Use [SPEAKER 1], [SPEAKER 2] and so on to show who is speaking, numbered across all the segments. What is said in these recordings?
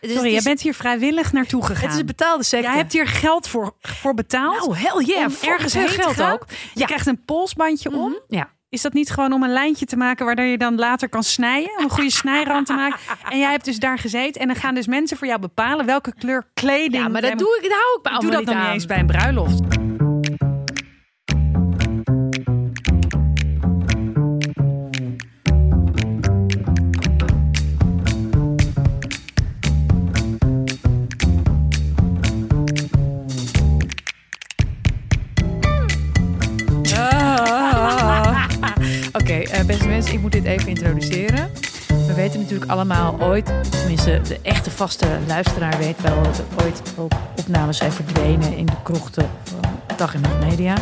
[SPEAKER 1] Dus
[SPEAKER 2] Sorry,
[SPEAKER 1] het
[SPEAKER 2] jij
[SPEAKER 1] is,
[SPEAKER 2] bent hier vrijwillig naartoe gegaan.
[SPEAKER 1] Het is een betaalde sector.
[SPEAKER 2] Jij hebt hier geld voor, voor betaald.
[SPEAKER 1] nou, hell yeah.
[SPEAKER 2] om
[SPEAKER 1] fuck
[SPEAKER 2] ergens
[SPEAKER 1] het
[SPEAKER 2] heen
[SPEAKER 1] heet
[SPEAKER 2] geld
[SPEAKER 1] gaan.
[SPEAKER 2] ook. Je
[SPEAKER 1] Ja.
[SPEAKER 2] krijgt een polsbandje om.
[SPEAKER 1] Ja.
[SPEAKER 2] Is dat niet gewoon om een lijntje te maken waardoor je dan later kan snijden? Om een goede snijrand te maken. En jij hebt dus daar gezeten. En dan gaan dus mensen voor jou bepalen welke kleur kleding.
[SPEAKER 1] ja, maar
[SPEAKER 2] jij
[SPEAKER 1] dat
[SPEAKER 2] moet-
[SPEAKER 1] doe ik, daar hou ik me allemaal
[SPEAKER 2] doe dat
[SPEAKER 1] niet
[SPEAKER 2] dan
[SPEAKER 1] aan.
[SPEAKER 2] niet eens bij een bruiloft.
[SPEAKER 1] Ah. Oké, eh, beste mensen, ik moet dit even introduceren. We weten natuurlijk allemaal ooit, tenminste de echte vaste luisteraar weet wel, dat er ooit ook opnames zijn verdwenen in de krochten van Dag en Nacht Media.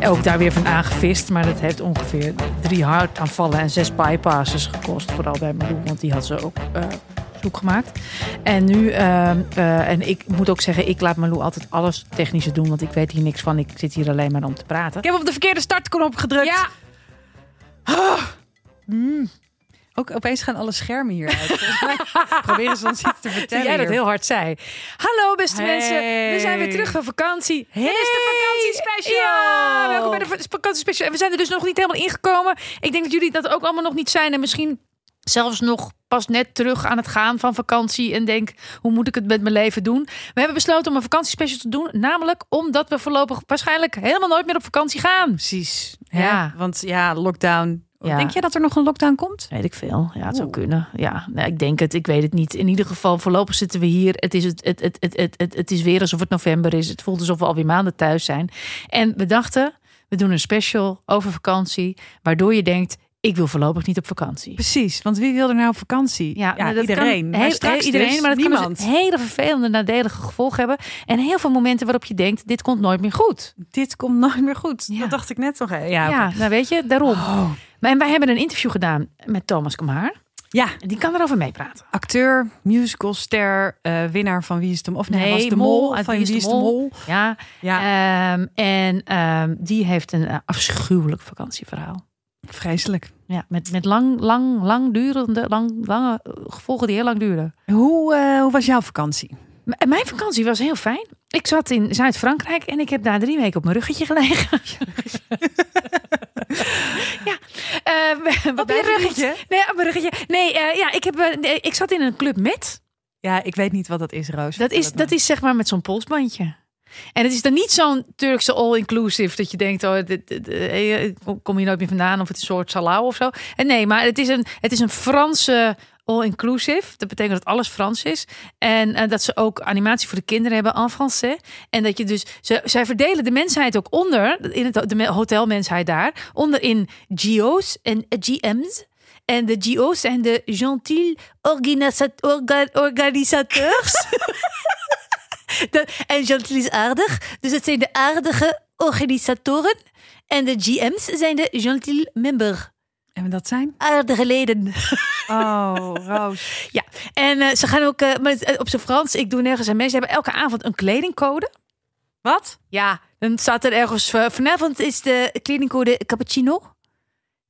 [SPEAKER 1] En Ook daar weer van aangevist, maar dat heeft ongeveer drie hartaanvallen en zes bypasses gekost. Vooral bij Marloe, want die had ze ook eh, zoek gemaakt. En nu, ehm, eh, en ik moet ook zeggen, ik laat Marloe altijd alles technische doen, want ik weet hier niks van. Ik zit hier alleen maar om te praten.
[SPEAKER 2] Ik heb op de verkeerde startknop gedrukt.
[SPEAKER 1] Ja,
[SPEAKER 2] Ook opeens gaan alle schermen hier uit. Volgens mij Proberen ze ons iets te
[SPEAKER 1] dat
[SPEAKER 2] vertellen.
[SPEAKER 1] jij dat
[SPEAKER 2] hier.
[SPEAKER 1] heel hard zei. Hallo beste
[SPEAKER 2] Hey.
[SPEAKER 1] mensen, we zijn weer terug van vakantie. Hey.
[SPEAKER 2] Dit is de vakantiespecial.
[SPEAKER 1] Ja, welkom bij de va- vakantiespecial. En we zijn er dus nog niet helemaal ingekomen. Ik denk dat jullie dat ook allemaal nog niet zijn. En misschien zelfs nog pas net terug aan het gaan van vakantie. En denk, hoe moet ik het met mijn leven doen? We hebben besloten om een vakantiespecial te doen. Namelijk omdat we voorlopig waarschijnlijk helemaal nooit meer op vakantie gaan.
[SPEAKER 2] Precies.
[SPEAKER 1] Ja.
[SPEAKER 2] Ja. Want ja, lockdown.
[SPEAKER 1] Ja.
[SPEAKER 2] Denk jij dat er nog een lockdown komt?
[SPEAKER 1] Weet ik veel. Ja, het zou
[SPEAKER 2] Oeh.
[SPEAKER 1] kunnen. Ja, nee, ik denk het. Ik weet het niet. In ieder geval, voorlopig zitten we hier. Het is, het, het, het, het, het, het, het is weer alsof het november is. Het voelt alsof we alweer maanden thuis zijn. En we dachten, we doen een special over vakantie. Waardoor je denkt, ik wil voorlopig niet op vakantie.
[SPEAKER 2] Precies. Want wie wil er nou op vakantie?
[SPEAKER 1] nou, dat
[SPEAKER 2] iedereen.
[SPEAKER 1] Kan,
[SPEAKER 2] Maar
[SPEAKER 1] heel,
[SPEAKER 2] straks
[SPEAKER 1] heel iedereen,
[SPEAKER 2] dus
[SPEAKER 1] maar dat
[SPEAKER 2] niemand.
[SPEAKER 1] kan dus hele vervelende, nadelige gevolgen hebben. En heel veel momenten waarop je denkt, dit komt nooit meer goed.
[SPEAKER 2] Dit komt nooit meer goed.
[SPEAKER 1] Ja.
[SPEAKER 2] Dat dacht ik net nog. hè. Ja,
[SPEAKER 1] Ja,
[SPEAKER 2] oké.
[SPEAKER 1] nou weet je, daarom.
[SPEAKER 2] Oh.
[SPEAKER 1] Maar- En wij hebben een interview gedaan met Thomas Kamhaar.
[SPEAKER 2] ja.
[SPEAKER 1] Die kan erover meepraten.
[SPEAKER 2] acteur, musicalster, eh, winnaar van Wie is de Mol? Of nee, hij
[SPEAKER 1] Nee,
[SPEAKER 2] was de
[SPEAKER 1] Mol
[SPEAKER 2] Mol,
[SPEAKER 1] uit
[SPEAKER 2] van Wie is de Mol.
[SPEAKER 1] Ja,
[SPEAKER 2] Ja,
[SPEAKER 1] Ehm, en ehm, die heeft een eh, afschuwelijk vakantieverhaal.
[SPEAKER 2] vreselijk.
[SPEAKER 1] Ja, met, met lang, lang, lang durende, lang, lange eh, gevolgen die heel lang duren.
[SPEAKER 2] Hoe, eh, hoe was jouw vakantie?
[SPEAKER 1] M- en mijn vakantie was heel fijn. Ik zat in Zuid-Frankrijk en ik heb daar drie weken op mijn ruggetje gelegen. ja, ehm, we- we
[SPEAKER 2] Op je
[SPEAKER 1] blijven
[SPEAKER 2] ruggetje?
[SPEAKER 1] niet- Nee, op mijn ruggetje. Nee, eh, ja, ik, heb, eh, nee, ik zat in een club met.
[SPEAKER 2] Ja, ik weet niet wat dat is, Roos.
[SPEAKER 1] Dat is, dat is zeg maar met zo'n polsbandje. En het is dan niet zo'n Turkse all-inclusive dat je denkt, oh, dit, dit- eh, ik kom hier nooit meer vandaan of het is een soort salau of zo. En nee, maar het is een, het is een Franse all-inclusive. Dat betekent dat alles Frans is. En eh, dat ze ook animatie voor de kinderen hebben en français. En dat je dus, ze, zij verdelen de mensheid ook onder, in het, de me- hotelmensheid daar, onder in GO's en eh, GM's. En de GO's zijn de gentils organisa- orga- organisateurs. De- en gentil is aardig. Dus het zijn de aardige organisatoren. En de GM's zijn de gentil member.
[SPEAKER 2] En dat zijn?
[SPEAKER 1] Aardige leden.
[SPEAKER 2] Oh, Roos.
[SPEAKER 1] Ja, en eh, ze gaan ook eh, met, eh, op zijn Frans. Ik doe nergens aan mee. Ze hebben elke avond een kledingcode.
[SPEAKER 2] Wat?
[SPEAKER 1] Ja, dan staat er ergens... eh, vanavond is de kledingcode cappuccino.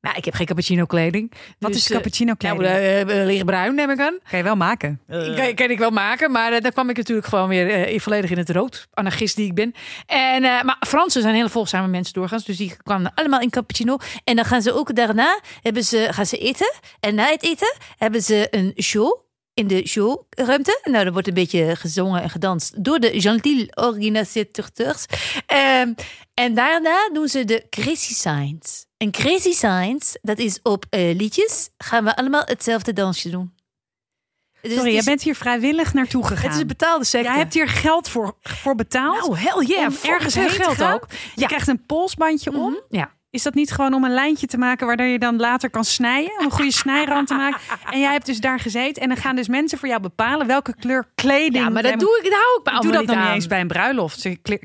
[SPEAKER 1] Nou, ik heb geen cappuccino kleding.
[SPEAKER 2] Wat
[SPEAKER 1] Dus,
[SPEAKER 2] is
[SPEAKER 1] eh,
[SPEAKER 2] cappuccino kleding?
[SPEAKER 1] Nou, eh, eh, lichtbruin neem ik aan.
[SPEAKER 2] kan je wel maken.
[SPEAKER 1] Kan, kan ik wel maken, maar eh, dan kwam ik natuurlijk gewoon weer eh, in- volledig in het rood. Anarchist die ik ben. En, eh, maar Fransen zijn hele volgzame mensen doorgaans. Dus die kwamen allemaal in cappuccino. En dan gaan ze ook daarna hebben ze, gaan ze eten. En na het eten hebben ze een show in de showruimte. Nou, er wordt een beetje gezongen en gedanst door de gentil organisateurs. Ehm, en daarna doen ze de crazy signs. En crazy signs, dat is op eh, liedjes, gaan we allemaal hetzelfde dansje doen. Dus
[SPEAKER 2] Sorry,
[SPEAKER 1] het
[SPEAKER 2] jij
[SPEAKER 1] is-
[SPEAKER 2] bent hier vrijwillig naartoe gegaan.
[SPEAKER 1] het is een betaalde sector.
[SPEAKER 2] Jij hebt hier geld voor, voor betaald.
[SPEAKER 1] nou, hell yeah.
[SPEAKER 2] om
[SPEAKER 1] fuck
[SPEAKER 2] ergens
[SPEAKER 1] veel
[SPEAKER 2] heen geld ook. Je
[SPEAKER 1] Ja. Mhm.
[SPEAKER 2] krijgt een polsbandje om.
[SPEAKER 1] Ja.
[SPEAKER 2] Is dat niet gewoon om een lijntje te maken waardoor je dan later kan snijden? Om een goede snijrand te maken. En jij hebt dus daar gezeten. En dan gaan dus mensen voor jou bepalen welke kleur kleding.
[SPEAKER 1] ja, maar
[SPEAKER 2] jij
[SPEAKER 1] dat
[SPEAKER 2] moet-
[SPEAKER 1] doe ik, daar hou ik me
[SPEAKER 2] Ik
[SPEAKER 1] allemaal
[SPEAKER 2] doe dat
[SPEAKER 1] niet
[SPEAKER 2] nog
[SPEAKER 1] aan.
[SPEAKER 2] niet eens bij een bruiloft. Zeg, kle-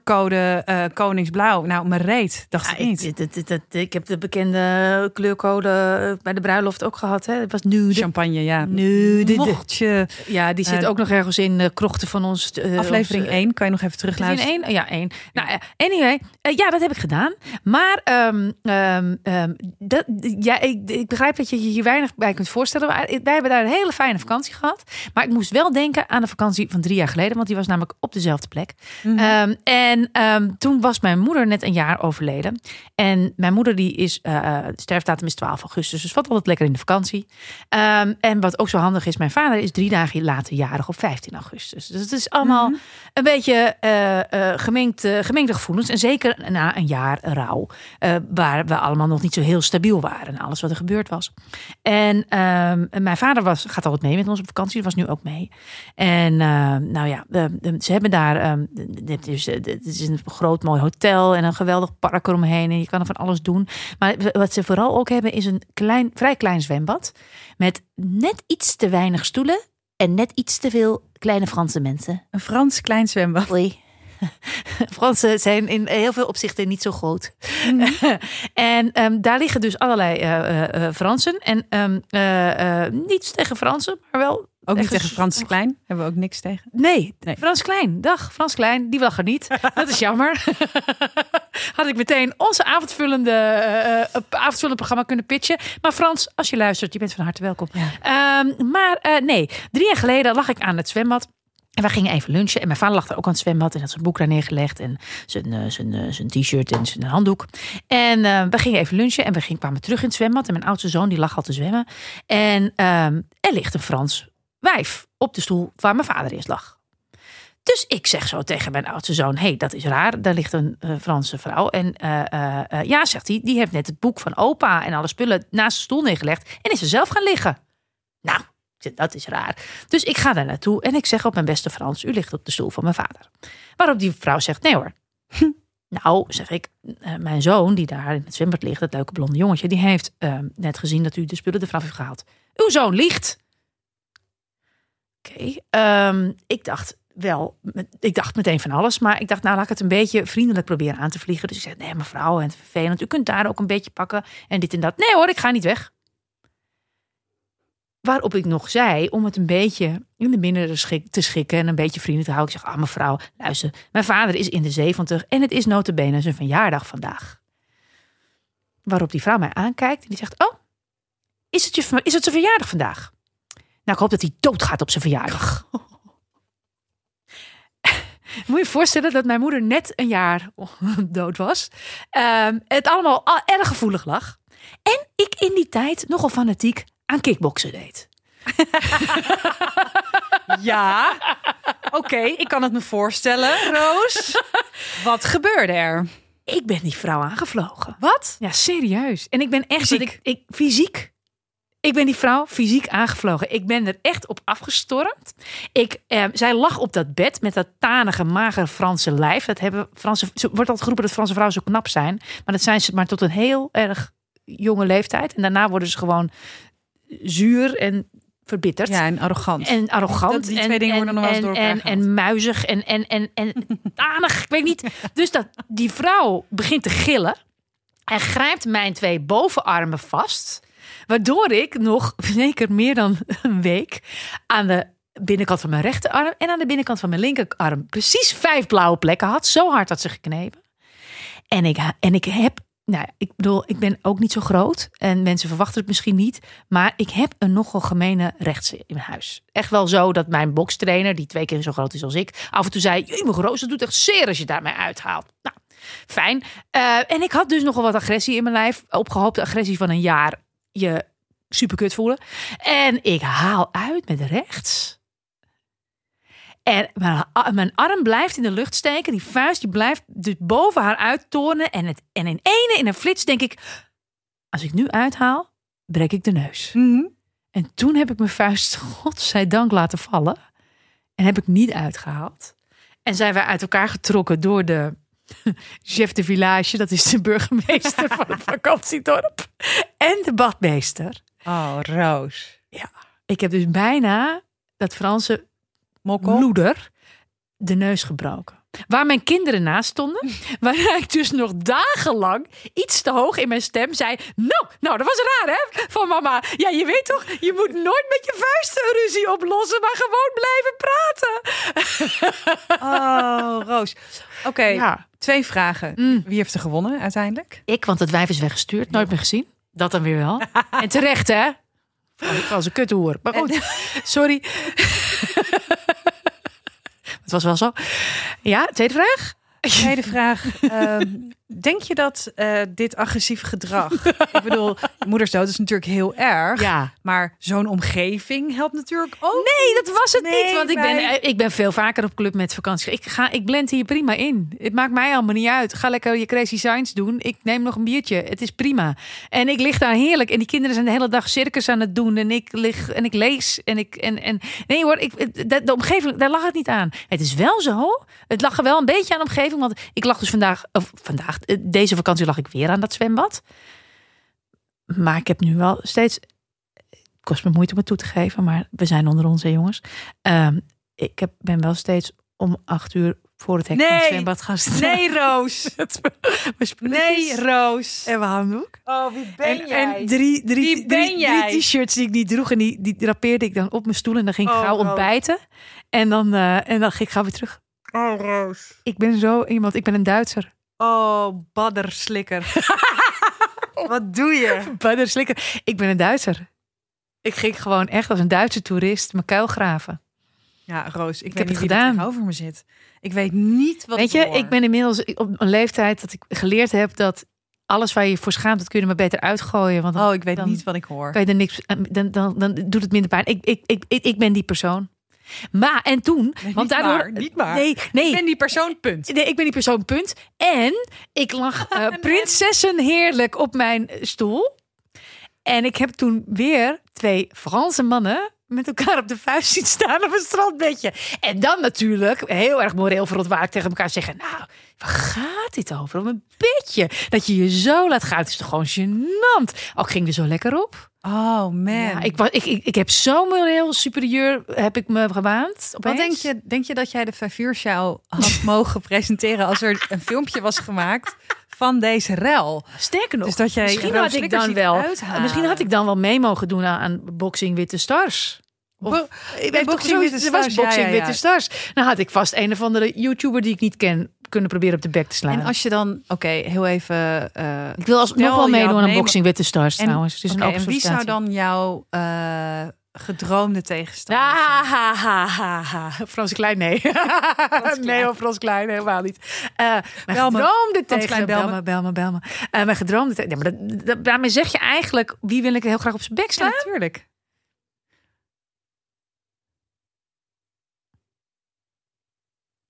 [SPEAKER 2] Kleurcode eh, koningsblauw. Nou, mijn reet. Dacht
[SPEAKER 1] Ja,
[SPEAKER 2] ik niet.
[SPEAKER 1] ik, dat- dat- dat- ik heb de bekende kleurcode eh, bij de bruiloft ook gehad. Hè. Het was nude.
[SPEAKER 2] Champagne, ja.
[SPEAKER 1] Nude.
[SPEAKER 2] Mocht je
[SPEAKER 1] Ja, die zit
[SPEAKER 2] Eh,
[SPEAKER 1] ook nog ergens in de krochten van ons. eh,
[SPEAKER 2] aflevering
[SPEAKER 1] ons,
[SPEAKER 2] 1, kan je nog even
[SPEAKER 1] Is die in
[SPEAKER 2] terugluisteren.
[SPEAKER 1] één? Ja, één. Nou, eh, anyway. eh, ja, dat heb ik gedaan. Maar ehm, ehm, ehm, dat, ja, ik, ik begrijp dat je je hier weinig bij kunt voorstellen. Maar wij hebben daar een hele fijne vakantie gehad. Maar ik moest wel denken aan de vakantie van drie jaar geleden. Want die was namelijk op dezelfde plek. Ehm, en ehm, toen was mijn moeder net een jaar overleden. En mijn moeder die is, eh eh, sterfdatum is 12 augustus. Dus wat altijd lekker in de vakantie. Ehm, en wat ook zo handig is, mijn vader is drie dagen later jarig op 15 augustus. Dus het is allemaal een beetje eh, eh, gemengd, eh, gemengde gevoelens. En zeker na een jaar rouw, eh, waar we allemaal nog niet zo heel stabiel waren. na Alles wat er gebeurd was. En ehm, en mijn vader was, gaat altijd mee met ons op vakantie, was nu ook mee. En eh, nou ja, eh, eh, ze hebben daar, ehm, dit is, eh, dit is een groot mooi hotel en een geweldig park eromheen. En je kan er van alles doen. Maar wat ze vooral ook hebben is een klein, vrij klein zwembad. Met net iets te weinig stoelen en net iets te veel kleine Franse mensen.
[SPEAKER 2] Een Frans klein zwembad.
[SPEAKER 1] Oei. Fransen zijn in heel veel opzichten niet zo groot. en ehm, daar liggen dus allerlei eh, eh, eh, Fransen. En ehm, eh, eh, niets tegen Fransen, maar wel.
[SPEAKER 2] Ook niet
[SPEAKER 1] ergens-
[SPEAKER 2] tegen Frans klein. Hebben we ook niks tegen.
[SPEAKER 1] Nee,
[SPEAKER 2] Nee.
[SPEAKER 1] Frans Klein. Dag, Frans Klein. Die lag er niet. Dat is jammer. Had ik meteen onze avondvullende, eh, eh, avondvullend programma kunnen pitchen. Maar Frans, als je luistert, je bent van harte welkom. Ehm, maar eh, nee, drie jaar geleden lag ik aan het zwembad. En wij gingen even lunchen. En mijn vader lag er ook aan het zwembad. En had zijn boek daar neergelegd. En zijn, eh, zijn, eh, zijn t-shirt en zijn handdoek. En eh, we gingen even lunchen. En we gingen, kwamen terug in het zwembad. En mijn oudste zoon die lag al te zwemmen. En ehm, er ligt een Frans wijf op de stoel waar mijn vader eerst lag. Dus ik zeg zo tegen mijn oudste zoon: hey, dat is raar. Daar ligt een eh, Franse vrouw. En eh, eh, eh, ja, zegt hij, die heeft net het boek van opa en alle spullen naast de stoel neergelegd. En is er zelf gaan liggen. Nou, ik zeg, dat is raar. Dus ik ga daar naartoe en ik zeg op mijn beste Frans: U ligt op de stoel van mijn vader. Waarop die vrouw zegt: Nee hoor. Nou, zeg ik, eh, mijn zoon die daar in het zwembad ligt, dat leuke blonde jongetje, die heeft eh, net gezien dat u de spullen ervan heeft gehaald. Uw zoon liegt. Oké, ehm, ik dacht wel, met- ik dacht meteen van alles, maar ik dacht, nou laat ik het een beetje vriendelijk proberen aan te vliegen. Dus ik zei, nee mevrouw, het is vervelend, u kunt daar ook een beetje pakken en dit en dat. Nee hoor, ik ga niet weg. Waarop ik nog zei, om het een beetje in de mindere schik te schikken en een beetje vrienden te houden. Ik zeg, ah mevrouw, luister, mijn vader is in de zeventig en het is notabene zijn verjaardag vandaag. Waarop die vrouw mij aankijkt en die zegt, oh, is het, je, ver- is het zijn verjaardag vandaag? Nou, ik hoop dat hij doodgaat op zijn verjaardag. Moet je je voorstellen dat mijn moeder net een jaar dood was. Ehm, het allemaal al erg gevoelig lag. En ik in die tijd nogal fanatiek aan kickboksen deed.
[SPEAKER 2] Ja. Oké, ik kan het me voorstellen, Roos. Wat gebeurde er?
[SPEAKER 1] Ik ben die vrouw aangevlogen.
[SPEAKER 2] Wat?
[SPEAKER 1] Ja, serieus. En ik ben echt
[SPEAKER 2] Fysiek?
[SPEAKER 1] Dat ik, ik, fysiek. Ik ben die vrouw fysiek aangevlogen. Ik ben er echt op afgestormd. Ik, eh, zij lag op dat bed met dat tanige, magere Franse lijf. Dat hebben Franse, ze wordt altijd geroepen dat Franse vrouwen zo knap zijn. Maar dat zijn ze maar tot een heel erg jonge leeftijd. En daarna worden ze gewoon zuur en verbitterd.
[SPEAKER 2] Ja, en arrogant.
[SPEAKER 1] En arrogant.
[SPEAKER 2] Dat- die
[SPEAKER 1] en-
[SPEAKER 2] twee dingen
[SPEAKER 1] en,
[SPEAKER 2] worden nog wel eens door elkaar
[SPEAKER 1] en, en,
[SPEAKER 2] gehaald.
[SPEAKER 1] en muizig en, en, en, en tanig. Ik weet niet. Dus dat, die vrouw begint te gillen. En grijpt mijn twee bovenarmen vast. Waardoor ik nog zeker meer dan een week aan de binnenkant van mijn rechterarm en aan de binnenkant van mijn linkerarm precies vijf blauwe plekken had. Zo hard had ze geknepen. En ik, ha- en ik heb, nou, ja, ik bedoel, ik ben ook niet zo groot en mensen verwachten het misschien niet, maar ik heb een nogal gemene rechtse in mijn huis. Echt wel zo dat mijn bokstrainer, die twee keer zo groot is als ik, af en toe zei: Jee, mijn roos, dat doet echt zeer als je daarmee uithaalt. Nou, fijn. Eh, en ik had dus nogal wat agressie in mijn lijf, opgehoopte agressie van een jaar. Je superkut voelen. En ik haal uit met rechts. En mijn, a- mijn arm blijft in de lucht steken. Die vuist die blijft dus boven haar uittornen. En, het, en in ene, in een flits, denk ik... Als ik nu uithaal, breek ik de neus.
[SPEAKER 2] Mhm.
[SPEAKER 1] En toen heb ik mijn vuist, godzijdank, laten vallen. En heb ik niet uitgehaald. En zijn wij uit elkaar getrokken door de chef de village. Dat is de burgemeester van het vakantiedorp. En de badmeester.
[SPEAKER 2] Oh, Roos.
[SPEAKER 1] Ik heb dus bijna dat Franse
[SPEAKER 2] Mokkel.
[SPEAKER 1] moeder de neus gebroken. Waar mijn kinderen naast stonden, waar ik dus nog dagenlang iets te hoog in mijn stem zei: Nou, nou, dat was raar hè? Van mama, ja, je weet toch, je moet nooit met je vuisten een ruzie oplossen, maar gewoon blijven praten.
[SPEAKER 2] Oh, Roos. Oké,
[SPEAKER 1] Ja.
[SPEAKER 2] Twee vragen.
[SPEAKER 1] Mm.
[SPEAKER 2] Wie heeft er gewonnen uiteindelijk?
[SPEAKER 1] Ik, want het wijf is weggestuurd. Nooit meer gezien. Dat dan weer wel. En terecht, hè? Vrouw, Ik was een kuthoer.
[SPEAKER 2] Oh,
[SPEAKER 1] Maar goed, sorry. het was wel zo. Ja, tweede vraag?
[SPEAKER 2] Tweede vraag. ehm, denk je dat eh, dit agressief gedrag... ik bedoel, moedersdood is natuurlijk heel erg.
[SPEAKER 1] Ja.
[SPEAKER 2] Maar zo'n omgeving helpt natuurlijk ook.
[SPEAKER 1] Nee, dat was het
[SPEAKER 2] Nee,
[SPEAKER 1] niet. Want ik ben,
[SPEAKER 2] wij-
[SPEAKER 1] eh, ik ben veel vaker op club met vakantie. Ik, ga, ik blend hier prima in. Het maakt mij allemaal niet uit. Ga lekker je crazy signs doen. Ik neem nog een biertje. Het is prima. En ik lig daar heerlijk. En die kinderen zijn de hele dag circus aan het doen. En ik lig en ik lees. En ik, en, en, nee hoor, ik, het- de, de omgeving, daar lag het niet aan. Het is wel zo. Het lag er wel een beetje aan de omgeving. Want ik lag dus vandaag, of vandaag, eh, deze vakantie lag ik weer aan dat zwembad. Maar ik heb nu wel steeds het kost me moeite om het toe te geven, maar we zijn onder onze jongens. Ehm, ik heb, ben wel steeds om acht uur voor het hek van het
[SPEAKER 2] Nee.
[SPEAKER 1] zwembad gaan staan.
[SPEAKER 2] Nee, Roos.
[SPEAKER 1] Mijn spulletjes
[SPEAKER 2] Nee, Roos.
[SPEAKER 1] En mijn handdoek.
[SPEAKER 2] Oh, wie
[SPEAKER 1] en, en drie, drie,
[SPEAKER 2] Wie ben
[SPEAKER 1] drie,
[SPEAKER 2] jij?
[SPEAKER 1] drie t-shirts die ik niet droeg. En die, die drapeerde ik dan op mijn stoel. En dan ging ik
[SPEAKER 2] Oh,
[SPEAKER 1] gauw
[SPEAKER 2] Roos.
[SPEAKER 1] ontbijten. En dan, eh, en dan ging ik gauw weer terug.
[SPEAKER 2] Oh, Roos.
[SPEAKER 1] Ik ben zo iemand. Ik ben een Duitser.
[SPEAKER 2] Oh, badderslikker. Wat doe je?
[SPEAKER 1] Butter slikker. Ik ben een Duitser. Ik ging gewoon echt als een Duitse toerist mijn kuil graven.
[SPEAKER 2] Ja, Roos, ik,
[SPEAKER 1] heb
[SPEAKER 2] weet
[SPEAKER 1] het
[SPEAKER 2] niet wie er
[SPEAKER 1] gedaan.
[SPEAKER 2] tegenover me zit. Ik weet niet wat
[SPEAKER 1] Weet je,
[SPEAKER 2] hoor.
[SPEAKER 1] ik ben inmiddels op een leeftijd dat ik geleerd heb dat alles waar je je voor schaamt, dat kun je er maar beter uitgooien. Want dan
[SPEAKER 2] Oh, ik weet
[SPEAKER 1] dan-
[SPEAKER 2] niet wat ik hoor.
[SPEAKER 1] kan je er niks, eh, dan, dan, dan doet het minder pijn. Ik, ik, ik, ik, ik ben die persoon. Maar, en toen,
[SPEAKER 2] Nee,
[SPEAKER 1] want
[SPEAKER 2] niet
[SPEAKER 1] daardoor...
[SPEAKER 2] maar, niet maar.
[SPEAKER 1] Nee, nee.
[SPEAKER 2] Ik ben die persoon, punt.
[SPEAKER 1] Nee, ik ben die persoon, punt. En ik lag eh, prinsessen heerlijk op mijn stoel. En ik heb toen weer twee Franse mannen met elkaar op de vuist zien staan op een strandbedje. En dan natuurlijk heel erg moreel verontwaardigd tegen elkaar zeggen... nou, waar gaat dit over? Om een bedje. Dat je je zo laat gaan, het is toch gewoon gênant. Ook ging er zo lekker op.
[SPEAKER 2] Oh, man.
[SPEAKER 1] Ja, ik, was- ik, ik, ik heb zo moreel superieur, heb ik me gewaand.
[SPEAKER 2] wat
[SPEAKER 1] opeens.
[SPEAKER 2] denk je, denk je dat jij de Favuurshow had mogen presenteren als er een filmpje was gemaakt van deze rel?
[SPEAKER 1] Sterker nog,
[SPEAKER 2] Dus dat jij
[SPEAKER 1] misschien
[SPEAKER 2] Roos
[SPEAKER 1] had ik
[SPEAKER 2] Slikkers
[SPEAKER 1] dan
[SPEAKER 2] ziet
[SPEAKER 1] wel,
[SPEAKER 2] uithalen.
[SPEAKER 1] Eh, misschien had ik dan wel mee mogen doen aan, aan Boxing Witte Stars. Of-
[SPEAKER 2] Bo-
[SPEAKER 1] Ik
[SPEAKER 2] bij
[SPEAKER 1] weet toch
[SPEAKER 2] Boxing
[SPEAKER 1] zoiets-
[SPEAKER 2] Witte
[SPEAKER 1] er was
[SPEAKER 2] Stars, ja,
[SPEAKER 1] Boxing
[SPEAKER 2] ja, ja.
[SPEAKER 1] Witte Stars. Dan had ik vast een of andere YouTuber die ik niet ken kunnen proberen op de bek te slaan.
[SPEAKER 2] En als je dan, oké, heel even. eh,
[SPEAKER 1] ik wil als nog
[SPEAKER 2] Stel,
[SPEAKER 1] wel
[SPEAKER 2] jouw
[SPEAKER 1] meedoen aan
[SPEAKER 2] neem-
[SPEAKER 1] Boxing Witte Stars
[SPEAKER 2] En-
[SPEAKER 1] trouwens. Het is
[SPEAKER 2] oké,
[SPEAKER 1] een open
[SPEAKER 2] en wie zou
[SPEAKER 1] sollicitatie.
[SPEAKER 2] dan jouw eh, gedroomde tegenstander zijn?
[SPEAKER 1] Ah, ha, ha, ha, ha. Frans Klein, nee. nee, hoor, Frans Klein, helemaal niet. Eh mijn
[SPEAKER 2] Bel me.
[SPEAKER 1] gedroomde tegen...
[SPEAKER 2] Klein, bel
[SPEAKER 1] bel me, bel me, bel me. Eh, mijn gedroomde tegen... Nee, maar dat, dat- daarmee zeg je eigenlijk... wie wil ik heel graag op zijn bek
[SPEAKER 2] Ja,
[SPEAKER 1] slaan?
[SPEAKER 2] natuurlijk.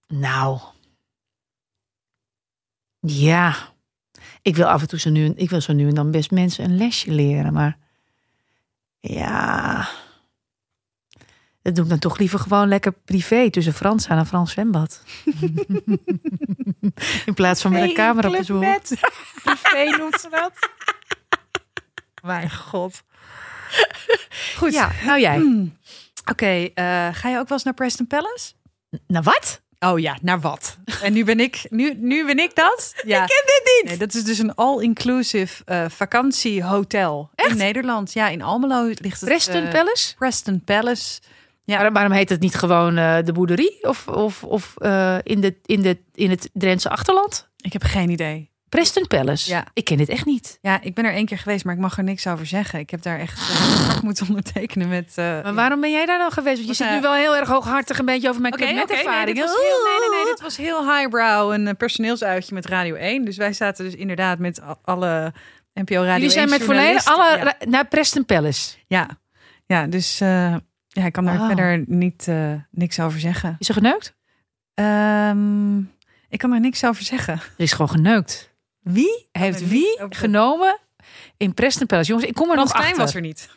[SPEAKER 1] Nou. Ja. Ik wil af en toe zo nu, en- ik wil zo nu en dan best mensen een lesje leren, maar ja. Dat doe ik dan toch liever gewoon lekker privé tussen Frans aan een Frans zwembad. In plaats van met een camera op de zoel.
[SPEAKER 2] Buffet noemt ze dat. Mijn god. Goed.
[SPEAKER 1] Ja, nou jij.
[SPEAKER 2] Hmm. Oké, eh, ga je ook wel eens naar Preston Palace?
[SPEAKER 1] Nou wat?
[SPEAKER 2] Oh ja, naar wat? En nu ben ik, nu, nu ben ik dat? Ja.
[SPEAKER 1] ken dit
[SPEAKER 2] Nee, dat is dus een all-inclusive eh, vakantiehotel in Nederland. Ja, in Almelo ligt het.
[SPEAKER 1] Preston
[SPEAKER 2] eh,
[SPEAKER 1] Palace?
[SPEAKER 2] Preston Palace. Ja.
[SPEAKER 1] Maar waarom heet het niet gewoon eh, de boerderie? Of, of, of eh, in, de, in, de, in het Drentse achterland?
[SPEAKER 2] Ik heb geen idee.
[SPEAKER 1] Preston Palace.
[SPEAKER 2] Ja.
[SPEAKER 1] Ik ken dit echt niet.
[SPEAKER 2] Ja, ik ben er één keer geweest, maar ik mag er niks over zeggen. Ik heb daar echt eh, moeten ondertekenen met. eh,
[SPEAKER 1] Maar waarom ben jij daar dan geweest? Want je
[SPEAKER 2] Was,
[SPEAKER 1] zit
[SPEAKER 2] eh,
[SPEAKER 1] nu wel heel erg hooghartig een beetje over mijn
[SPEAKER 2] Oké,
[SPEAKER 1] okay,
[SPEAKER 2] oké, nee, dit was heel- nee,
[SPEAKER 1] Oh.
[SPEAKER 2] nee, nee, dit was heel highbrow. Een eh, personeelsuitje met Radio 1. Dus wij zaten dus inderdaad met a- alle NPO Radio 1
[SPEAKER 1] Jullie zijn met volledig
[SPEAKER 2] journalisten.
[SPEAKER 1] alle
[SPEAKER 2] Ja.
[SPEAKER 1] ra- naar Preston Palace.
[SPEAKER 2] Ja, ja dus eh, ja, ik kan daar
[SPEAKER 1] Wauw.
[SPEAKER 2] verder niet, eh, niks over zeggen.
[SPEAKER 1] Is er geneukt?
[SPEAKER 2] Ehm, ik kan daar niks over zeggen.
[SPEAKER 1] Er is gewoon geneukt. Wie heeft
[SPEAKER 2] er
[SPEAKER 1] wie
[SPEAKER 2] niet over-
[SPEAKER 1] genomen in Preston Palace? Jongens, ik kom er
[SPEAKER 2] Want
[SPEAKER 1] nog achter.
[SPEAKER 2] Stijn was er niet.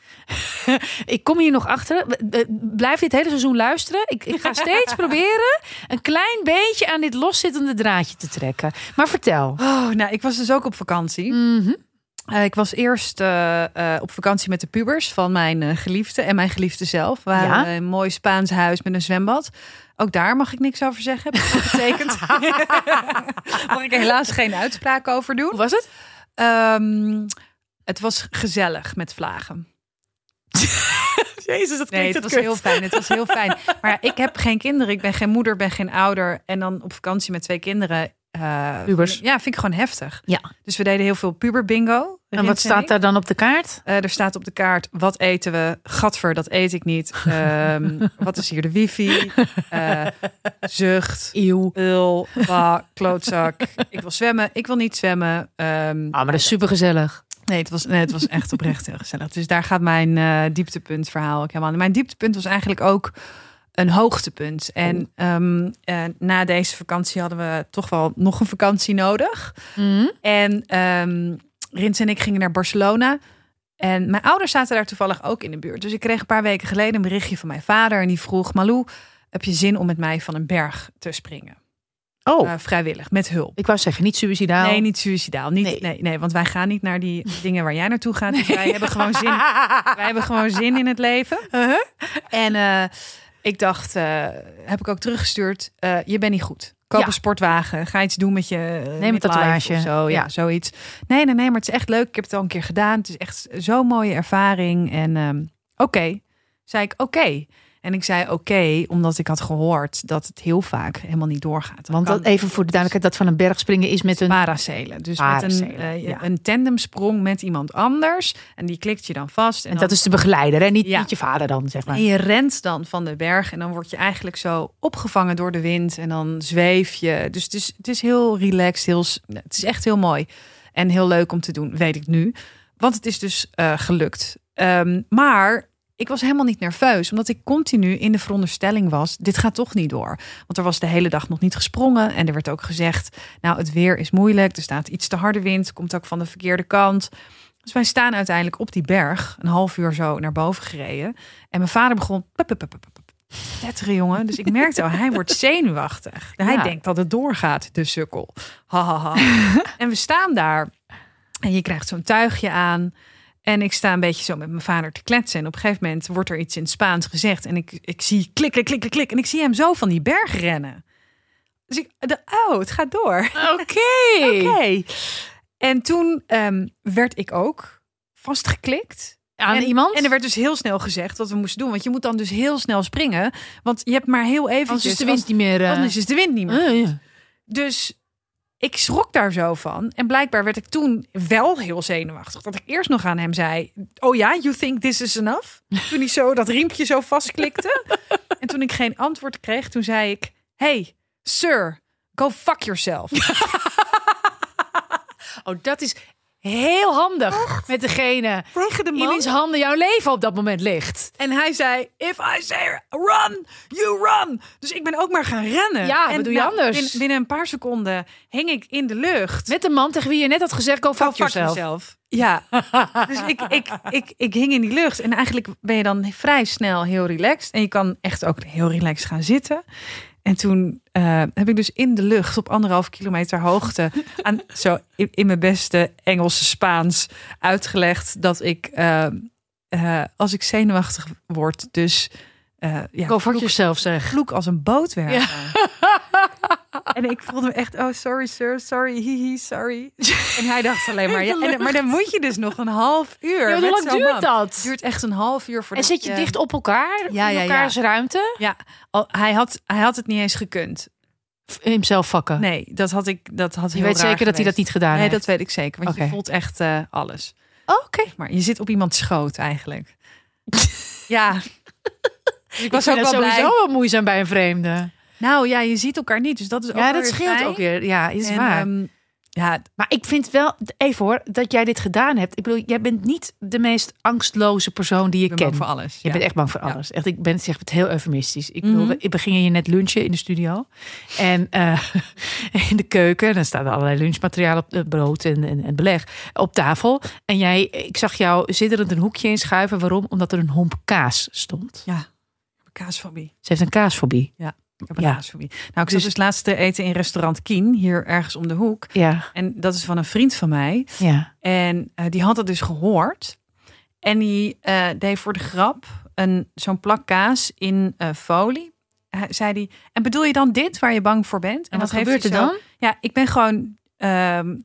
[SPEAKER 1] Ik kom hier nog achter. B- b- Blijf dit hele seizoen luisteren. Ik, ik ga steeds proberen een klein beetje aan dit loszittende draadje te trekken. Maar vertel.
[SPEAKER 2] Oh, nou, ik was dus ook op vakantie.
[SPEAKER 1] Mhm.
[SPEAKER 2] Eh, ik was eerst eh, eh, op vakantie met de pubers van mijn eh, geliefde en mijn geliefde zelf. We waren
[SPEAKER 1] Ja.
[SPEAKER 2] in een mooi Spaans huis met een zwembad. Ook daar mag ik niks over zeggen. Heb ik betekent. mag ik helaas geen uitspraak over doen.
[SPEAKER 1] Hoe was het?
[SPEAKER 2] Ehm, het was gezellig met vlagen.
[SPEAKER 1] Jezus, dat
[SPEAKER 2] Nee, het was heel fijn. Het was heel fijn. Maar ik heb geen kinderen. Ik ben geen moeder, ben geen ouder. En dan op vakantie met twee kinderen. eh,
[SPEAKER 1] Pubers.
[SPEAKER 2] Ja, vind ik gewoon heftig.
[SPEAKER 1] Ja.
[SPEAKER 2] Dus we deden heel veel puber bingo.
[SPEAKER 1] En wat staat daar dan op de kaart?
[SPEAKER 2] Eh, er staat op de kaart, wat eten we? Gadver, dat eet ik niet. Ehm, wat is hier de wifi? Eh, zucht.
[SPEAKER 1] Eeuw.
[SPEAKER 2] Ul, bah, klootzak. Ik wil zwemmen, ik wil niet zwemmen. Ehm,
[SPEAKER 1] Ah, maar dat is supergezellig.
[SPEAKER 2] nee, het was, nee, het was echt oprecht heel gezellig. Dus daar gaat mijn eh dieptepunt verhaal ook helemaal. aan. Mijn dieptepunt was eigenlijk ook een hoogtepunt. En ehm, eh, na deze vakantie hadden we toch wel nog een vakantie nodig.
[SPEAKER 1] Mhm.
[SPEAKER 2] En ehm Rins en ik gingen naar Barcelona. En mijn ouders zaten daar toevallig ook in de buurt. Dus ik kreeg een paar weken geleden een berichtje van mijn vader. En die vroeg, Malou, heb je zin om met mij van een berg te springen?
[SPEAKER 1] Oh,
[SPEAKER 2] Eh, vrijwillig, met hulp.
[SPEAKER 1] ik wou zeggen, niet suicidaal.
[SPEAKER 2] Nee, niet suicidaal. Niet, nee.
[SPEAKER 1] Nee.
[SPEAKER 2] Nee, want wij gaan niet naar die dingen waar jij naartoe gaat. Dus wij, hebben gewoon zin, wij hebben gewoon zin in het leven.
[SPEAKER 1] Uh-huh.
[SPEAKER 2] En eh, ik dacht, eh, heb ik ook teruggestuurd, eh, je bent niet goed. Koop
[SPEAKER 1] Ja.
[SPEAKER 2] een sportwagen, ga iets doen met je eh,
[SPEAKER 1] een
[SPEAKER 2] midlife
[SPEAKER 1] tatoeage.
[SPEAKER 2] Of zo, ja.
[SPEAKER 1] Ja.
[SPEAKER 2] zoiets. Nee, nee, nee, maar het is echt leuk. Ik heb het al een keer gedaan. Het is echt zo'n mooie ervaring. En ehm, oké, zei ik oké. En ik zei oké, omdat ik had gehoord dat het heel vaak helemaal niet doorgaat.
[SPEAKER 1] Want
[SPEAKER 2] kan-
[SPEAKER 1] dat, even voor de duidelijkheid, dat van een berg springen is met een...
[SPEAKER 2] paracelen. Dus met een,
[SPEAKER 1] Paracelen,
[SPEAKER 2] eh,
[SPEAKER 1] ja.
[SPEAKER 2] een tandemsprong met iemand anders. En die klikt je dan vast. En,
[SPEAKER 1] En
[SPEAKER 2] dan-
[SPEAKER 1] dat is de begeleider, hè? Niet,
[SPEAKER 2] Ja.
[SPEAKER 1] niet je vader dan, zeg maar.
[SPEAKER 2] en je rent dan van de berg. En dan word je eigenlijk zo opgevangen door de wind. En dan zweef je. Dus het is, het is heel relaxed. Heel, s- het is echt heel mooi. En heel leuk om te doen, weet ik nu. Want het is dus eh, gelukt. Ehm, maar ik was helemaal niet nerveus. Omdat ik continu in de veronderstelling was... dit gaat toch niet door. Want er was de hele dag nog niet gesprongen. En er werd ook gezegd... nou, het weer is moeilijk. Er staat iets te harde wind. Komt ook van de verkeerde kant. Dus wij staan uiteindelijk op die berg. Een half uur zo naar boven gereden. En mijn vader begon... pup, pup, pup, pup, pup, te Tetteren, jongen. Dus ik merkte al, hij wordt zenuwachtig. Hij
[SPEAKER 1] Ja.
[SPEAKER 2] denkt dat het doorgaat, de sukkel. Ha, ha, ha. En we staan daar. En je krijgt zo'n tuigje aan. En ik sta een beetje zo met mijn vader te kletsen. En op een gegeven moment wordt er iets in het Spaans gezegd. En ik, ik zie klikken, klikken, klikken. En ik zie hem zo van die berg rennen. Dus ik, de, oh, het gaat door.
[SPEAKER 1] Oké.
[SPEAKER 2] Oké. En toen ehm, werd ik ook vastgeklikt.
[SPEAKER 1] Aan
[SPEAKER 2] en,
[SPEAKER 1] iemand?
[SPEAKER 2] En er werd dus heel snel gezegd wat we moesten doen. Want je moet dan dus heel snel springen. Want je hebt maar heel even...
[SPEAKER 1] Anders is de wind niet meer... eh,
[SPEAKER 2] Anders is de wind niet meer.
[SPEAKER 1] eh, ja.
[SPEAKER 2] Dus ik schrok daar zo van. En blijkbaar werd ik toen wel heel zenuwachtig. Dat ik eerst nog aan hem zei: Oh ja, you think this is enough? Toen hij zo dat riempje zo vastklikte. en toen ik geen antwoord kreeg, toen zei ik: Hey, sir, go fuck yourself.
[SPEAKER 1] Oh, dat is heel handig met degene
[SPEAKER 2] Tegen de
[SPEAKER 1] in wiens handen jouw leven op dat moment ligt.
[SPEAKER 2] En hij zei: If I say run, you run. Dus ik ben ook maar gaan rennen.
[SPEAKER 1] Ja,
[SPEAKER 2] en
[SPEAKER 1] wat doe je anders?
[SPEAKER 2] Binnen, binnen een paar seconden hing ik in de lucht.
[SPEAKER 1] Met de man tegen wie je net had gezegd, go fuck,
[SPEAKER 2] Go
[SPEAKER 1] yourself.
[SPEAKER 2] yourself. Ja. dus ik, ik, ik, ik hing in die lucht. En eigenlijk ben je dan vrij snel heel relaxed. En je kan echt ook heel relaxed gaan zitten. En toen eh, heb ik dus in de lucht op anderhalf kilometer hoogte... Aan, zo in, in mijn beste Engelse Spaans uitgelegd... dat ik, eh, eh, als ik zenuwachtig word, dus... eh ja,
[SPEAKER 1] Go fuck
[SPEAKER 2] vloek-
[SPEAKER 1] yourself, zeg.
[SPEAKER 2] vloek als een bootwerker. En ik voelde me echt, oh sorry sir, sorry, hihi, sorry. En hij dacht alleen maar, ja, en, maar dan moet je dus nog een half uur.
[SPEAKER 1] Ja,
[SPEAKER 2] met
[SPEAKER 1] hoe lang
[SPEAKER 2] zo'n
[SPEAKER 1] duurt
[SPEAKER 2] man. Het
[SPEAKER 1] dat?
[SPEAKER 2] duurt eh, echt een half uur voor
[SPEAKER 1] En zit je dicht op elkaar?
[SPEAKER 2] ja,
[SPEAKER 1] in
[SPEAKER 2] ja.
[SPEAKER 1] elkaars ruimte?
[SPEAKER 2] Ja, al, Oh, hij, had, hij had het niet eens gekund.
[SPEAKER 1] F- Himself vakken.
[SPEAKER 2] Nee, dat had ik, dat had
[SPEAKER 1] je weet zeker dat hij dat niet gedaan
[SPEAKER 2] Nee,
[SPEAKER 1] heeft?
[SPEAKER 2] dat weet ik zeker, want je
[SPEAKER 1] Oké.
[SPEAKER 2] voelt echt eh, alles.
[SPEAKER 1] Oh, Oké.
[SPEAKER 2] Maar je zit op iemands schoot eigenlijk. ja. Dus ik was
[SPEAKER 1] Ik
[SPEAKER 2] ook
[SPEAKER 1] vind dat
[SPEAKER 2] wel blij.
[SPEAKER 1] sowieso wel moeizaam bij een vreemde.
[SPEAKER 2] Nou ja, je ziet elkaar niet, dus dat is ook
[SPEAKER 1] Ja,
[SPEAKER 2] wel
[SPEAKER 1] dat
[SPEAKER 2] weer
[SPEAKER 1] scheelt
[SPEAKER 2] fijn.
[SPEAKER 1] ook weer. Ja, is
[SPEAKER 2] En,
[SPEAKER 1] waar.
[SPEAKER 2] ehm, ja,
[SPEAKER 1] maar ik vind wel, even hoor, dat jij dit gedaan hebt. Ik bedoel, jij bent niet de meest angstloze persoon die je
[SPEAKER 2] ik ben bang
[SPEAKER 1] kent.
[SPEAKER 2] voor alles.
[SPEAKER 1] Je
[SPEAKER 2] ja.
[SPEAKER 1] bent echt bang voor
[SPEAKER 2] Ja.
[SPEAKER 1] alles. Echt, ik ben, zeg het heel eufemistisch. Ik bedoel,
[SPEAKER 2] Mhm.
[SPEAKER 1] we- we gingen hier net lunchen in de studio. En eh, in de keuken, dan staan er allerlei lunchmateriaal op eh, brood en, en, en beleg op tafel. En jij, ik zag jou zitterend een hoekje inschuiven. Waarom? Omdat er een homp kaas stond.
[SPEAKER 2] Ja, ik heb een kaasfobie.
[SPEAKER 1] Ze heeft een kaasfobie.
[SPEAKER 2] Ik heb een
[SPEAKER 1] Ja.
[SPEAKER 2] kaasfobie. Nou, ik zat
[SPEAKER 1] Dus-
[SPEAKER 2] dus laatst te eten in restaurant Kien, hier ergens om de hoek.
[SPEAKER 1] Ja,
[SPEAKER 2] En dat is van een vriend van mij.
[SPEAKER 1] ja.
[SPEAKER 2] En eh, die had het dus gehoord. En die eh, deed voor de grap een, zo'n plak kaas in eh, folie. Hij, zei die, en bedoel je dan dit waar je bang voor bent?
[SPEAKER 1] En wat
[SPEAKER 2] heeft
[SPEAKER 1] gebeurt er
[SPEAKER 2] hij zo-
[SPEAKER 1] dan?
[SPEAKER 2] Ja, ik ben gewoon, ehm,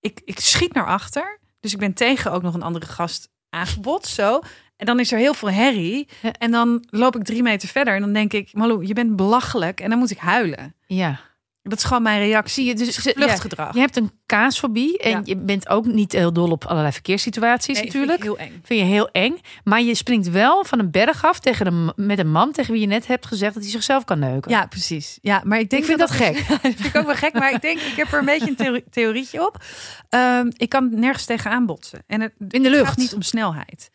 [SPEAKER 2] ik, ik schiet naar achter. Dus ik ben tegen ook nog een andere gast aangebotst, zo. En dan is er heel veel herrie.
[SPEAKER 1] Ja.
[SPEAKER 2] En dan loop ik drie meter verder en dan denk ik, Malou, je bent belachelijk. En dan moet ik huilen.
[SPEAKER 1] Ja.
[SPEAKER 2] Dat is gewoon mijn reactie.
[SPEAKER 1] Zie je, dus
[SPEAKER 2] Dus
[SPEAKER 1] ze- ja,
[SPEAKER 2] vluchtgedrag.
[SPEAKER 1] je hebt een kaasfobie en
[SPEAKER 2] Ja.
[SPEAKER 1] je bent ook niet heel dol op allerlei verkeerssituaties natuurlijk.
[SPEAKER 2] Heel eng.
[SPEAKER 1] Vind je heel eng. Maar je springt wel van een berg af tegen een, met een man tegen wie je net hebt gezegd dat hij zichzelf kan neuken.
[SPEAKER 2] Ja, precies. Ja, maar ik denk
[SPEAKER 1] Ik vind dat gek.
[SPEAKER 2] dat vind ik ook wel gek, maar ik denk, ik heb er een beetje een theorie, theorietje op. Ehm, ik kan nergens tegenaan botsen. En het,
[SPEAKER 1] In de
[SPEAKER 2] gaat
[SPEAKER 1] lucht.
[SPEAKER 2] niet om snelheid.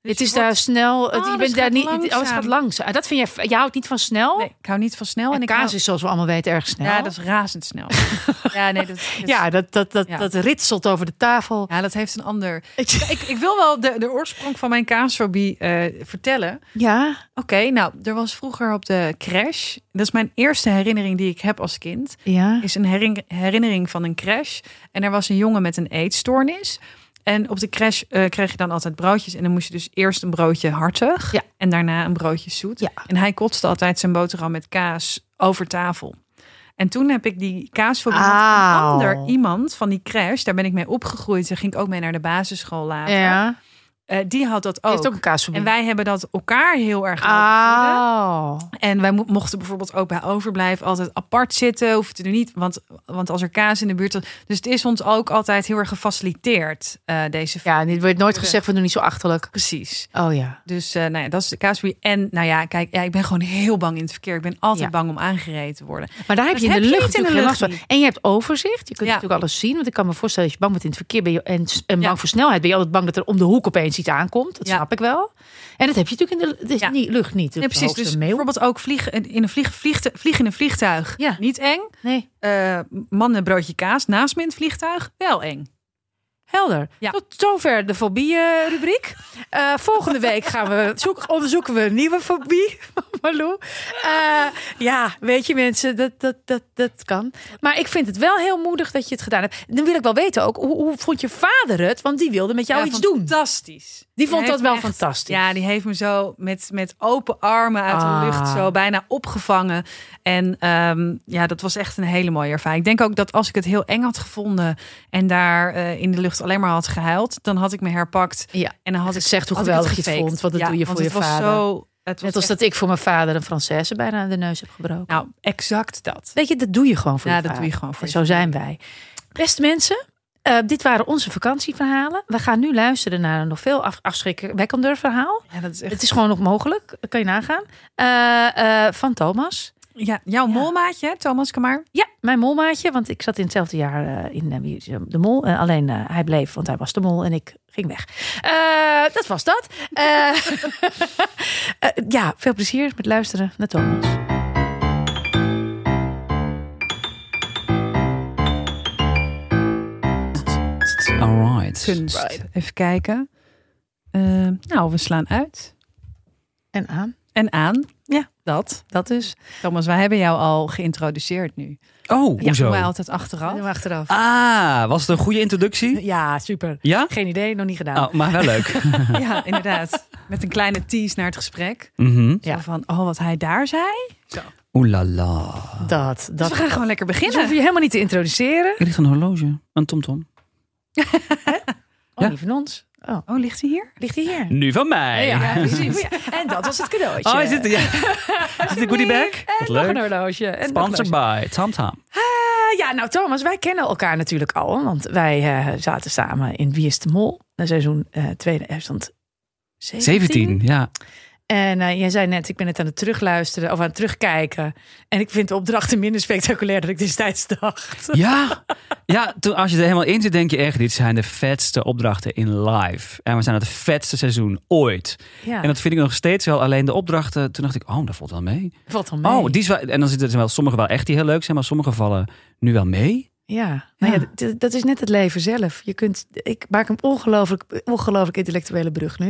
[SPEAKER 2] Dus
[SPEAKER 1] het
[SPEAKER 2] je
[SPEAKER 1] is
[SPEAKER 2] wordt-
[SPEAKER 1] daar snel. het- je
[SPEAKER 2] alles
[SPEAKER 1] bent daar
[SPEAKER 2] gaat
[SPEAKER 1] niet. Alles
[SPEAKER 2] langzaam.
[SPEAKER 1] gaat langzaam. Ah, Dat vind jij. Je houdt niet van snel. Oh,
[SPEAKER 2] Nee, ik hou niet van snel.
[SPEAKER 1] en
[SPEAKER 2] en ik
[SPEAKER 1] kaas
[SPEAKER 2] hou-
[SPEAKER 1] is zoals we allemaal weten erg snel.
[SPEAKER 2] Ja, dat is razendsnel. Nou? ja, nee, dat, dat-
[SPEAKER 1] ja, dat, dat, dat,
[SPEAKER 2] Ja.
[SPEAKER 1] dat ritselt over de tafel.
[SPEAKER 2] ja, dat heeft een ander. Ik, ik wil wel de, de oorsprong van mijn kaasfobie eh, vertellen.
[SPEAKER 1] Ja,
[SPEAKER 2] Oké, nou, er was vroeger op de crash. Dat is mijn eerste herinnering die ik heb als kind.
[SPEAKER 1] ja.
[SPEAKER 2] is een herin- herinnering van een crash. En er was een jongen met een eetstoornis. En op de crash eh, kreeg je dan altijd broodjes. En dan moest je dus eerst een broodje hartig.
[SPEAKER 1] Ja.
[SPEAKER 2] En daarna een broodje zoet.
[SPEAKER 1] Ja.
[SPEAKER 2] En hij kotste altijd zijn boterham met kaas over tafel. En toen heb ik die kaas voor een
[SPEAKER 1] Auw.
[SPEAKER 2] ander iemand van die crash. Daar ben ik mee opgegroeid. Daar ging ik ook mee naar de basisschool later.
[SPEAKER 1] Ja.
[SPEAKER 2] Eh, die had dat
[SPEAKER 1] Je
[SPEAKER 2] ook.
[SPEAKER 1] hebt ook een kaasfobie.
[SPEAKER 2] En wij hebben dat elkaar heel erg laten voelen.
[SPEAKER 1] Ah.
[SPEAKER 2] En wij mo- mochten bijvoorbeeld ook bij overblijf altijd apart zitten. Hoefde er niet, want, want als er kaas in de buurt was. Dus het is ons ook altijd heel erg gefaciliteerd, eh, deze
[SPEAKER 1] Ja, en dit wordt nooit
[SPEAKER 2] Ja.
[SPEAKER 1] gezegd. We doen niet zo achterlijk.
[SPEAKER 2] Precies.
[SPEAKER 1] Oh ja.
[SPEAKER 2] Dus eh, nou ja, dat is de kaasfobie. En nou ja, kijk, ja, ik ben gewoon heel bang in het verkeer. Ik ben altijd
[SPEAKER 1] Ja.
[SPEAKER 2] bang om aangereden te worden.
[SPEAKER 1] Maar daar heb
[SPEAKER 2] Dat
[SPEAKER 1] je in de
[SPEAKER 2] heb je
[SPEAKER 1] lucht
[SPEAKER 2] niet in de
[SPEAKER 1] natuurlijk geen last
[SPEAKER 2] lucht
[SPEAKER 1] van. En je hebt overzicht. Je kunt
[SPEAKER 2] Ja.
[SPEAKER 1] natuurlijk alles zien. Want ik kan me voorstellen dat je bang bent in het verkeer ben je, en, s- en
[SPEAKER 2] Ja.
[SPEAKER 1] bang voor snelheid. Ben je altijd bang dat er om de hoek opeens iets aankomt. Dat
[SPEAKER 2] Ja.
[SPEAKER 1] snap ik wel. En dat heb je natuurlijk in de, dat is
[SPEAKER 2] Ja.
[SPEAKER 1] niet- lucht niet.
[SPEAKER 2] Ja, precies. Dus
[SPEAKER 1] Dus mail.
[SPEAKER 2] bijvoorbeeld ook vliegen in een, vlieg, vliegte- vliegen in een vliegtuig.
[SPEAKER 1] Ja.
[SPEAKER 2] Niet eng.
[SPEAKER 1] Nee,
[SPEAKER 2] Eh, mannen broodje kaas naast me in het vliegtuig. Wel eng.
[SPEAKER 1] helder.
[SPEAKER 2] Ja.
[SPEAKER 1] Tot zover de fobie-rubriek. volgende week gaan we zoek, onderzoeken we een nieuwe fobie. Malou. Eh, ja, weet je mensen, dat, dat, dat, dat kan. Maar ik vind het wel heel moedig dat je het gedaan hebt. Dan wil ik wel weten ook, hoe, hoe vond je vader het? Want die wilde met jou
[SPEAKER 2] Ja,
[SPEAKER 1] iets doen.
[SPEAKER 2] Fantastisch.
[SPEAKER 1] Die vond
[SPEAKER 2] heeft
[SPEAKER 1] dat wel
[SPEAKER 2] me echt-
[SPEAKER 1] fantastisch.
[SPEAKER 2] Ja, die heeft me zo met, met open armen uit
[SPEAKER 1] Ah.
[SPEAKER 2] de lucht zo bijna opgevangen. En ehm, ja, dat was echt een hele mooie ervaring. Ik denk ook dat als ik het heel eng had gevonden en daar eh, in de lucht alleen maar had gehuild, dan had ik me herpakt.
[SPEAKER 1] Ja.
[SPEAKER 2] En dan had ik
[SPEAKER 1] Gezegd hoe
[SPEAKER 2] had ik het
[SPEAKER 1] geweldig je het
[SPEAKER 2] gefaked.
[SPEAKER 1] vond, want dat
[SPEAKER 2] Ja,
[SPEAKER 1] doe je
[SPEAKER 2] want
[SPEAKER 1] voor je
[SPEAKER 2] het
[SPEAKER 1] vader.
[SPEAKER 2] Was zo, het was
[SPEAKER 1] Net als
[SPEAKER 2] echt-
[SPEAKER 1] dat ik voor mijn vader een Française bijna aan de neus heb gebroken.
[SPEAKER 2] Nou, exact dat.
[SPEAKER 1] Weet je, dat doe je gewoon voor
[SPEAKER 2] Ja,
[SPEAKER 1] je
[SPEAKER 2] dat doe
[SPEAKER 1] vader.
[SPEAKER 2] je gewoon voor
[SPEAKER 1] En
[SPEAKER 2] je
[SPEAKER 1] zo zijn wij. Beste mensen, eh, dit waren onze vakantieverhalen. We gaan nu luisteren naar een nog veel af afschrikwekkender verhaal.
[SPEAKER 2] Ja, dat is echt.
[SPEAKER 1] Het is gewoon nog mogelijk, dat kan je nagaan. Eh, eh, van Thomas.
[SPEAKER 2] Ja, jouw molmaatje, hè, Thomas Kamar.
[SPEAKER 1] Ja, mijn molmaatje, want ik zat in hetzelfde jaar eh, in eh, wie is, eh, de mol. Eh, alleen eh, hij bleef, want hij was de mol en ik ging weg. Eh, dat was dat. Eh, eh, ja, veel plezier met luisteren naar Thomas.
[SPEAKER 3] Alright.
[SPEAKER 2] Kunst. Even kijken. Eh, nou, we slaan uit.
[SPEAKER 1] En aan.
[SPEAKER 2] En aan.
[SPEAKER 1] Ja.
[SPEAKER 2] Dat.
[SPEAKER 1] Dat dus.
[SPEAKER 2] Thomas, wij hebben jou al geïntroduceerd nu.
[SPEAKER 3] Oh,
[SPEAKER 2] Ja,
[SPEAKER 3] hoezo?
[SPEAKER 2] Wij altijd achteraf.
[SPEAKER 1] achteraf.
[SPEAKER 3] Ah, was het een goede introductie?
[SPEAKER 1] Ja, super.
[SPEAKER 3] Ja?
[SPEAKER 1] Geen idee, nog niet gedaan.
[SPEAKER 3] Oh, maar wel leuk.
[SPEAKER 2] Ja, inderdaad. Met een kleine tease naar het gesprek.
[SPEAKER 3] Mhm.
[SPEAKER 1] Ja.
[SPEAKER 2] Zo van, oh, wat hij daar zei.
[SPEAKER 3] Oeh la la.
[SPEAKER 1] Dat,
[SPEAKER 2] Dus
[SPEAKER 1] dat.
[SPEAKER 2] we gaan gewoon lekker
[SPEAKER 1] Dus hoef
[SPEAKER 2] beginnen.
[SPEAKER 1] je helemaal niet te introduceren.
[SPEAKER 3] Er ligt een horloge. Een tomtom.
[SPEAKER 1] Oh,
[SPEAKER 3] Ja.
[SPEAKER 1] niet van ons. Oh,
[SPEAKER 2] Oh, ligt hij hier?
[SPEAKER 1] ligt hij hier?
[SPEAKER 3] Nu van mij.
[SPEAKER 1] Ja, precies. Oh ja, En dat was het cadeautje.
[SPEAKER 3] Oh, is dit, ja. is dit een goodie bag?
[SPEAKER 1] En eh,
[SPEAKER 3] Wat
[SPEAKER 1] nog een
[SPEAKER 3] leuk.
[SPEAKER 1] horloge. En nog een
[SPEAKER 3] Sponsored by Tam Tam.
[SPEAKER 1] Eh, ja, nou Thomas, wij kennen elkaar natuurlijk al. Want wij eh, zaten samen in Wie is de Mol? Een seizoen eh tweede afstand 17.
[SPEAKER 3] 17, ja.
[SPEAKER 1] En eh, jij zei net, ik ben het aan het terugluisteren of aan het terugkijken. En ik vind de opdrachten minder spectaculair dan ik destijds dacht.
[SPEAKER 3] Ja, ja toen, als je er helemaal in zit, denk je echt... dit zijn de vetste opdrachten in live. En we zijn het vetste seizoen ooit.
[SPEAKER 1] Ja,
[SPEAKER 3] En dat vind ik nog steeds wel. Alleen de opdrachten, toen dacht ik... oh, dat valt wel mee.
[SPEAKER 1] valt dan mee.
[SPEAKER 3] Oh, die is wel- en dan zitten er wel sommige wel echt die heel leuk zijn... maar sommige vallen nu wel mee.
[SPEAKER 1] Ja, nou ja.
[SPEAKER 3] Ja.
[SPEAKER 1] d- dat is net het leven zelf. Je kunt, ik maak een ongelooflijk, ongelooflijk intellectuele brug nu.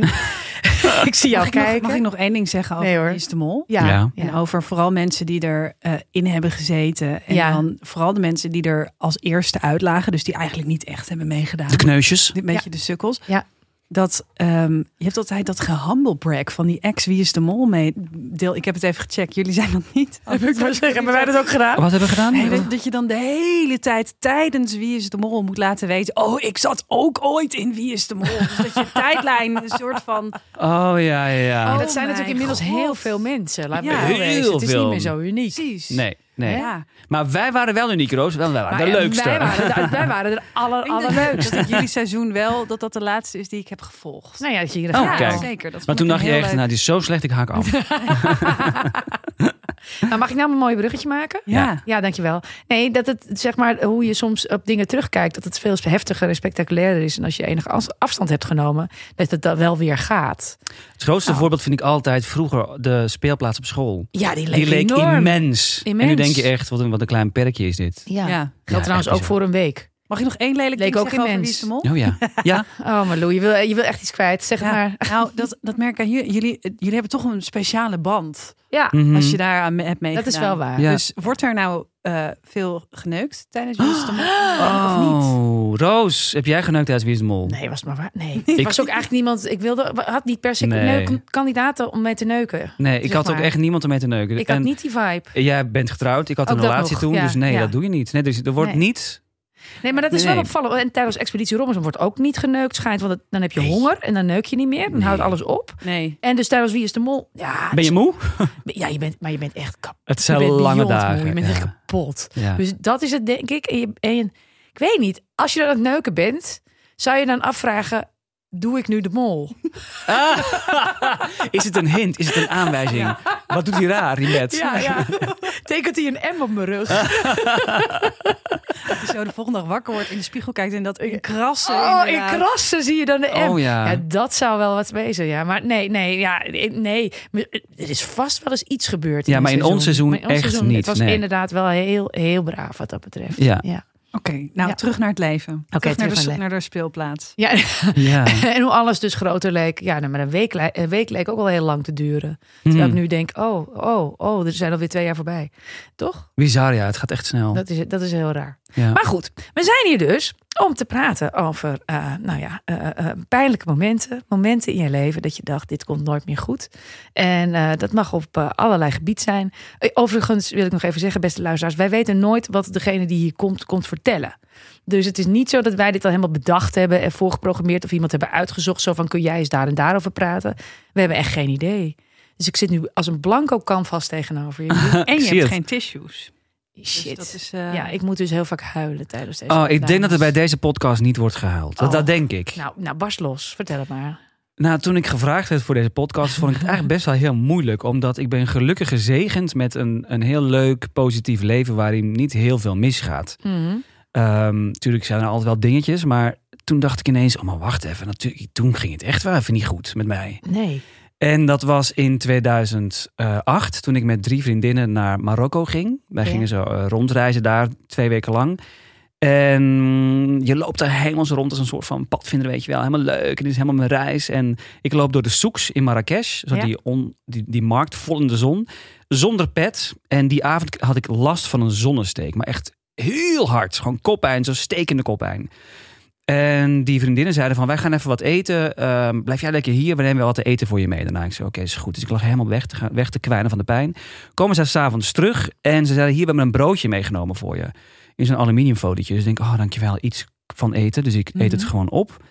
[SPEAKER 1] ik zie jou
[SPEAKER 2] Mag ik, nog,
[SPEAKER 1] kijken.
[SPEAKER 2] mag ik nog één ding zeggen over
[SPEAKER 1] Nee,
[SPEAKER 2] nee,
[SPEAKER 1] hoor.
[SPEAKER 2] de Mol?
[SPEAKER 1] Ja, ja.
[SPEAKER 3] Ja.
[SPEAKER 2] En over vooral mensen die erin in hebben gezeten. En
[SPEAKER 1] Ja.
[SPEAKER 2] dan vooral de mensen die er als eerste uitlagen. Dus die eigenlijk niet echt hebben meegedaan.
[SPEAKER 3] De kneusjes.
[SPEAKER 2] Dit beetje de sukkels.
[SPEAKER 1] Ja.
[SPEAKER 2] Dat, ehm, je hebt altijd dat gehumblebrag van die ex Wie is de Mol mee. Deel, ik heb het even gecheckt. Jullie zijn dat niet.
[SPEAKER 1] Wil Oh, ik maar zeggen, hebben wij dat ook gedaan?
[SPEAKER 3] Wat hebben we gedaan?
[SPEAKER 2] Nee, dat, dat je dan de hele tijd tijdens Wie is de Mol moet laten weten. Oh, ik zat ook ooit in Wie is de Mol. Dus dat je tijdlijn een soort van.
[SPEAKER 3] Oh ja, ja.
[SPEAKER 1] En
[SPEAKER 2] Oh.
[SPEAKER 1] dat zijn
[SPEAKER 2] mijn
[SPEAKER 1] natuurlijk inmiddels
[SPEAKER 2] God.
[SPEAKER 1] heel veel mensen. Laat me
[SPEAKER 2] Ja.
[SPEAKER 1] heel wezen. Het is
[SPEAKER 3] Heel
[SPEAKER 1] niet meer zo uniek.
[SPEAKER 2] Precies.
[SPEAKER 3] Nee. Nee.
[SPEAKER 2] Ja.
[SPEAKER 3] Maar wij waren wel uniek, Roos. Wij waren
[SPEAKER 1] Maar
[SPEAKER 3] de
[SPEAKER 1] ja,
[SPEAKER 3] leukste.
[SPEAKER 1] Wij waren de, wij waren de aller,
[SPEAKER 2] Ik denk
[SPEAKER 1] allerleukste.
[SPEAKER 2] dat ik jullie seizoen wel, dat dat de laatste is die ik heb gevolgd.
[SPEAKER 1] Nou ja, dat zie je dat
[SPEAKER 3] Oh,
[SPEAKER 1] gaat.
[SPEAKER 3] kijk.
[SPEAKER 2] zeker. Dat
[SPEAKER 3] Maar
[SPEAKER 2] vond
[SPEAKER 3] toen
[SPEAKER 2] ik
[SPEAKER 3] dacht je
[SPEAKER 2] heel
[SPEAKER 3] echt,
[SPEAKER 2] leuk.
[SPEAKER 3] nou, die is zo slecht, ik haak af.
[SPEAKER 1] Nou, mag ik nou een mooi bruggetje maken?
[SPEAKER 2] Ja.
[SPEAKER 1] Ja, dankjewel. Nee, dat het zeg maar hoe je soms op dingen terugkijkt, dat het veel heftiger en spectaculairder is. En als je enige as- afstand hebt genomen, dat het dan wel weer gaat.
[SPEAKER 3] Het grootste
[SPEAKER 1] Nou.
[SPEAKER 3] voorbeeld vind ik altijd vroeger de speelplaats op school.
[SPEAKER 1] Ja, die leek,
[SPEAKER 3] Die leek
[SPEAKER 1] enorm.
[SPEAKER 3] immens. En
[SPEAKER 1] Immens.
[SPEAKER 3] nu denk je echt, wat een, wat een klein perkje is dit.
[SPEAKER 1] Ja.
[SPEAKER 2] Ja.
[SPEAKER 3] Ja,
[SPEAKER 1] Geldt trouwens
[SPEAKER 3] echt
[SPEAKER 1] ook voor een week.
[SPEAKER 2] Mag je nog één lelijk
[SPEAKER 1] Leek
[SPEAKER 2] ding
[SPEAKER 1] ook
[SPEAKER 2] zeggen over
[SPEAKER 1] immens.
[SPEAKER 2] Wie is de Mol?
[SPEAKER 3] Oh ja. ja.
[SPEAKER 1] Oh, maar Lou, je wil, je wil echt iets kwijt. Zeg het
[SPEAKER 2] Ja,
[SPEAKER 1] maar.
[SPEAKER 2] Nou, dat, dat merk ik aan jullie. Jullie, eh, jullie hebben toch een speciale band
[SPEAKER 1] Ja,
[SPEAKER 3] Mhm.
[SPEAKER 2] als je daar aan me- hebt meegedaan.
[SPEAKER 1] dat is wel waar.
[SPEAKER 3] Ja.
[SPEAKER 2] Dus wordt er nou eh, veel geneukt tijdens Wie is de Mol? Of niet?
[SPEAKER 3] Oh, Roos, heb jij geneukt tijdens Wie is de Mol?
[SPEAKER 1] Nee, was maar waar. Nee, ik was ook eigenlijk niemand. Ik wilde, had niet per se
[SPEAKER 3] Nee.
[SPEAKER 1] neuk- kandidaten om mee te neuken.
[SPEAKER 3] Nee, ik
[SPEAKER 1] Zeg
[SPEAKER 3] had ook
[SPEAKER 1] maar.
[SPEAKER 3] echt niemand om mee te neuken.
[SPEAKER 1] Ik had
[SPEAKER 3] En
[SPEAKER 1] niet die vibe.
[SPEAKER 3] Eh, Jij bent getrouwd, ik had
[SPEAKER 1] Ook
[SPEAKER 3] een
[SPEAKER 1] dat
[SPEAKER 3] relatie
[SPEAKER 1] nog,
[SPEAKER 3] toen,
[SPEAKER 1] ja,
[SPEAKER 3] dus nee,
[SPEAKER 1] ja.
[SPEAKER 3] dat doe je niet. Nee, dus er wordt
[SPEAKER 1] Nee.
[SPEAKER 3] niet...
[SPEAKER 1] Nee, maar dat is wel
[SPEAKER 3] Nee.
[SPEAKER 1] opvallend. En tijdens Expeditie Robinson wordt ook niet geneukt, schijnt. Want het- dan heb je honger en dan neuk je niet meer. Dan
[SPEAKER 3] Nee.
[SPEAKER 1] houdt alles op.
[SPEAKER 2] Nee.
[SPEAKER 1] En dus tijdens Wie is de Mol? Ja, dus
[SPEAKER 3] Ben je moe?
[SPEAKER 1] ja Ah, je bent, maar je bent echt kapot.
[SPEAKER 3] Het
[SPEAKER 1] Je
[SPEAKER 3] zijn
[SPEAKER 1] bent
[SPEAKER 3] lange
[SPEAKER 1] beyond moe.
[SPEAKER 3] dagen.
[SPEAKER 1] Je bent echt
[SPEAKER 3] ja.
[SPEAKER 1] kapot.
[SPEAKER 3] Ja.
[SPEAKER 1] Dus dat is het, denk ik. En, je- en- ik weet niet, als je dan aan het neuken bent, zou je dan afvragen... Doe ik nu de mol?
[SPEAKER 3] Is het een hint? Is het een aanwijzing? Wat doet hij raar in bed?
[SPEAKER 1] ja. Tekent hij een M op mijn rug?
[SPEAKER 2] Dat je zo de volgende dag wakker wordt, in de spiegel kijkt en dat in krassen.
[SPEAKER 1] Oh, in
[SPEAKER 2] inderdaad.
[SPEAKER 1] krassen zie je dan de M.
[SPEAKER 3] Oh ja.
[SPEAKER 1] dat zou wel wat wezen, ja. Maar nee, nee, ja, nee. Maar Er is vast wel eens iets gebeurd.
[SPEAKER 3] Ja,
[SPEAKER 1] in
[SPEAKER 3] maar in ons seizoen
[SPEAKER 1] Maar in ons
[SPEAKER 3] echt
[SPEAKER 1] seizoen,
[SPEAKER 3] niet,
[SPEAKER 1] Het was
[SPEAKER 3] nee.
[SPEAKER 1] inderdaad wel heel, heel braaf wat dat betreft.
[SPEAKER 3] Ja.
[SPEAKER 1] ja.
[SPEAKER 2] Oké, nou
[SPEAKER 1] Ja.
[SPEAKER 2] terug naar het leven. Oké,
[SPEAKER 1] terug
[SPEAKER 2] naar,
[SPEAKER 1] naar
[SPEAKER 2] de,
[SPEAKER 1] het
[SPEAKER 2] s-
[SPEAKER 1] leven.
[SPEAKER 2] naar de speelplaats.
[SPEAKER 1] Ja,
[SPEAKER 3] Ja.
[SPEAKER 1] en hoe alles dus groter leek. Ja, nou, maar een week, le- een week leek ook al heel lang te duren. Terwijl
[SPEAKER 3] Hmm.
[SPEAKER 1] ik nu denk, oh, oh, oh, er zijn alweer twee jaar voorbij. Toch?
[SPEAKER 3] Bizar, ja. Het gaat echt snel.
[SPEAKER 1] Dat is, dat is heel raar.
[SPEAKER 3] ja.
[SPEAKER 1] Maar goed, we zijn hier dus om te praten over, eh, nou ja, eh, eh, pijnlijke momenten. Momenten in je leven dat je dacht, dit komt nooit meer goed. En eh, dat mag op eh, allerlei gebied zijn. Eh, Overigens wil ik nog even zeggen, beste luisteraars, wij weten nooit wat degene die hier komt, komt vertellen. Dus het is niet zo dat wij dit al helemaal bedacht hebben en voorgeprogrammeerd of iemand hebben uitgezocht. Zo van kun jij eens daar en daarover praten. We hebben echt geen idee. Dus ik zit nu als een blanco canvas tegenover je.
[SPEAKER 2] En je
[SPEAKER 3] zie
[SPEAKER 2] hebt
[SPEAKER 3] het.
[SPEAKER 2] geen tissues. Dus
[SPEAKER 1] Shit.
[SPEAKER 2] dat is, eh,
[SPEAKER 1] Ja, ik moet dus heel vaak huilen tijdens deze.
[SPEAKER 3] Oh, ik denk dat er
[SPEAKER 1] opnames.
[SPEAKER 3] bij deze podcast niet wordt gehuild. Dat,
[SPEAKER 1] Oh.
[SPEAKER 3] dat denk ik. Nou.
[SPEAKER 1] Nou, nou, barst los. Vertel het maar.
[SPEAKER 3] toen ik gevraagd werd voor deze podcast, vond ik het eigenlijk best wel heel moeilijk. Omdat ik ben gelukkig gezegend met een, een heel leuk, positief leven waarin niet heel veel misgaat. Ehm, tuurlijk zijn er altijd wel dingetjes, maar toen dacht ik ineens, oh maar wacht even. Natuurlijk, toen ging het echt wel even niet goed met mij.
[SPEAKER 1] Nee.
[SPEAKER 3] En dat was in 2008, toen ik met drie vriendinnen naar Marokko ging. Wij
[SPEAKER 1] Ja.
[SPEAKER 3] gingen zo eh, rondreizen daar, twee weken lang. En je loopt daar helemaal zo rond als een soort van padvinder, weet je wel. Helemaal leuk, en dit is helemaal mijn reis. En ik loop door de souks in Marrakesh, zo
[SPEAKER 1] Ja.
[SPEAKER 3] die, on, die, die markt vol in de zon, zonder pet. En die avond had ik last van een zonnesteek, maar echt heel hard. Gewoon kopijn, zo'n stekende kopijn. En die vriendinnen zeiden van, wij gaan even wat eten. Ehm, blijf jij lekker hier, we nemen wel wat te eten voor je mee. Daarna ik zei, oké, is goed. Dus ik lag helemaal weg te, gaan, weg te kwijnen van de pijn. Komen ze s'avonds terug en ze zeiden, hier, we hebben een broodje meegenomen voor je. In zo'n aluminiumfolietje. Dus ik denk, oh, dankjewel, iets van eten. Dus ik eet het
[SPEAKER 1] Mhm.
[SPEAKER 3] gewoon op.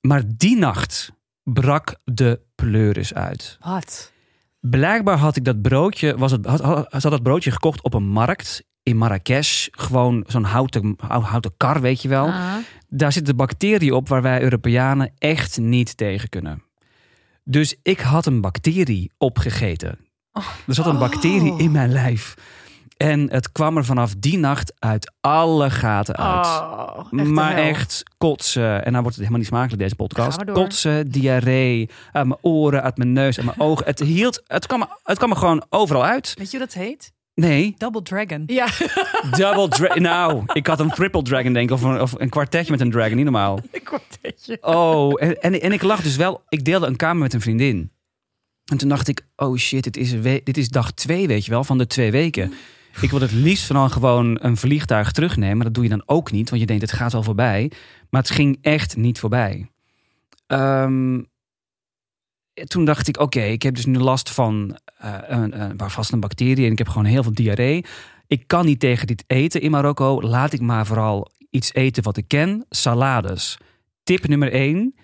[SPEAKER 3] Maar die nacht brak de pleuris uit.
[SPEAKER 1] Wat?
[SPEAKER 3] Blijkbaar had ik dat broodje, was het, had, had, ze had dat broodje gekocht op een markt in Marrakesh. Gewoon zo'n houten, houten kar, weet je wel
[SPEAKER 1] Ah.
[SPEAKER 3] daar zit de bacterie op waar wij Europeanen echt niet tegen kunnen. Dus ik had een bacterie opgegeten. Er zat een bacterie
[SPEAKER 2] Oh.
[SPEAKER 3] in mijn lijf. En het kwam er vanaf die nacht uit alle gaten uit.
[SPEAKER 1] Oh,
[SPEAKER 3] maar
[SPEAKER 1] de hel.
[SPEAKER 3] echt kotsen. En nou wordt het helemaal niet smakelijk deze
[SPEAKER 1] Ga
[SPEAKER 3] podcast.
[SPEAKER 1] maar door.
[SPEAKER 3] Kotsen, diarree, uit mijn oren, uit mijn neus, uit mijn ogen. Het, hield, het, kwam, het kwam er gewoon overal uit.
[SPEAKER 2] Weet je hoe dat heet?
[SPEAKER 3] Nee,
[SPEAKER 2] Double Dragon.
[SPEAKER 1] Ja,
[SPEAKER 3] double dragon. Nou, ik had een triple dragon denk ik. Of een, of een kwartetje met een dragon, niet normaal.
[SPEAKER 1] een kwartetje.
[SPEAKER 3] Oh, en, en, en ik lag dus wel. Ik deelde een kamer met een vriendin. En toen dacht ik, oh shit, dit is, een we- dit is dag twee, weet je wel, van de twee weken. Ik wil het liefst van al gewoon een vliegtuig terugnemen. Maar dat doe je dan ook niet, want je denkt, het gaat wel voorbij. Maar het ging echt niet voorbij. Ehm, toen dacht ik, oké, ik heb dus nu last van eh een, een, waar vast een bacterie en ik heb gewoon heel veel diarree. Ik kan niet tegen dit eten in Marokko. Laat ik maar vooral iets eten wat ik ken. Salades. Tip nummer één.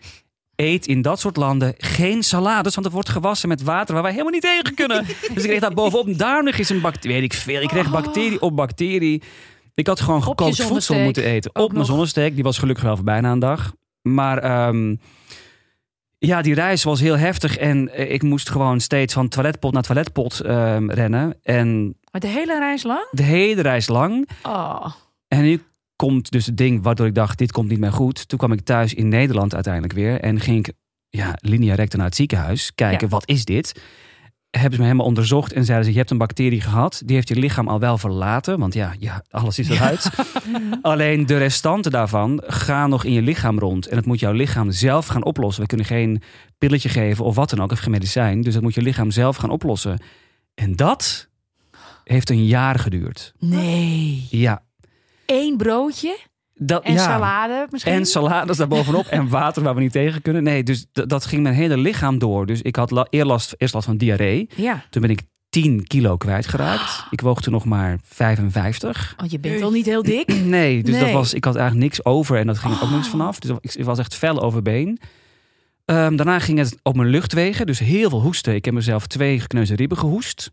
[SPEAKER 3] eet in dat soort landen geen salades, want het wordt gewassen met water waar wij helemaal niet tegen kunnen. dus ik kreeg daar bovenop. Daar nog eens een bacterie, weet ik veel. Ik kreeg bacterie op bacterie. Ik had gewoon
[SPEAKER 1] Oh. Op je
[SPEAKER 3] gekookt voedsel
[SPEAKER 1] zonnesteek
[SPEAKER 3] moeten eten.
[SPEAKER 1] ook
[SPEAKER 3] Op mijn
[SPEAKER 1] nog.
[SPEAKER 3] zonnesteek, die was gelukkig wel voor bijna een dag. Maar ehm, ja, die reis was heel heftig en eh, ik moest gewoon steeds van toiletpot naar toiletpot ehm, rennen. En
[SPEAKER 1] Maar de hele reis lang?
[SPEAKER 3] de hele reis lang
[SPEAKER 1] Oh.
[SPEAKER 3] en nu komt dus het ding waardoor ik dacht, dit komt niet meer goed. Toen kwam ik thuis in Nederland uiteindelijk weer. En ging ik ja, linea recta naar het ziekenhuis. Kijken,
[SPEAKER 1] Ja.
[SPEAKER 3] wat is dit? Hebben ze me helemaal onderzocht en zeiden ze, je hebt een bacterie gehad. Die heeft je lichaam al wel verlaten. Want ja, ja alles is eruit. Alleen de restanten daarvan gaan nog in je lichaam rond. En dat moet jouw lichaam zelf gaan oplossen. We kunnen geen pilletje geven of wat dan ook, of geen medicijn. Dus dat moet je lichaam zelf gaan oplossen. En dat heeft een jaar geduurd.
[SPEAKER 1] Nee.
[SPEAKER 3] Ja.
[SPEAKER 1] Eén broodje
[SPEAKER 3] Dat,
[SPEAKER 1] en
[SPEAKER 3] ja.
[SPEAKER 1] salade misschien?
[SPEAKER 3] En salades daarbovenop. en water waar we niet tegen kunnen. Nee, dus d- dat ging mijn hele lichaam door. Dus ik had la- eer last, eerst last van diarree.
[SPEAKER 1] Ja,
[SPEAKER 3] Toen ben ik 10 kilo
[SPEAKER 1] Ah.
[SPEAKER 3] kwijtgeraakt. Ik woog toen nog maar 55.
[SPEAKER 1] want Oh, je bent al niet heel dik.
[SPEAKER 3] Nee, dus Dat
[SPEAKER 1] Nee.
[SPEAKER 3] was, ik had eigenlijk niks over. En dat ging ook niks
[SPEAKER 1] Oh.
[SPEAKER 3] vanaf. Dus ik, ik was echt fel overbeen. Ehm, daarna ging het op mijn luchtwegen. Dus heel veel hoesten. Ik heb mezelf twee gekneusde ribben gehoest.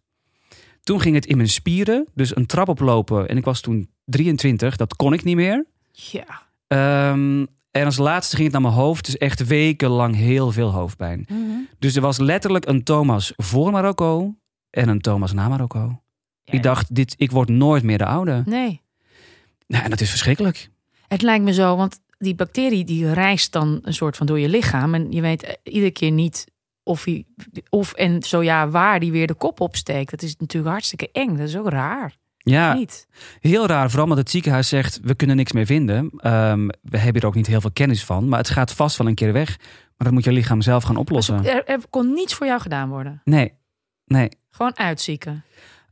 [SPEAKER 3] Toen ging het in mijn spieren. Dus een trap oplopen. En ik was toen 23. Dat kon ik niet meer.
[SPEAKER 1] Ja.
[SPEAKER 3] Ehm, en als laatste ging het naar mijn hoofd. Dus echt wekenlang heel veel hoofdpijn.
[SPEAKER 1] Mhm.
[SPEAKER 3] Dus er was letterlijk een Thomas voor Marokko en een Thomas na Marokko. Ik dacht, dit, ik word nooit meer de oude.
[SPEAKER 1] Nee.
[SPEAKER 3] Nou, en dat is verschrikkelijk.
[SPEAKER 1] Het lijkt me zo, want die bacterie die reist dan een soort van door je lichaam. En je weet eh, iedere keer niet of, hij, of en zo ja, waar die weer de kop opsteekt. Dat is natuurlijk hartstikke eng. Dat is ook raar.
[SPEAKER 3] Ja,
[SPEAKER 1] Niet?
[SPEAKER 3] heel raar. Vooral omdat het ziekenhuis zegt, we kunnen niks meer vinden. Ehm, we hebben er ook niet heel veel kennis van. Maar het gaat vast wel een keer weg. Maar dat moet je lichaam zelf gaan oplossen.
[SPEAKER 1] Dus Er, er kon niets voor jou gedaan worden.
[SPEAKER 3] Nee, nee.
[SPEAKER 1] Gewoon uitzieken.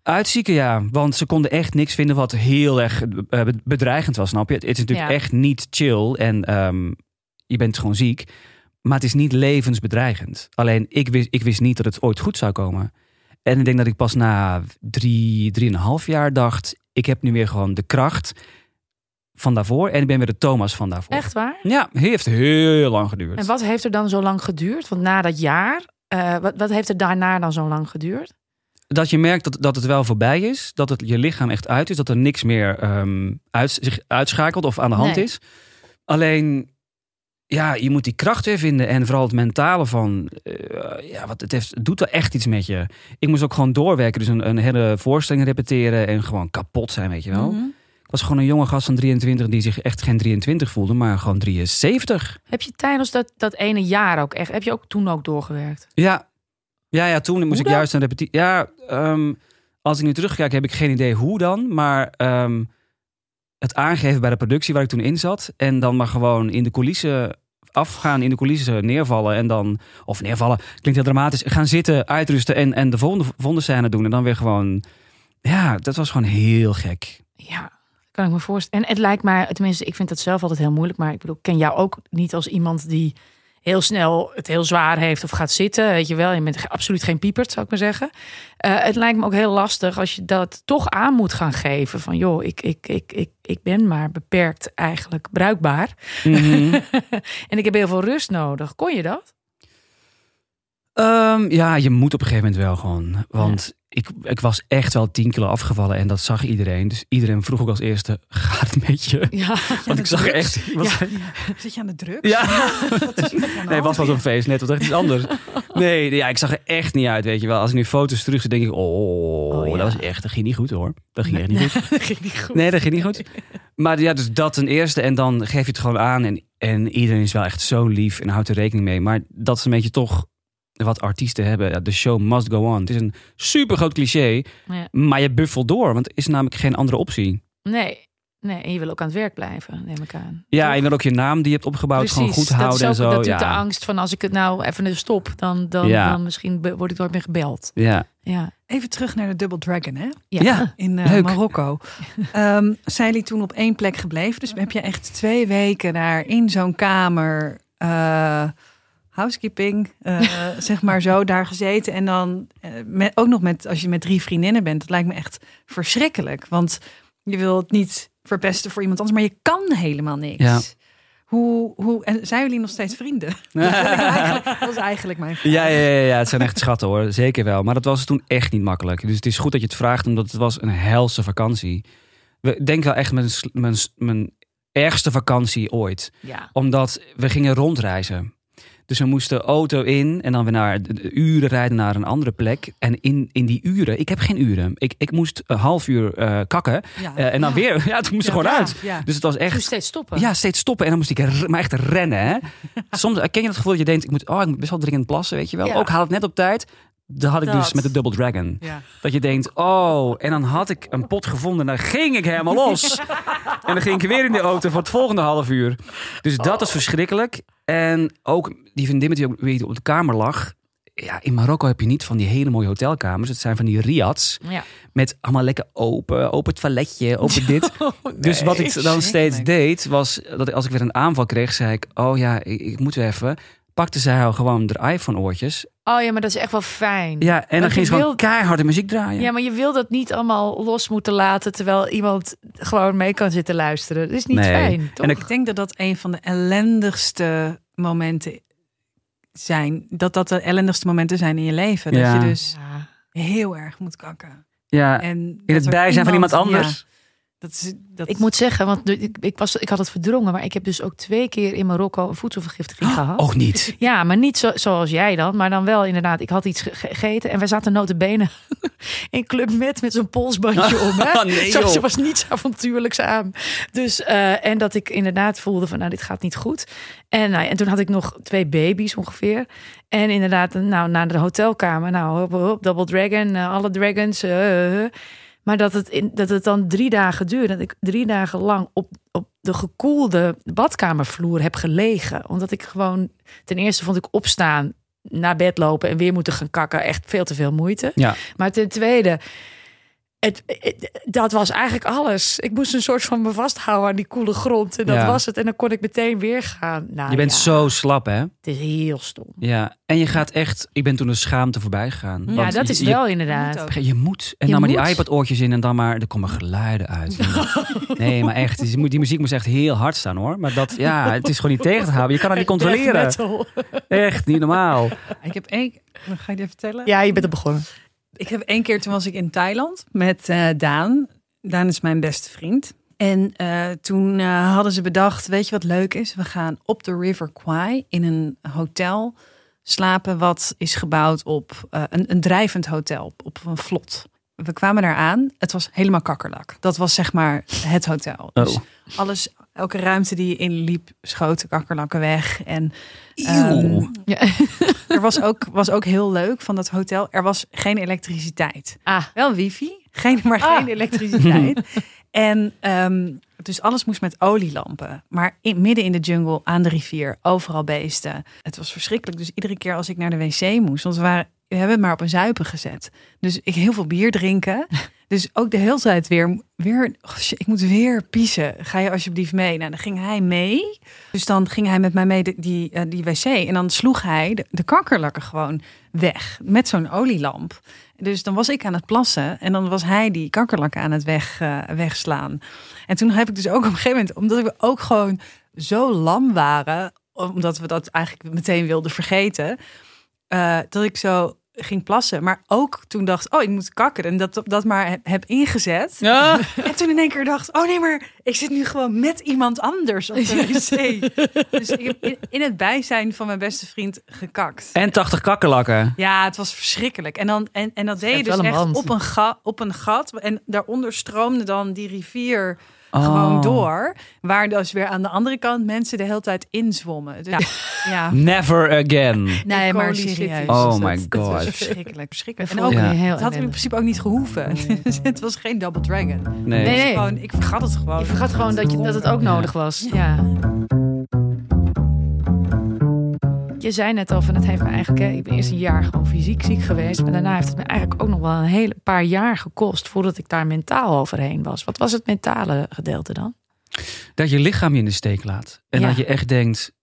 [SPEAKER 3] Uitzieken, ja. Want ze konden echt niks vinden wat heel erg eh, bedreigend was, snap je? Het is natuurlijk
[SPEAKER 1] Ja.
[SPEAKER 3] echt niet chill en ehm, je bent gewoon ziek. Maar het is niet levensbedreigend. Alleen, ik wist, ik wist niet dat het ooit goed zou komen. En ik denk dat ik pas na drie, drieënhalf jaar dacht... ik heb nu weer gewoon de kracht van daarvoor... en ik ben weer de Thomas van daarvoor.
[SPEAKER 1] Echt waar?
[SPEAKER 3] Ja, heeft heel lang geduurd.
[SPEAKER 1] En wat heeft er dan zo lang geduurd? Want na dat jaar, eh, wat, wat heeft er daarna dan zo lang geduurd?
[SPEAKER 3] dat je merkt dat, dat het wel voorbij is. Dat het je lichaam echt uit is. Dat er niks meer ehm, uit, zich uitschakelt of aan de hand
[SPEAKER 1] Nee.
[SPEAKER 3] is. Alleen, ja, je moet die kracht weer vinden. En vooral het mentale van, eh, ja, wat het, heeft, het doet wel echt iets met je. Ik moest ook gewoon doorwerken. Dus een, een hele voorstelling repeteren en gewoon kapot zijn, weet je wel.
[SPEAKER 1] Mhm.
[SPEAKER 3] Ik was gewoon een jonge gast van 23 die zich echt geen 23 voelde, maar gewoon 73.
[SPEAKER 1] Heb je tijdens dat, dat ene jaar ook echt, heb je ook toen ook doorgewerkt?
[SPEAKER 3] Ja, ja, ja toen moest
[SPEAKER 1] Hoe
[SPEAKER 3] ik
[SPEAKER 1] dan?
[SPEAKER 3] juist een repetitie. Ja, ehm, als ik nu terugkijk, heb ik geen idee hoe dan. Maar ehm, het aangeven bij de productie waar ik toen in zat. En dan maar gewoon in de coulissen afgaan, in de coulissen neervallen. En dan, of neervallen, klinkt heel dramatisch. Gaan zitten, uitrusten en, en de volgende, volgende scène doen. En dan weer gewoon. Ja, dat was gewoon heel gek.
[SPEAKER 1] Ja, kan ik me voorstellen. En het lijkt mij, tenminste, ik vind dat zelf altijd heel moeilijk. Maar ik bedoel, ik ken jou ook niet als iemand die heel snel het heel zwaar heeft of gaat zitten. Weet je wel, je bent ge- absoluut geen piepert, zou ik maar zeggen. Eh, het lijkt me ook heel lastig als je dat toch aan moet gaan geven. Van joh, ik, ik, ik, ik, ik ben maar beperkt eigenlijk bruikbaar.
[SPEAKER 3] Mhm.
[SPEAKER 1] En ik heb heel veel rust nodig. Kon je dat?
[SPEAKER 3] Ehm, ja, je moet op een gegeven moment wel gewoon. Want ik, ik was echt wel 10 kilo afgevallen en dat zag iedereen. Dus iedereen vroeg ook als eerste: gaat het met je?
[SPEAKER 1] Ja.
[SPEAKER 3] Want ik zag er echt.
[SPEAKER 2] Ja.
[SPEAKER 3] iemand-
[SPEAKER 2] Zit je aan de druk?
[SPEAKER 3] Ja.
[SPEAKER 2] Wat is er aan de
[SPEAKER 3] Nee,
[SPEAKER 2] hand?
[SPEAKER 3] was wel zo'n feest, net wat echt iets anders. Nee, ja, ik zag er echt niet uit, weet je wel. Als ik nu foto's terug zie, denk ik: oh,
[SPEAKER 1] Oh, ja.
[SPEAKER 3] dat was echt, dat ging niet goed hoor. Dat ging echt niet goed.
[SPEAKER 1] dat ging niet goed.
[SPEAKER 3] Nee, dat ging niet goed. Maar ja, dus dat ten eerste. En dan geef je het gewoon aan. En, en iedereen is wel echt zo lief en houdt er rekening mee. Maar dat is een beetje toch wat artiesten hebben. Ja, De show must go on. Het is een super groot cliché.
[SPEAKER 1] Ja.
[SPEAKER 3] Maar je buffelt door, want er is namelijk geen andere optie.
[SPEAKER 1] Nee. Nee, en je wil ook aan het werk blijven, neem ik aan.
[SPEAKER 3] Ja, en je wil ook je naam die je hebt opgebouwd gewoon goed
[SPEAKER 1] dat
[SPEAKER 3] houden
[SPEAKER 1] is ook,
[SPEAKER 3] en zo.
[SPEAKER 1] Dat doet de
[SPEAKER 3] ja.
[SPEAKER 1] angst van als ik het nou even stop, dan, dan,
[SPEAKER 3] Ja.
[SPEAKER 1] dan misschien be- word ik nooit meer gebeld.
[SPEAKER 3] ja.
[SPEAKER 1] Ja,
[SPEAKER 2] Even terug naar de Double Dragon, hè?
[SPEAKER 1] ja.
[SPEAKER 3] Ja.
[SPEAKER 2] In eh,
[SPEAKER 3] Leuk.
[SPEAKER 2] Marokko. Ehm, zijn jullie toen op één plek gebleven? Dus heb je echt twee weken daar in zo'n kamer eh, housekeeping, eh, zeg maar zo, daar gezeten. En dan eh, met, ook nog met, als je met drie vriendinnen bent, dat lijkt me echt verschrikkelijk. Want je wilt het niet verpesten voor iemand anders, maar je kan helemaal niks.
[SPEAKER 3] Ja.
[SPEAKER 2] Hoe, hoe, en zijn jullie nog steeds vrienden? dat was eigenlijk mijn vraag.
[SPEAKER 3] Ja, ja, ja, ja, het zijn echt schatten hoor. Zeker wel. Maar dat was toen echt niet makkelijk. Dus het is goed dat je het vraagt, omdat het was een helse vakantie. We ik denk wel echt mijn, sl- mijn, s- mijn ergste vakantie ooit.
[SPEAKER 1] Ja.
[SPEAKER 3] Omdat we gingen rondreizen. Dus we moesten auto in en dan weer naar de- de uren rijden naar een andere plek. En in, in die uren, ik heb geen uren. Ik, ik moest een half uur eh, kakken.
[SPEAKER 2] Ja.
[SPEAKER 3] Eh, en dan
[SPEAKER 1] Ja.
[SPEAKER 3] weer, ja, toen moest ik
[SPEAKER 1] Ja,
[SPEAKER 3] gewoon
[SPEAKER 1] ja.
[SPEAKER 3] uit.
[SPEAKER 2] Ja.
[SPEAKER 3] Dus het was
[SPEAKER 1] Ik
[SPEAKER 3] echt
[SPEAKER 1] moest steeds stoppen.
[SPEAKER 3] ja, steeds stoppen. En dan moest ik r- maar echt rennen. Hè? Soms eh, ken je dat gevoel dat je denkt, ik moet, oh, ik moet best wel dringend plassen, weet je wel.
[SPEAKER 1] Ja.
[SPEAKER 3] Ook haal het net op tijd. Dat had ik dus
[SPEAKER 1] Dat.
[SPEAKER 3] met de Double Dragon.
[SPEAKER 2] Ja.
[SPEAKER 3] Dat je denkt, oh, en dan had ik een pot gevonden. Dan ging ik helemaal los. en dan ging ik weer in de auto voor het volgende half uur. Dus dat is verschrikkelijk. En ook die vriendin met die ook weer op de kamer lag. Ja, in Marokko heb je niet van die hele mooie hotelkamers. Het zijn van die riads.
[SPEAKER 1] Ja.
[SPEAKER 3] Met allemaal lekker open, open toiletje, open dit. Dus wat ik dan steeds deed, was dat ik, als ik weer een aanval kreeg, zei ik: Oh ja, ik, ik moet weer even. Pakte zij haar gewoon de iPhone-oortjes.
[SPEAKER 1] Oh ja, maar dat is echt wel fijn.
[SPEAKER 3] Ja, en dan
[SPEAKER 1] Want
[SPEAKER 3] ging
[SPEAKER 1] je
[SPEAKER 3] ze gewoon
[SPEAKER 1] wil-
[SPEAKER 3] keiharde muziek draaien.
[SPEAKER 1] Ja, maar je wil dat niet allemaal los moeten laten terwijl iemand gewoon mee kan zitten luisteren. Dat is niet
[SPEAKER 3] Nee.
[SPEAKER 1] fijn, toch?
[SPEAKER 3] En
[SPEAKER 2] Oh, Ik denk dat dat een van de ellendigste momenten zijn. Dat dat de ellendigste momenten zijn in je leven. Dat
[SPEAKER 3] Ja.
[SPEAKER 2] je dus
[SPEAKER 1] Ja.
[SPEAKER 2] heel erg moet kakken.
[SPEAKER 3] Ja,
[SPEAKER 2] En
[SPEAKER 3] in
[SPEAKER 2] dat
[SPEAKER 3] het
[SPEAKER 2] er
[SPEAKER 3] bijzijn van iemand anders.
[SPEAKER 2] ja, dat is, dat
[SPEAKER 1] Ik moet zeggen, want nu- ik, ik, was, ik had het verdrongen, maar ik heb dus ook twee keer in Marokko een voedselvergiftiging gehad.
[SPEAKER 3] Ook niet.
[SPEAKER 1] Ja, maar niet zo, zoals jij dan, maar dan wel inderdaad. Ik had iets ge- gegeten en wij zaten notabene in Club Med met zo'n polsbandje om. Hè?
[SPEAKER 3] Ah, nee,
[SPEAKER 1] Zo,
[SPEAKER 3] joh.
[SPEAKER 1] er was niets avontuurlijks aan. Dus, eh, en dat ik inderdaad voelde van, nou, dit gaat niet goed. En, nou, ja, en toen had ik nog twee baby's ongeveer. En inderdaad, nou, naar de hotelkamer. Nou, hop, hop, Double Dragon, eh, alle dragons. eh, eh. maar dat het, in, dat het dan drie dagen duurde. Dat ik drie dagen lang op, op de gekoelde badkamervloer heb gelegen. Omdat ik gewoon, ten eerste vond ik opstaan, naar bed lopen en weer moeten gaan kakken. Echt veel te veel moeite.
[SPEAKER 3] Ja.
[SPEAKER 1] Maar ten tweede, het, het- dat was eigenlijk alles. Ik moest een soort van me vasthouden aan die koele grond. En dat
[SPEAKER 3] Ja.
[SPEAKER 1] was het. En dan kon ik meteen weer gaan. Nou,
[SPEAKER 3] Je bent
[SPEAKER 1] ja,
[SPEAKER 3] zo slap, hè?
[SPEAKER 1] Het is heel stom.
[SPEAKER 3] Ja. En je gaat echt. Ik ben toen de schaamte voorbij gegaan.
[SPEAKER 1] Ja,
[SPEAKER 3] Want
[SPEAKER 1] dat
[SPEAKER 3] je-
[SPEAKER 1] is
[SPEAKER 3] je-
[SPEAKER 1] wel
[SPEAKER 2] Je moet
[SPEAKER 1] inderdaad.
[SPEAKER 2] ook.
[SPEAKER 3] Je moet. En
[SPEAKER 1] Je
[SPEAKER 3] dan maar
[SPEAKER 1] moet.
[SPEAKER 3] die iPad-oortjes in en dan maar... Er komen geluiden uit. Nee, maar echt. Die mu- die muziek moest echt heel hard staan, hoor. Maar dat, ja, het is gewoon niet tegen te houden. Je kan het niet controleren.
[SPEAKER 1] Death metal.
[SPEAKER 3] Echt niet normaal.
[SPEAKER 2] ik heb één. Ga je dit vertellen?
[SPEAKER 1] Ja, je bent er begonnen.
[SPEAKER 2] Ik heb één keer, toen was ik in Thailand met eh, Daan. Daan is mijn beste vriend. En eh, toen eh, hadden ze bedacht, weet je wat leuk is? We gaan op de River Kwai in een hotel slapen wat is gebouwd op eh, een, een drijvend hotel, op, op een vlot. We kwamen daar aan, het was helemaal kakkerlak. Dat was zeg maar het hotel. Dus
[SPEAKER 3] Oh.
[SPEAKER 2] alles, elke ruimte die je inliep, schoten kakkerlakken weg. En
[SPEAKER 3] Eeuw.
[SPEAKER 2] ehm, er was ook, was ook heel leuk van dat hotel. Er was geen elektriciteit.
[SPEAKER 1] Ah.
[SPEAKER 2] Wel wifi, geen, maar
[SPEAKER 1] Ah.
[SPEAKER 2] geen elektriciteit. en ehm, dus alles moest met olielampen. Maar in, midden in de jungle, aan de rivier, overal beesten. Het was verschrikkelijk. Dus iedere keer als ik naar de wc moest, want we, waren, we hebben het maar op een zuipen gezet. Dus ik heel veel bier drinken. Dus ook de hele tijd weer, weer oh shit, ik moet weer piezen. Ga je alsjeblieft mee? Nou, dan ging hij mee. Dus dan ging hij met mij mee de- die, eh, die wc. En dan sloeg hij de, de kankerlakken gewoon weg met zo'n olielamp. Dus dan was ik aan het plassen en dan was hij die kankerlakken aan het weg, eh, wegslaan. En toen heb ik dus ook op een gegeven moment, omdat we ook gewoon zo lam waren, omdat we dat eigenlijk meteen wilden vergeten, eh, dat ik zo ging plassen. Maar ook toen dacht, oh, ik moet kakken. En dat, dat maar heb, heb ingezet.
[SPEAKER 3] Ja.
[SPEAKER 2] En toen in één keer dacht, oh nee, maar ik zit nu gewoon met iemand anders op de wc. dus ik heb in, in het bijzijn van mijn beste vriend gekakt.
[SPEAKER 3] En 80 kakkerlakken.
[SPEAKER 2] Ja, het was verschrikkelijk. En, dan, en, en dat deed je
[SPEAKER 1] hebt
[SPEAKER 2] dus
[SPEAKER 1] wel een
[SPEAKER 2] echt
[SPEAKER 1] band.
[SPEAKER 2] op een, ga, op een gat. En daaronder stroomde dan die rivier
[SPEAKER 3] Oh.
[SPEAKER 2] gewoon door. Waar dus weer aan de andere kant mensen de hele tijd inzwommen. Dus, ja. ja.
[SPEAKER 3] Never again.
[SPEAKER 1] Nee,
[SPEAKER 2] Holy
[SPEAKER 1] maar
[SPEAKER 2] shit,
[SPEAKER 1] serieus.
[SPEAKER 2] was
[SPEAKER 3] Oh
[SPEAKER 2] het.
[SPEAKER 3] my
[SPEAKER 2] Het was
[SPEAKER 3] God.
[SPEAKER 2] verschrikkelijk, verschrikkelijk.
[SPEAKER 1] Dat
[SPEAKER 2] En ook,
[SPEAKER 1] vond ik
[SPEAKER 3] Ja.
[SPEAKER 1] heel
[SPEAKER 2] het had in
[SPEAKER 1] ellendig.
[SPEAKER 2] principe ook niet gehoeven. Dus het was geen Double Dragon.
[SPEAKER 3] Nee.
[SPEAKER 1] Nee, nee.
[SPEAKER 2] Gewoon, ik vergat het gewoon.
[SPEAKER 1] Je vergat gewoon dat, je, dat het ook nodig was. Ja. Je zei net al van het heeft me eigenlijk... Hè, ik ben eerst een jaar gewoon fysiek ziek geweest. Maar daarna heeft het me eigenlijk ook nog wel een hele paar jaar gekost... voordat ik daar mentaal overheen was. Wat was het mentale gedeelte dan?
[SPEAKER 3] Dat je lichaam je in de steek laat. En
[SPEAKER 1] Ja.
[SPEAKER 3] dat je echt denkt...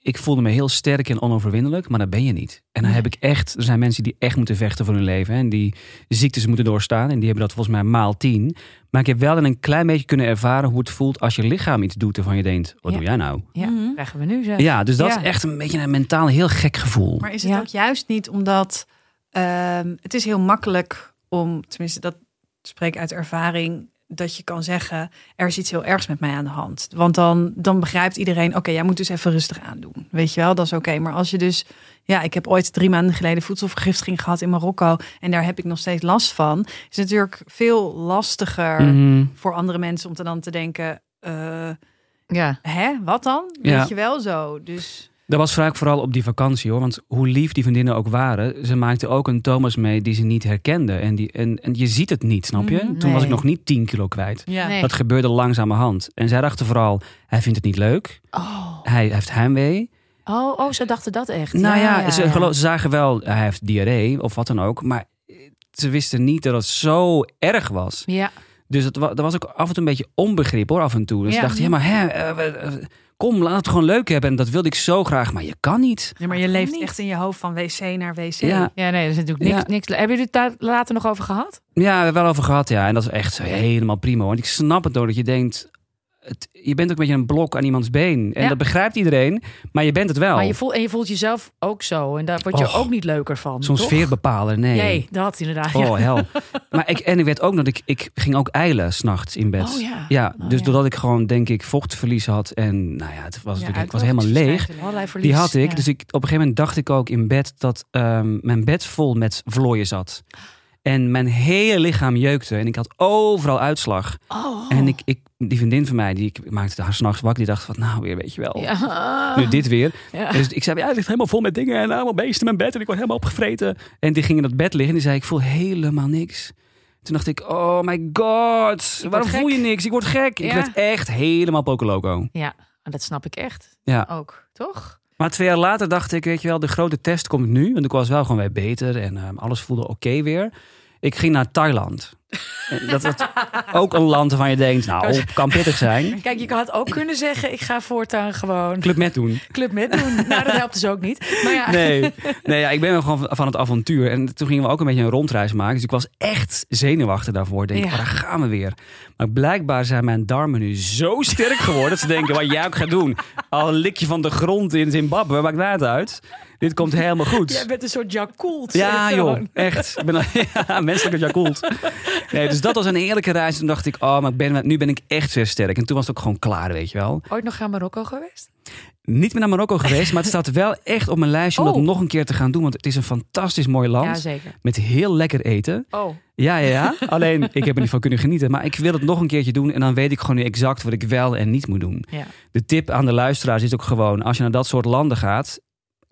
[SPEAKER 3] ik voelde me heel sterk en onoverwinnelijk, maar dat ben je niet. En dan heb ik echt, er zijn mensen die echt moeten vechten voor hun leven hè, en die ziektes moeten doorstaan. En die hebben dat volgens mij maal tien. Maar ik heb wel een klein beetje kunnen ervaren hoe het voelt als je lichaam iets doet waarvan je denkt, wat
[SPEAKER 1] Ja.
[SPEAKER 3] doe jij nou?
[SPEAKER 1] Ja,
[SPEAKER 2] Mhm.
[SPEAKER 1] krijgen we nu. Zeg.
[SPEAKER 3] Ja, dus dat
[SPEAKER 1] Ja.
[SPEAKER 3] is echt een beetje een mentaal heel gek gevoel.
[SPEAKER 2] Maar is het
[SPEAKER 1] Ja.
[SPEAKER 2] ook juist niet omdat ehm, het is heel makkelijk om, tenminste dat spreek uit ervaring, dat je kan zeggen er is iets heel ergs met mij aan de hand. Want dan, dan begrijpt iedereen, oké, jij moet dus even rustig aandoen. Weet je wel, dat is oké. Maar als je dus, ja, ik heb ooit drie maanden geleden voedselvergiftiging gehad in Marokko en daar heb ik nog steeds last van. Is het natuurlijk veel lastiger
[SPEAKER 3] Mhm.
[SPEAKER 2] voor andere mensen om te dan te denken, eh,
[SPEAKER 1] Ja.
[SPEAKER 2] hè, wat dan?
[SPEAKER 3] Ja.
[SPEAKER 2] Weet je wel zo. Dus
[SPEAKER 3] Dat was vaak vooral op die vakantie hoor. Want hoe lief die vriendinnen ook waren, ze maakten ook een Thomas mee die ze niet herkenden. En, die, en, en je ziet het niet, snap je?
[SPEAKER 2] Mhm.
[SPEAKER 3] Toen was ik
[SPEAKER 1] Nee.
[SPEAKER 3] nog niet 10 kilo kwijt.
[SPEAKER 2] ja.
[SPEAKER 1] Nee.
[SPEAKER 3] Dat gebeurde langzamerhand. En zij dachten vooral, hij vindt het niet leuk.
[SPEAKER 1] Oh.
[SPEAKER 3] Hij heeft heimwee.
[SPEAKER 1] Oh, oh, ze dachten dat echt.
[SPEAKER 3] nou ja,
[SPEAKER 1] ja,
[SPEAKER 3] ze,
[SPEAKER 1] ja.
[SPEAKER 3] gelo- ze zagen wel, hij heeft diarree of wat dan ook. Maar ze wisten niet dat het zo erg was.
[SPEAKER 1] Ja.
[SPEAKER 3] Dus dat, wa- dat was ook af en toe een beetje onbegrip hoor, af en toe. Dus
[SPEAKER 1] Ja.
[SPEAKER 3] ze dachten, ja maar hè, eh, we- eh, kom, laat het gewoon leuk hebben. En dat wilde ik zo graag, maar je kan niet.
[SPEAKER 2] Ja, maar je leeft echt in je hoofd van wc naar wc. Oh,
[SPEAKER 3] Ja.
[SPEAKER 1] ja, nee, dat is natuurlijk niks.
[SPEAKER 3] Ja.
[SPEAKER 1] niks. Hebben jullie het daar later nog over gehad?
[SPEAKER 3] Ja, we hebben wel over gehad, ja. En dat is echt zo helemaal prima. Want ik snap het door dat je denkt... Het, je bent ook een beetje een blok aan iemands been. En
[SPEAKER 1] Ja.
[SPEAKER 3] dat begrijpt iedereen, maar je bent het wel.
[SPEAKER 1] Maar je voelt, en je voelt jezelf ook zo. En daar word je
[SPEAKER 3] Nou. Och.
[SPEAKER 1] ook niet leuker van.
[SPEAKER 3] Zo'n
[SPEAKER 1] toch?
[SPEAKER 3] sfeerbepaler, nee.
[SPEAKER 1] Nee, dat inderdaad. ja.
[SPEAKER 3] Oh, hel. maar ik, en ik weet ook nog, dat ik, ik ging ook eilen s'nachts in bed.
[SPEAKER 1] Oh ja.
[SPEAKER 3] dus
[SPEAKER 1] Oh, ja.
[SPEAKER 3] doordat ik gewoon, denk ik, vochtverlies had. En nou ja, het was,
[SPEAKER 2] Ja,
[SPEAKER 3] natuurlijk, ik was
[SPEAKER 2] uitdroging
[SPEAKER 3] helemaal
[SPEAKER 2] is
[SPEAKER 3] leeg.
[SPEAKER 2] verschijnselen.
[SPEAKER 1] Allerlei verlies.
[SPEAKER 3] Die had ik.
[SPEAKER 1] ja.
[SPEAKER 3] Dus ik, op een gegeven moment dacht ik ook in bed dat ehm, mijn bed vol met vlooien zat. En mijn hele lichaam jeukte. En ik had overal uitslag.
[SPEAKER 1] Oh.
[SPEAKER 3] En ik, ik, die vriendin van mij, die ik maakte haar s'nachts wakker, die dacht van, nou weer, weet je wel.
[SPEAKER 1] Ja.
[SPEAKER 3] Oh. Nu dit weer.
[SPEAKER 1] Ja.
[SPEAKER 3] Dus ik zei, ja, het ligt helemaal vol met dingen en allemaal beesten in mijn bed en ik word helemaal opgevreten. En die ging in dat bed liggen en die zei, ik voel helemaal niks. Toen dacht ik, oh my god, waarom
[SPEAKER 1] gek.
[SPEAKER 3] voel je niks? Ik word gek. Ik
[SPEAKER 1] Ja.
[SPEAKER 3] werd echt helemaal pokeloco.
[SPEAKER 1] Ja, Ah, dat snap ik echt.
[SPEAKER 3] Ja.
[SPEAKER 1] Ook, toch?
[SPEAKER 3] Maar twee jaar later dacht ik, weet je wel, de grote test komt nu. Want ik was wel gewoon weer beter en ehm, alles voelde oké weer. Ik ging naar Thailand. En dat, dat ook een land waarvan je denkt, nou, kan pittig zijn.
[SPEAKER 1] Kijk, je had ook kunnen zeggen, ik ga voortaan gewoon
[SPEAKER 3] Club met doen.
[SPEAKER 1] club met doen. Nou, dat helpt dus ook niet. Maar ja,
[SPEAKER 3] Nee, nee ja, ik ben wel gewoon van- van het avontuur. En toen gingen we ook een beetje een rondreis maken. Dus ik was echt zenuwachtig daarvoor. Ik Denk,
[SPEAKER 1] Ja.
[SPEAKER 3] oh, daar gaan we weer. Maar blijkbaar zijn mijn darmen nu zo sterk geworden... dat ze denken, wat jij ook gaat doen. Al lik je van de grond in Zimbabwe, maakt mij het uit. Dit komt helemaal goed.
[SPEAKER 1] jij bent een soort jacoult.
[SPEAKER 3] Ja, joh, echt. Ik ben al, ja, menselijk dat jij koelt. Nee, dus dat was een eerlijke reis. Toen dacht ik, oh, maar ik ben, nu ben ik echt weer sterk. En toen was het ook gewoon klaar, weet je wel.
[SPEAKER 1] Ooit nog naar Marokko geweest?
[SPEAKER 3] Niet meer naar Marokko geweest, maar het staat wel echt op mijn lijstje om dat
[SPEAKER 1] Oh.
[SPEAKER 3] nog een keer te gaan doen. Want het is een fantastisch mooi land.
[SPEAKER 1] zeker.
[SPEAKER 3] met heel lekker eten.
[SPEAKER 1] Oh,
[SPEAKER 3] Ja, ja, ja. Alleen, ik heb er niet van kunnen genieten. Maar ik wil het nog een keertje doen. En dan weet ik gewoon nu exact wat ik wel en niet moet doen.
[SPEAKER 1] ja.
[SPEAKER 3] De tip aan de luisteraars is ook gewoon... als je naar dat soort landen gaat...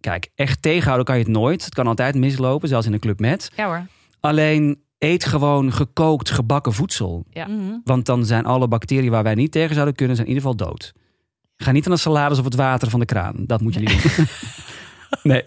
[SPEAKER 3] Kijk, echt tegenhouden kan je het nooit. Het kan altijd mislopen, zelfs in een club met.
[SPEAKER 1] Ja hoor.
[SPEAKER 3] Alleen eet gewoon gekookt, gebakken voedsel.
[SPEAKER 1] Ja.
[SPEAKER 2] Mhm.
[SPEAKER 3] Want dan zijn alle bacteriën waar wij niet tegen zouden kunnen, zijn in ieder geval dood. Ga niet aan de salades of het water van de kraan. Dat moet je niet doen. Nee.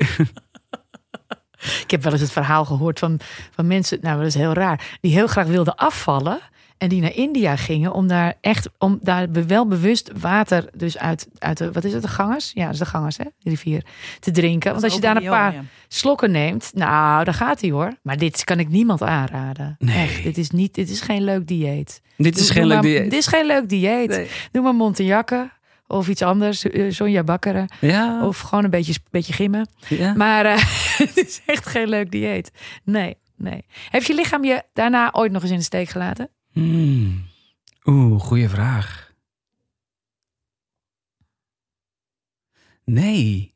[SPEAKER 1] Ik heb wel eens het verhaal gehoord van, van mensen, nou dat is heel raar, die heel graag wilden afvallen en die naar India gingen om daar echt, om daar be- wel bewust water, dus uit, uit de, wat is het, de gangers? Ja, dat is de gangers, hè, de rivier, te drinken. Want als je daar een paar slokken neemt, nou, daar gaat hij hoor. Maar dit kan ik niemand aanraden.
[SPEAKER 3] Nee.
[SPEAKER 1] Echt, dit is niet, dit is geen leuk dieet.
[SPEAKER 3] Dit is
[SPEAKER 1] Doe-
[SPEAKER 3] geen
[SPEAKER 1] doe
[SPEAKER 3] leuk
[SPEAKER 1] maar-
[SPEAKER 3] dieet.
[SPEAKER 1] Dit is geen leuk dieet.
[SPEAKER 3] Nee.
[SPEAKER 1] Doe maar Montenjakken of iets anders, eh, Sonja Bakkeren.
[SPEAKER 3] Ja,
[SPEAKER 1] Of gewoon een beetje, beetje gimmen.
[SPEAKER 3] ja.
[SPEAKER 1] Maar eh, het is echt geen leuk dieet. Nee, nee. Heeft je lichaam je daarna ooit nog eens in de steek gelaten?
[SPEAKER 3] Hmm. Oeh, goede vraag. Nee.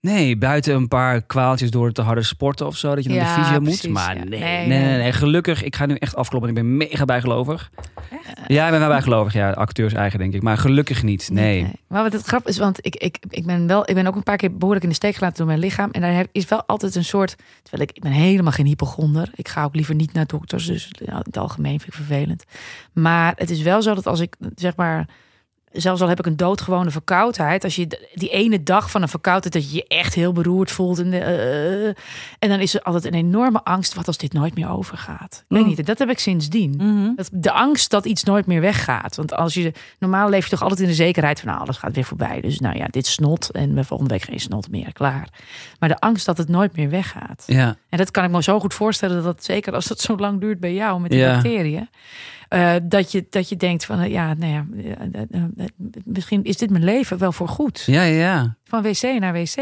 [SPEAKER 3] Nee, buiten een paar kwaaltjes door te harde sporten of zo. Dat je naar
[SPEAKER 1] Ja,
[SPEAKER 3] de fysio
[SPEAKER 1] precies,
[SPEAKER 3] moet. Maar
[SPEAKER 1] ja. Nee,
[SPEAKER 3] nee, nee, nee,
[SPEAKER 1] nee.
[SPEAKER 3] nee. Gelukkig, ik ga nu echt afkloppen. Ik ben mega bijgelovig. Ja, ik ben wel bijgelovig. Ja, acteurs eigen denk ik. Maar gelukkig niet. Nee.
[SPEAKER 1] Maar wat het grap is, want ik, ik, ik, ben wel, ik ben ook een paar keer behoorlijk in de steek gelaten door mijn lichaam. En daar heb- is wel altijd een soort... Terwijl ik, ik ben helemaal geen hypochonder. Ik ga ook liever niet naar dokters. Dus in het algemeen vind ik vervelend. Maar het is wel zo dat als ik zeg maar Zelfs al heb ik een doodgewone verkoudheid. Als je d- die ene dag van een verkoudheid dat je je echt heel beroerd voelt. En, de, eh, en dan is er altijd een enorme angst. Wat als dit nooit meer overgaat? Ik weet
[SPEAKER 2] Mm.
[SPEAKER 1] niet. Dat heb ik sindsdien.
[SPEAKER 2] Mhm.
[SPEAKER 1] Dat, de angst dat iets nooit meer weggaat. Want als je normaal leef je toch altijd in de zekerheid van nou, alles gaat weer voorbij. Dus nou ja, dit snot en we volgende week geen snot meer, klaar. Maar de angst dat het nooit meer weggaat.
[SPEAKER 3] Ja.
[SPEAKER 1] En dat kan ik me zo goed voorstellen dat dat zeker als dat zo lang duurt bij jou met die
[SPEAKER 3] Ja.
[SPEAKER 1] bacteriën. eh, dat, je, dat je denkt van eh, ja, nou ja, eh, eh, eh, eh, misschien is dit mijn leven wel voor goed.
[SPEAKER 3] Ja, ja,
[SPEAKER 1] Van wc naar wc.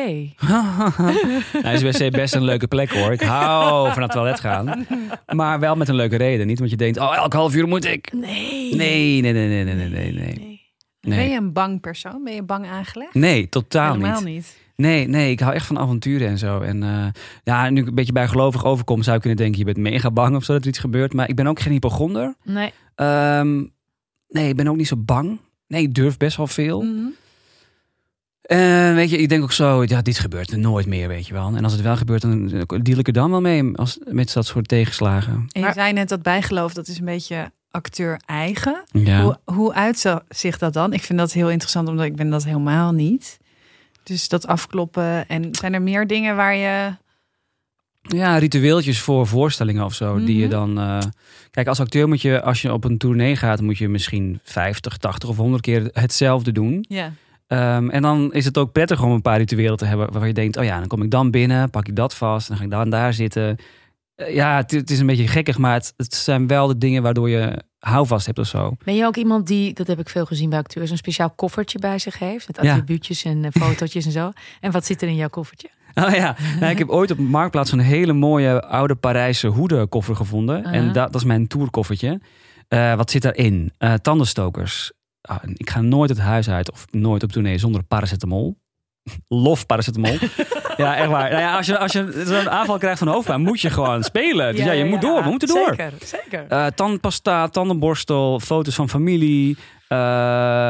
[SPEAKER 3] nou, is wc best een leuke plek hoor. Ik hou van naar het toilet gaan. Maar wel met een leuke reden. Niet omdat je denkt, oh, elk half uur moet ik.
[SPEAKER 1] Nee.
[SPEAKER 3] Nee, nee, nee, nee, nee, nee, nee. nee.
[SPEAKER 2] Ben
[SPEAKER 3] Nee,
[SPEAKER 2] je een bang persoon? Ben je bang aangelegd?
[SPEAKER 3] nee totaal
[SPEAKER 2] Helemaal
[SPEAKER 3] niet.
[SPEAKER 2] niet.
[SPEAKER 3] Nee, nee, ik hou echt van avonturen en zo. En eh, ja, nu ik een beetje bijgelovig overkom, zou ik kunnen denken: je bent mega bang of zo dat er iets gebeurt. Maar ik ben ook geen hypochonder.
[SPEAKER 1] Nee.
[SPEAKER 3] Ehm, nee, ik ben ook niet zo bang. Nee, ik durf best wel veel.
[SPEAKER 2] Mhm.
[SPEAKER 3] En Eh, weet je, ik denk ook zo: ja, dit gebeurt er nooit meer, weet je wel. En als het wel gebeurt, dan eh, deal ik er dan wel mee als, met dat soort tegenslagen.
[SPEAKER 2] En je
[SPEAKER 1] Maar-
[SPEAKER 2] zei net dat bijgeloof, dat is een beetje acteur-eigen.
[SPEAKER 3] Ja.
[SPEAKER 2] Hoe, hoe uitzicht dat dan? Ik vind dat heel interessant, omdat ik ben dat helemaal niet. Dus dat afkloppen. En zijn er meer dingen waar je...
[SPEAKER 3] Ja, ritueeltjes voor voorstellingen of zo. Die je
[SPEAKER 2] Mhm.
[SPEAKER 3] dan. eh, kijk, als acteur moet je, als je op een tournee gaat, moet je misschien 50, 80 of 100 keer hetzelfde doen.
[SPEAKER 2] Ja.
[SPEAKER 3] Ehm, en dan is het ook prettig om een paar rituelen te hebben waar je denkt: oh ja, dan kom ik dan binnen, pak ik dat vast, dan ga ik daar en daar zitten. Eh, ja, het, het is een beetje gekkig, maar het, het zijn wel de dingen waardoor je houvast hebt of zo.
[SPEAKER 1] Ben je ook iemand die, dat heb ik veel gezien bij acteurs, een speciaal koffertje bij zich heeft? Met
[SPEAKER 3] Ja.
[SPEAKER 1] attribuutjes en eh, fotootjes en zo. En wat zit er in jouw koffertje?
[SPEAKER 3] Oh ja, nou, ik heb ooit op de marktplaats zo'n hele mooie oude Parijse hoedenkoffer gevonden. En
[SPEAKER 1] Uh-huh.
[SPEAKER 3] da- dat is mijn tourkoffertje. Eh, wat zit daarin? Eh tandenstokers. Ah, en ik ga nooit het huis uit of nooit op tournee zonder paracetamol. Lof paracetamol. ja, echt waar. Nou ja, als je, als je zo'n aanval krijgt van hoofdpijn, moet je gewoon spelen. Dus ja, je moet door. We moeten door.
[SPEAKER 1] Zeker, zeker.
[SPEAKER 3] Eh, tandpasta, tandenborstel, foto's van familie.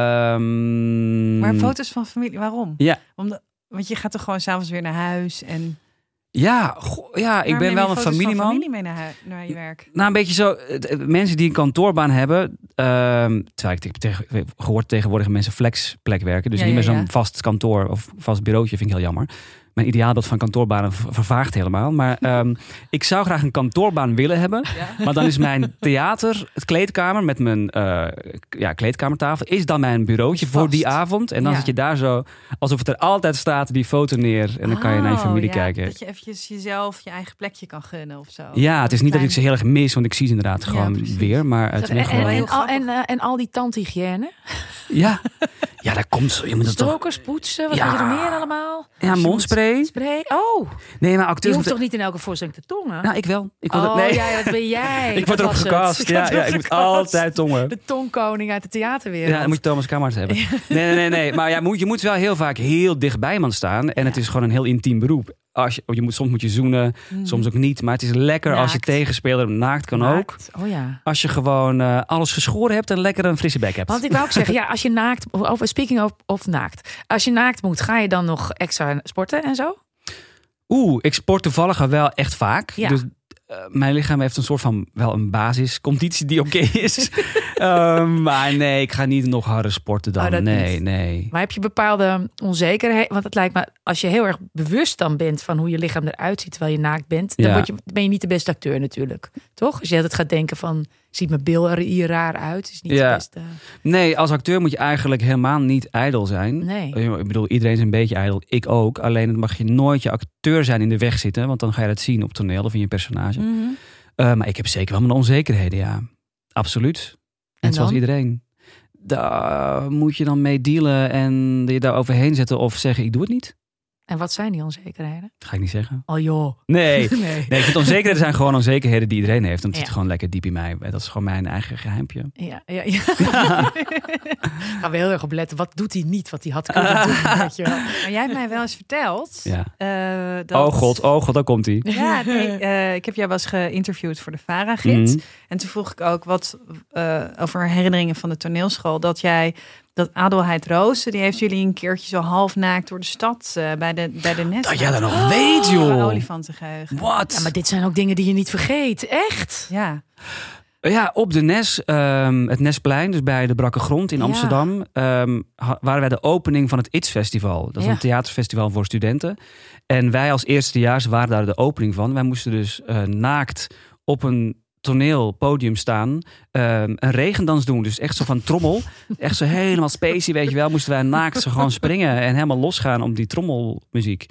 [SPEAKER 3] ehm,
[SPEAKER 2] Maar foto's van familie, waarom?
[SPEAKER 3] Ja.
[SPEAKER 2] Omdat, want je gaat toch gewoon s'avonds weer naar huis. En
[SPEAKER 3] Ja, goh, ja
[SPEAKER 2] Waarom
[SPEAKER 3] ik ben
[SPEAKER 2] neem je
[SPEAKER 3] wel een
[SPEAKER 2] foto's van
[SPEAKER 3] familieman.
[SPEAKER 2] familie mee naar, hui- naar je werk.
[SPEAKER 3] Nou, een beetje zo. het- het- Mensen die een kantoorbaan hebben. ehm terwijl ik te- tegen- ik heb gehoord tegenwoordig dat mensen flexplek werken. Dus
[SPEAKER 2] Ja,
[SPEAKER 3] niet
[SPEAKER 2] ja,
[SPEAKER 3] meer zo'n
[SPEAKER 2] ja.
[SPEAKER 3] vast kantoor of vast bureautje. Vind ik heel jammer. Mijn ideaalbeeld van kantoorbanen ver- vervaagt helemaal. Maar ehm, ik zou graag een kantoorbaan willen hebben.
[SPEAKER 2] Ja.
[SPEAKER 3] Maar dan is mijn theater, het kleedkamer met mijn eh, k- ja, kleedkamertafel, is dan mijn bureautje
[SPEAKER 2] Vast.
[SPEAKER 3] voor die avond. En dan
[SPEAKER 2] Ja.
[SPEAKER 3] zit je daar zo, alsof het er altijd staat, die foto neer. En dan kan je naar je
[SPEAKER 2] Oh,
[SPEAKER 3] familie
[SPEAKER 2] ja,
[SPEAKER 3] kijken.
[SPEAKER 2] Dat je eventjes jezelf je eigen plekje kan gunnen of zo.
[SPEAKER 3] Ja, het is niet dat ik ze
[SPEAKER 2] Oh. Klein-
[SPEAKER 3] heel erg mis, want ik zie ze inderdaad
[SPEAKER 2] Ja,
[SPEAKER 3] gewoon
[SPEAKER 2] precies.
[SPEAKER 3] weer. Maar het is
[SPEAKER 1] en,
[SPEAKER 3] meer
[SPEAKER 1] en,
[SPEAKER 3] gewoon...
[SPEAKER 1] en,
[SPEAKER 2] heel
[SPEAKER 1] al,
[SPEAKER 2] grappig.
[SPEAKER 1] en, eh, en al die tandhygiëne.
[SPEAKER 3] Ja. ja, daar komt zo. Je moet het toch...
[SPEAKER 1] Strokers, poetsen, wat
[SPEAKER 3] Ja.
[SPEAKER 1] heb je er meer allemaal?
[SPEAKER 3] Ja, mondspray.
[SPEAKER 1] Spray. Oh,
[SPEAKER 3] Nee, maar
[SPEAKER 1] je
[SPEAKER 3] acteurs...
[SPEAKER 1] hoeft
[SPEAKER 3] moeten-
[SPEAKER 1] toch niet in elke voorstelling te tongen?
[SPEAKER 3] Nou, ik wel. Ik wil
[SPEAKER 1] oh
[SPEAKER 3] dat... Nee,
[SPEAKER 1] ja, dat ben jij.
[SPEAKER 3] ik
[SPEAKER 1] Dat
[SPEAKER 3] word erop
[SPEAKER 1] was het.
[SPEAKER 3] gecast. Ja,
[SPEAKER 1] Dat
[SPEAKER 3] ja,
[SPEAKER 1] was
[SPEAKER 3] ik
[SPEAKER 1] de
[SPEAKER 3] moet
[SPEAKER 1] cast.
[SPEAKER 3] altijd tongen.
[SPEAKER 1] De tongkoning uit de theaterwereld.
[SPEAKER 3] Ja, dan moet je Thomas Kammerts hebben. Nee, nee, nee. nee. Maar ja, moet- je moet wel heel vaak heel dichtbij iemand staan. En het is gewoon een heel intiem beroep. Als je, je moet, soms moet je zoenen,
[SPEAKER 2] Mm.
[SPEAKER 3] soms ook niet. Maar het is lekker als je
[SPEAKER 1] Naakt.
[SPEAKER 3] tegenspeler naakt kan ook.
[SPEAKER 1] Naakt. Oh ja.
[SPEAKER 3] Als je gewoon eh, alles geschoren hebt en lekker een frisse bek hebt.
[SPEAKER 1] Want ik wou ook zeggen, ja, als je naakt, of speaking of, of naakt, als je naakt moet, ga je dan nog extra sporten en zo?
[SPEAKER 3] Oeh, ik sport toevallig al wel echt vaak.
[SPEAKER 1] Ja.
[SPEAKER 3] Dus eh, mijn lichaam heeft een soort van wel een basisconditie die oké is. Ehm, maar nee, ik ga niet nog harder sporten dan.
[SPEAKER 1] Oh, dat
[SPEAKER 3] nee,
[SPEAKER 1] niet.
[SPEAKER 3] nee.
[SPEAKER 1] Maar heb je bepaalde onzekerheid? Want het lijkt me, als je heel erg bewust dan bent van hoe je lichaam eruit ziet terwijl je naakt bent, dan
[SPEAKER 3] Ja.
[SPEAKER 1] word je, ben je niet de beste acteur natuurlijk. Toch? Als je altijd gaat denken van, ziet mijn bil er hier raar uit? Is niet
[SPEAKER 3] Ja.
[SPEAKER 1] de beste.
[SPEAKER 3] Nee, als acteur moet je eigenlijk helemaal niet ijdel zijn.
[SPEAKER 1] Nee.
[SPEAKER 3] Eh, Ik bedoel, iedereen is een beetje ijdel. Ik ook. Alleen het mag je nooit je acteur zijn in de weg zitten. Want dan ga je dat zien op toneel of in je personage.
[SPEAKER 2] Mhm.
[SPEAKER 3] Eh, maar ik heb zeker wel mijn onzekerheden, ja. Absoluut.
[SPEAKER 1] dan?
[SPEAKER 3] Net zoals iedereen. Daar moet je dan mee dealen en je daar overheen zetten of zeggen ik doe het niet.
[SPEAKER 1] En wat zijn die onzekerheden?
[SPEAKER 3] Dat ga ik niet zeggen.
[SPEAKER 1] Oh joh.
[SPEAKER 3] Nee.
[SPEAKER 1] Nee.
[SPEAKER 3] Nee, ik vind onzekerheden zijn gewoon onzekerheden die iedereen heeft. En het
[SPEAKER 1] Ja.
[SPEAKER 3] zit gewoon lekker diep in mij. Dat is gewoon mijn eigen geheimpje.
[SPEAKER 1] Ja, ja, ja. Gaan we heel erg op letten. Wat doet hij niet wat hij had kunnen doen? Weet je wel.
[SPEAKER 2] Maar jij hebt mij wel eens verteld.
[SPEAKER 3] Ja.
[SPEAKER 2] eh, dat...
[SPEAKER 3] Oh god, oh god, daar komt hij.
[SPEAKER 2] Ja, nee, eh, ik heb jou wel eens geïnterviewd voor de
[SPEAKER 3] Mhm.
[SPEAKER 2] VARA-gids. En toen vroeg ik ook wat eh, over herinneringen van de toneelschool. Dat jij, dat Adelheid Roosen, die heeft jullie een keertje zo half naakt door de stad eh, bij de, bij de nest.
[SPEAKER 3] Dat jij dat nog weet,
[SPEAKER 2] Oh.
[SPEAKER 3] joh.
[SPEAKER 2] Olifantengeheugen.
[SPEAKER 3] Wat?
[SPEAKER 1] Ja, maar dit zijn ook dingen die je niet vergeet. Echt?
[SPEAKER 2] Ja.
[SPEAKER 3] Ja, op de NES, ehm, het Nesplein, dus bij de Brakke Grond in
[SPEAKER 1] Ja.
[SPEAKER 3] Amsterdam, ehm, ha- waren wij de opening van het ITS Festival. Dat is
[SPEAKER 1] Ja.
[SPEAKER 3] een theaterfestival voor studenten. En wij als eerstejaars waren daar de opening van. Wij moesten dus eh, naakt op een toneel, podium staan, ehm, een regendans doen. Dus echt zo van trommel, echt zo helemaal spacey, weet je wel. Moesten wij naakt zo gewoon springen en helemaal losgaan om die trommelmuziek.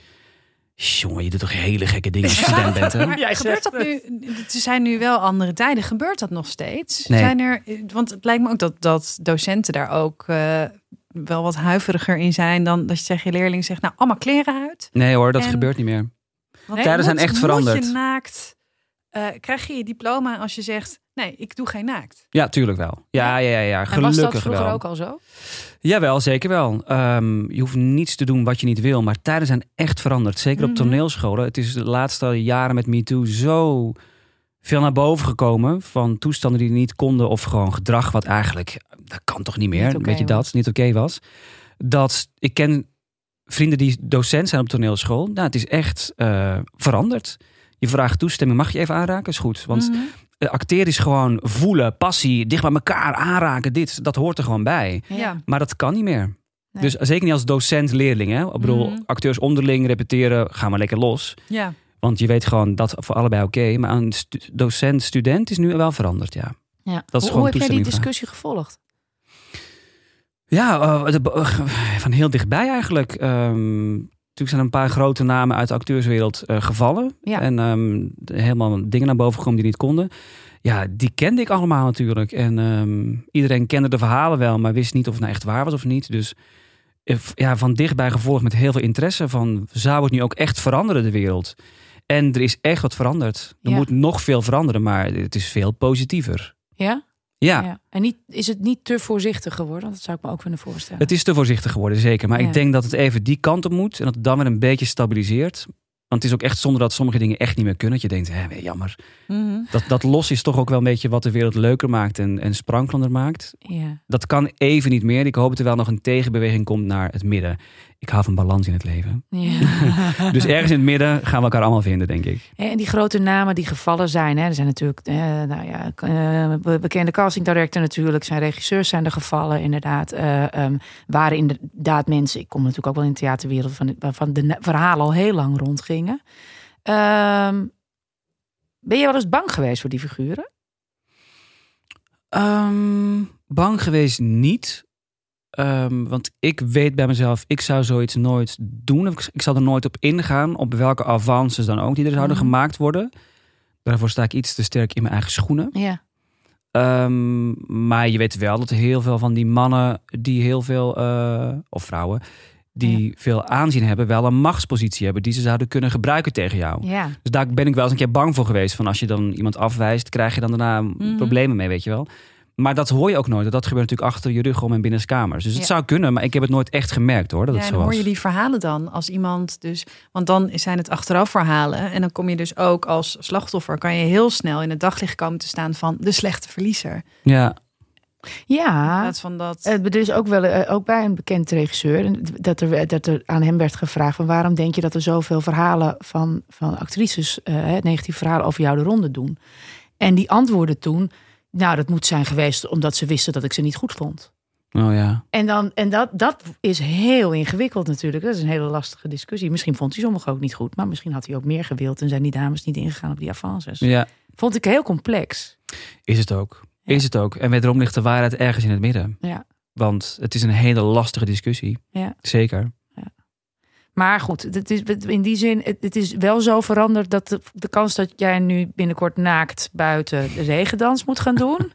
[SPEAKER 3] Jongen, je doet toch hele gekke dingen als je student bent, hè?
[SPEAKER 2] Maar
[SPEAKER 1] Jij
[SPEAKER 2] gebeurt dat
[SPEAKER 1] zegt
[SPEAKER 2] nu? Er zijn nu wel andere tijden. Gebeurt dat nog steeds?
[SPEAKER 3] Nee.
[SPEAKER 2] Zijn er, eh, want het lijkt me ook dat, dat docenten daar ook eh, wel wat huiveriger in zijn dan dat je tegen je leerling zegt: Nou, allemaal kleren uit.
[SPEAKER 3] Nee hoor, dat
[SPEAKER 2] En-
[SPEAKER 3] gebeurt niet meer.
[SPEAKER 2] Want
[SPEAKER 1] Nee,
[SPEAKER 3] tijden zijn
[SPEAKER 2] moet-
[SPEAKER 3] echt
[SPEAKER 2] Moet je
[SPEAKER 3] veranderd.
[SPEAKER 2] naakt, eh, krijg je je diploma als je zegt: Nee, ik doe geen naakt.
[SPEAKER 3] Ja, tuurlijk wel. Ja, ja, ja, ja.
[SPEAKER 1] En was
[SPEAKER 3] gelukkig
[SPEAKER 1] dat vroeger
[SPEAKER 3] wel.
[SPEAKER 1] ook al zo?
[SPEAKER 3] Jawel, zeker wel. Ehm, je hoeft niets te doen wat je niet wil. Maar tijden zijn echt veranderd. Zeker op
[SPEAKER 2] Mhm.
[SPEAKER 3] toneelscholen. Het is de laatste jaren met MeToo zo veel naar boven gekomen. Van toestanden die niet konden. Of gewoon gedrag wat eigenlijk, dat kan toch niet meer.
[SPEAKER 1] Niet oké
[SPEAKER 3] weet je dat,
[SPEAKER 1] was.
[SPEAKER 3] niet oké was. Dat, ik ken vrienden die docent zijn op toneelschool. Nou, het is echt eh, veranderd. Je vraagt toestemming, mag je even aanraken? Is goed. Want
[SPEAKER 2] Mhm.
[SPEAKER 3] eh, acteren is gewoon voelen, passie, dicht bij elkaar aanraken. Dit, dat hoort er gewoon bij.
[SPEAKER 2] ja.
[SPEAKER 3] Maar dat kan niet meer.
[SPEAKER 1] Nee.
[SPEAKER 3] Dus zeker niet als docent-leerling. hè? Ik bedoel,
[SPEAKER 2] Mhm.
[SPEAKER 3] acteurs onderling repeteren, ga maar lekker los.
[SPEAKER 2] ja.
[SPEAKER 3] Want je weet gewoon dat voor allebei oké. maar een stu- docent-student is nu wel veranderd, ja.
[SPEAKER 1] Ja.
[SPEAKER 3] is
[SPEAKER 1] hoe hoe
[SPEAKER 3] gewoon
[SPEAKER 1] heb jij die
[SPEAKER 3] toestemming vragen.
[SPEAKER 1] discussie gevolgd?
[SPEAKER 3] Ja, eh, de- eh, van heel dichtbij eigenlijk. Ehm, natuurlijk zijn er een paar grote namen uit de acteurswereld eh, gevallen.
[SPEAKER 1] Ja.
[SPEAKER 3] En ehm, de- helemaal dingen naar boven gekomen die niet konden. Ja, die kende ik allemaal natuurlijk. En ehm, iedereen kende de verhalen wel, maar wist niet of het nou echt waar was of niet. Dus eh, v- ja, van dichtbij gevolgd met heel veel interesse van... zou het nu ook echt veranderen, de wereld? En er is echt wat veranderd. Er
[SPEAKER 1] Ja.
[SPEAKER 3] moet nog veel veranderen, maar het is veel positiever.
[SPEAKER 1] Ja?
[SPEAKER 3] Ja,
[SPEAKER 1] En niet, is het niet te voorzichtig geworden? Dat zou ik me ook kunnen voorstellen.
[SPEAKER 3] Het is te voorzichtig geworden, zeker. Maar
[SPEAKER 1] Ja.
[SPEAKER 3] ik denk dat het even die kant op moet. En dat het dan weer een beetje stabiliseert. Want het is ook echt zonder dat sommige dingen echt niet meer kunnen. Dat je denkt, hè, jammer.
[SPEAKER 2] Mhm.
[SPEAKER 3] Dat, dat los is toch ook wel een beetje wat de wereld leuker maakt en, en sprankelender maakt.
[SPEAKER 1] Ja.
[SPEAKER 3] Dat kan even niet meer. Ik hoop dat er wel nog een tegenbeweging komt naar het midden. Ik hou van balans in het leven.
[SPEAKER 1] ja.
[SPEAKER 3] Dus ergens in het midden gaan we elkaar allemaal vinden, denk ik.
[SPEAKER 1] En die grote namen die gevallen zijn, hè, er zijn natuurlijk eh, nou ja, eh, be- bekende casting director natuurlijk, zijn regisseurs zijn er gevallen inderdaad. eh, ehm, waren inderdaad mensen, ik kom natuurlijk ook wel in de theaterwereld, van, waarvan de na- verhalen al heel lang rondgingen. Ehm, ben je wel eens bang geweest voor die figuren?
[SPEAKER 3] Ehm, bang geweest niet. Ehm, want ik weet bij mezelf, ik zou zoiets nooit doen. Ik, ik zou er nooit op ingaan, op welke avances dan ook die er zouden
[SPEAKER 1] Mhm.
[SPEAKER 3] gemaakt worden. Daarvoor sta ik iets te sterk in mijn eigen schoenen.
[SPEAKER 1] Ja.
[SPEAKER 3] Ehm, maar je weet wel dat heel veel van die mannen die heel veel, eh, of vrouwen, die veel aanzien hebben, wel een machtspositie hebben die ze zouden kunnen gebruiken tegen jou.
[SPEAKER 1] ja.
[SPEAKER 3] Dus daar ben ik wel eens een keer bang voor geweest. Van als je dan iemand afwijst, krijg je dan daarna
[SPEAKER 1] Mhm.
[SPEAKER 3] problemen mee, weet je wel. Maar dat hoor je ook nooit. want Dat gebeurt natuurlijk achter je rug om en binnenkamers. Dus het
[SPEAKER 1] Ja.
[SPEAKER 3] zou kunnen, maar ik heb het nooit echt gemerkt hoor, dat
[SPEAKER 2] Ja,
[SPEAKER 3] het
[SPEAKER 2] en
[SPEAKER 3] zo
[SPEAKER 2] dan
[SPEAKER 3] was.
[SPEAKER 2] hoor je die verhalen dan als iemand dus, want dan zijn het achteraf verhalen en dan kom je dus ook als slachtoffer kan je heel snel in het daglicht komen te staan van de slechte verliezer. In
[SPEAKER 3] Ja,
[SPEAKER 1] ja.
[SPEAKER 2] plaats van dat.
[SPEAKER 1] Eh, Er is ook wel eh, ook bij een bekend regisseur en dat er, dat er aan hem werd gevraagd: van waarom denk je dat er zoveel verhalen van, van actrices, eh, hè, negatieve verhalen over jou de ronde doen? En die antwoorden toen: Nou, dat moet zijn geweest omdat ze wisten dat ik ze niet goed vond.
[SPEAKER 3] oh ja.
[SPEAKER 1] En, dan, en dat, dat is heel ingewikkeld natuurlijk. Dat is een hele lastige discussie. Misschien vond hij sommigen ook niet goed, maar misschien had hij ook meer gewild en zijn die dames niet ingegaan op die avances.
[SPEAKER 3] Ja,
[SPEAKER 1] Vond ik heel complex.
[SPEAKER 3] is het ook.
[SPEAKER 1] Ja.
[SPEAKER 3] Is het ook. En wederom ligt de waarheid ergens in het midden.
[SPEAKER 1] Ja.
[SPEAKER 3] Want het is een hele lastige discussie.
[SPEAKER 1] Ja.
[SPEAKER 3] Zeker.
[SPEAKER 1] Maar goed, het is, in die zin, het, het is wel zo veranderd dat de, de kans dat jij nu binnenkort naakt buiten de regendans moet gaan doen,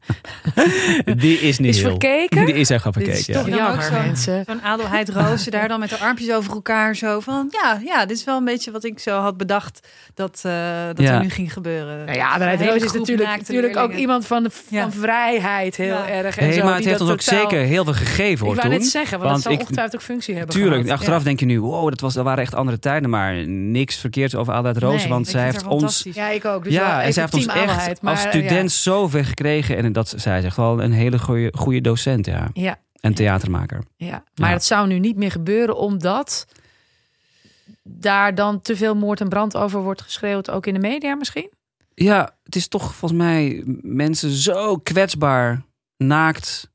[SPEAKER 3] Die is niet
[SPEAKER 1] is
[SPEAKER 3] heel.
[SPEAKER 1] verkeken.
[SPEAKER 3] Die is echt wel
[SPEAKER 1] Dit
[SPEAKER 3] verkeken,
[SPEAKER 1] is
[SPEAKER 3] ja.
[SPEAKER 1] toch
[SPEAKER 2] Ja. Dan ook
[SPEAKER 1] jammer,
[SPEAKER 2] zo.
[SPEAKER 1] mensen.
[SPEAKER 2] Zo'n Adelheid Roosje daar dan met de armpjes over elkaar zo van ja, ja, dit is wel een beetje wat ik zo had bedacht dat, eh, dat
[SPEAKER 3] Ja.
[SPEAKER 2] er nu ging gebeuren.
[SPEAKER 1] Nou ja,
[SPEAKER 2] Een
[SPEAKER 1] de
[SPEAKER 2] hele
[SPEAKER 1] Roos is
[SPEAKER 2] groep
[SPEAKER 1] natuurlijk,
[SPEAKER 2] naakte
[SPEAKER 1] natuurlijk ook
[SPEAKER 2] leerlingen.
[SPEAKER 1] iemand van, de, van
[SPEAKER 2] Ja.
[SPEAKER 1] vrijheid heel
[SPEAKER 2] Ja.
[SPEAKER 1] erg. En
[SPEAKER 3] Hey,
[SPEAKER 1] zo,
[SPEAKER 3] maar het
[SPEAKER 1] die
[SPEAKER 3] heeft
[SPEAKER 1] dat
[SPEAKER 3] ons ook
[SPEAKER 1] totaal-
[SPEAKER 3] zeker heel veel gegeven
[SPEAKER 1] Ik
[SPEAKER 3] hoor
[SPEAKER 1] wou
[SPEAKER 3] toen.
[SPEAKER 1] net zeggen, want,
[SPEAKER 3] want
[SPEAKER 1] dat zal
[SPEAKER 3] ik-
[SPEAKER 1] ongetwijfeld ook functie hebben
[SPEAKER 3] Tuurlijk,
[SPEAKER 1] gehad.
[SPEAKER 3] achteraf denk je nu, wow, dat, was, dat waren echt andere tijden. Maar niks verkeerds over Adelheid Roos.
[SPEAKER 1] Nee,
[SPEAKER 3] want
[SPEAKER 2] Ik
[SPEAKER 3] zij
[SPEAKER 2] vind
[SPEAKER 3] heeft
[SPEAKER 2] haar
[SPEAKER 3] ons
[SPEAKER 2] fantastisch.
[SPEAKER 1] Ja, ik ook. Dus wel
[SPEAKER 3] ja,
[SPEAKER 1] even
[SPEAKER 3] en zij heeft ons
[SPEAKER 1] team
[SPEAKER 3] echt
[SPEAKER 1] Adelheid, maar,
[SPEAKER 3] als
[SPEAKER 1] eh,
[SPEAKER 3] student zoveel gekregen. En dat, zij is echt wel een hele goede, goede docent, ja.
[SPEAKER 1] Ja, ja,
[SPEAKER 3] En theatermaker.
[SPEAKER 1] ja. maar
[SPEAKER 3] Ja.
[SPEAKER 1] dat zou nu niet meer gebeuren omdat daar dan te veel moord en brand over wordt geschreeuwd, ook in de media misschien?
[SPEAKER 3] Ja, het is toch volgens mij mensen zo kwetsbaar naakt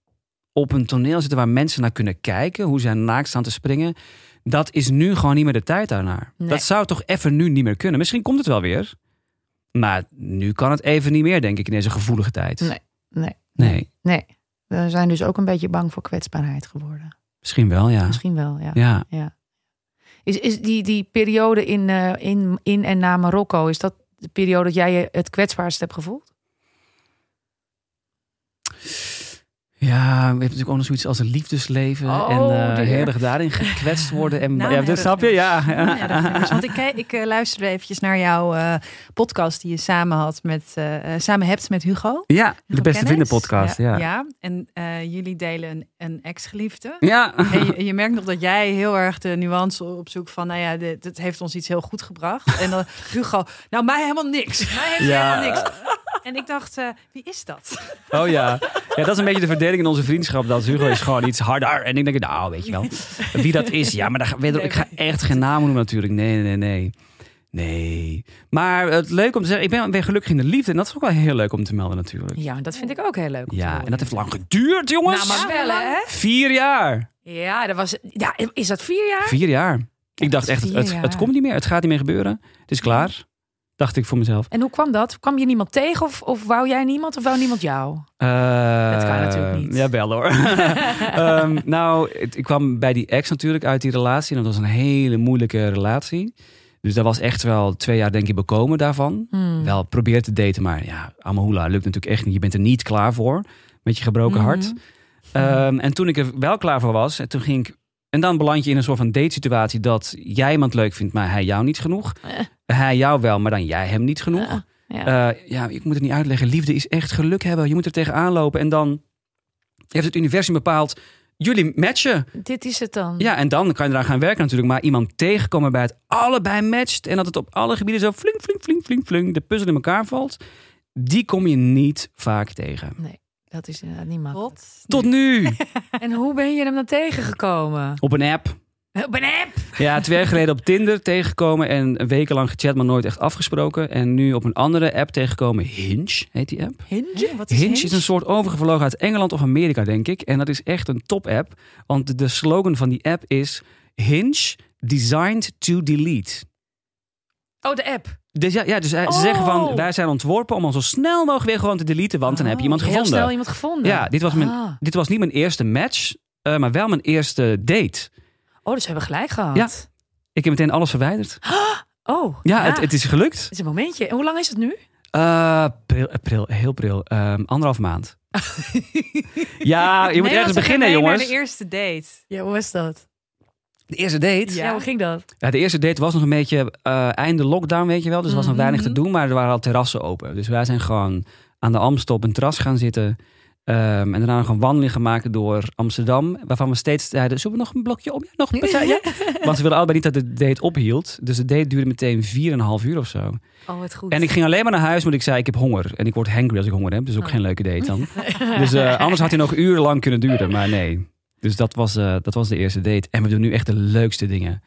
[SPEAKER 3] op een toneel zitten waar mensen naar kunnen kijken, hoe zij naakt staan te springen. Dat is nu gewoon niet meer de tijd daarnaar.
[SPEAKER 1] Nee.
[SPEAKER 3] Dat zou toch even nu niet meer kunnen. Misschien komt het wel weer. Maar nu kan het even niet meer, denk ik, in deze gevoelige tijd.
[SPEAKER 1] Nee. Nee.
[SPEAKER 3] Nee,
[SPEAKER 1] Nee. We zijn dus ook een beetje bang voor kwetsbaarheid geworden.
[SPEAKER 3] misschien wel, ja.
[SPEAKER 1] Misschien wel, ja.
[SPEAKER 3] Ja,
[SPEAKER 1] Is, is die, die periode in, eh, in, in en na Marokko, is dat de periode dat jij je het kwetsbaarst hebt gevoeld?
[SPEAKER 3] ja we hebben natuurlijk ook nog zoiets als een liefdesleven.
[SPEAKER 1] Oh,
[SPEAKER 3] en eh,
[SPEAKER 1] dear.
[SPEAKER 3] heel erg daarin gekwetst worden. En,
[SPEAKER 2] Nou,
[SPEAKER 3] ja, dat snap je, ja.
[SPEAKER 2] Ja, Want ik, kijk- ik eh, luisterde eventjes naar jouw eh, podcast die je samen, had met, eh, eh, samen hebt met Hugo.
[SPEAKER 3] Ja, de
[SPEAKER 2] Hugo
[SPEAKER 3] Beste
[SPEAKER 2] Kennis.
[SPEAKER 3] Vrienden podcast, ja.
[SPEAKER 2] Ja, en eh, jullie delen een, een ex-geliefde.
[SPEAKER 3] Ja.
[SPEAKER 2] En je, je merkt nog dat jij heel erg de nuance opzoekt van, nou ja, dit, dit heeft ons iets heel goed gebracht. En dan Hugo, nou mij helemaal niks. Mij heeft
[SPEAKER 3] Ja.
[SPEAKER 2] helemaal niks. En ik dacht, eh, wie is dat?
[SPEAKER 3] Oh ja. ja, dat is een beetje de verdeling in onze vriendschap. Dat Hugo is gewoon iets harder. En ik denk, nou, weet je wel. Wie dat is, ja, maar daar, ga- weet je, ik ga echt geen naam noemen natuurlijk. Nee, nee, nee, nee. Nee. Maar het leuk om te zeggen, ik ben weer gelukkig in de liefde. En dat is ook wel heel leuk om te melden natuurlijk.
[SPEAKER 1] Ja, dat vind ik ook heel leuk. om te
[SPEAKER 3] Ja,
[SPEAKER 1] horen.
[SPEAKER 3] en dat heeft lang geduurd, jongens.
[SPEAKER 1] Nou, maar wel, hè?
[SPEAKER 3] Vier jaar.
[SPEAKER 1] Ja, dat was, ja, is dat vier jaar?
[SPEAKER 3] Vier jaar. Ik dacht echt,
[SPEAKER 1] vier
[SPEAKER 3] het,
[SPEAKER 1] jaar.
[SPEAKER 3] het komt niet meer. Het gaat niet meer gebeuren. Het is klaar. Dacht ik voor mezelf.
[SPEAKER 1] En hoe kwam dat? Kwam je niemand tegen of, of wou jij niemand of wou niemand jou?
[SPEAKER 3] Eh,
[SPEAKER 1] Dat kan natuurlijk niet.
[SPEAKER 3] Jawel hoor. Ehm, nou, het- ik kwam bij die ex natuurlijk uit die relatie. En dat was een hele moeilijke relatie. Dus daar was echt wel twee jaar denk ik bekomen daarvan.
[SPEAKER 1] Hmm.
[SPEAKER 3] Wel probeer te daten, maar ja, Amahula lukt natuurlijk echt niet. Je bent er niet klaar voor met je gebroken hart.
[SPEAKER 1] Mhm.
[SPEAKER 3] Ehm, en toen ik er wel klaar voor was, en toen ging ik... En dan beland je in een soort van date situatie dat jij iemand leuk vindt, maar hij jou niet genoeg.
[SPEAKER 1] Eh.
[SPEAKER 3] Hij jou wel, maar dan jij hem niet genoeg.
[SPEAKER 1] Ja, ja.
[SPEAKER 3] Eh, ja, ik moet het niet uitleggen. Liefde is echt geluk hebben. Je moet er tegenaan lopen. En dan heeft het universum bepaald. Jullie matchen.
[SPEAKER 1] Dit is het dan.
[SPEAKER 3] Ja, en dan kan je eraan gaan werken natuurlijk. Maar iemand tegenkomen bij het allebei matcht. En dat het op alle gebieden zo flink, flink, flink, flink, flink. De puzzel in elkaar valt. Die kom je niet vaak tegen.
[SPEAKER 1] Dat is inderdaad niet makkelijk.
[SPEAKER 2] Tot.
[SPEAKER 3] Tot nu.
[SPEAKER 1] En hoe ben je hem dan tegengekomen?
[SPEAKER 3] Op een app.
[SPEAKER 1] Op een app?
[SPEAKER 3] Ja, twee jaar geleden op Tinder tegengekomen. En wekenlang gechat, maar nooit echt afgesproken. En nu op een andere app tegengekomen. Hinge heet die app.
[SPEAKER 1] Hinge?
[SPEAKER 2] Wat is
[SPEAKER 3] Hinge, is een soort overgevlogen uit Engeland of Amerika, denk ik. En dat is echt een top-app. Want de- de slogan van die app is... Hinge designed to delete.
[SPEAKER 1] Oh, de app.
[SPEAKER 3] Dus ja, ja dus eh, ze
[SPEAKER 1] Oh.
[SPEAKER 3] zeggen van... Wij zijn ontworpen om ons zo snel mogelijk weer gewoon te deleten. Want dan heb je iemand
[SPEAKER 1] Oh, Heel
[SPEAKER 3] gevonden.
[SPEAKER 1] snel iemand gevonden.
[SPEAKER 3] Ja, dit was mijn-
[SPEAKER 1] Ah.
[SPEAKER 3] Dit was niet mijn eerste match, eh, maar wel mijn eerste date.
[SPEAKER 1] Oh, dus we hebben gelijk gehad.
[SPEAKER 3] Ja. Ik heb meteen alles verwijderd.
[SPEAKER 1] Oh.
[SPEAKER 3] Ja, Het, het is gelukt.
[SPEAKER 1] is een momentje. En hoe lang is het nu?
[SPEAKER 3] Eh, pril, eh, pril, heel pril. Ehm, anderhalf maand. ja, je moet
[SPEAKER 2] Nee, want we
[SPEAKER 3] ergens
[SPEAKER 2] gaan
[SPEAKER 3] beginnen,
[SPEAKER 2] mee
[SPEAKER 3] jongens.
[SPEAKER 2] Naar de eerste date.
[SPEAKER 1] Ja, hoe was dat?
[SPEAKER 3] de eerste date?
[SPEAKER 1] Ja,
[SPEAKER 2] Ja.
[SPEAKER 1] hoe ging dat?
[SPEAKER 3] Ja, de eerste date was nog een beetje eh einde lockdown, weet je wel. Dus er was nog weinig te
[SPEAKER 2] Mhm.
[SPEAKER 3] doen, maar er waren al terrassen open. Dus wij zijn gewoon aan de Amstel op een terras gaan zitten. ehm, en daarna gewoon wandeling gaan maken door Amsterdam. Waarvan we steeds zeiden, zullen we nog een blokje om? Ja, nog een partijtje? Want ze wilden allebei niet dat de date ophield. Dus de date duurde meteen 4,5 uur of zo.
[SPEAKER 1] Oh, wat goed.
[SPEAKER 3] En ik ging alleen maar naar huis, want ik zei, ik heb honger. En ik word hangry als ik honger heb. Dus ook
[SPEAKER 1] Oh.
[SPEAKER 3] geen leuke date dan. dus eh, anders had hij nog urenlang kunnen duren, maar nee. Dus dat was, eh, dat was de eerste date. En we doen nu echt de leukste dingen.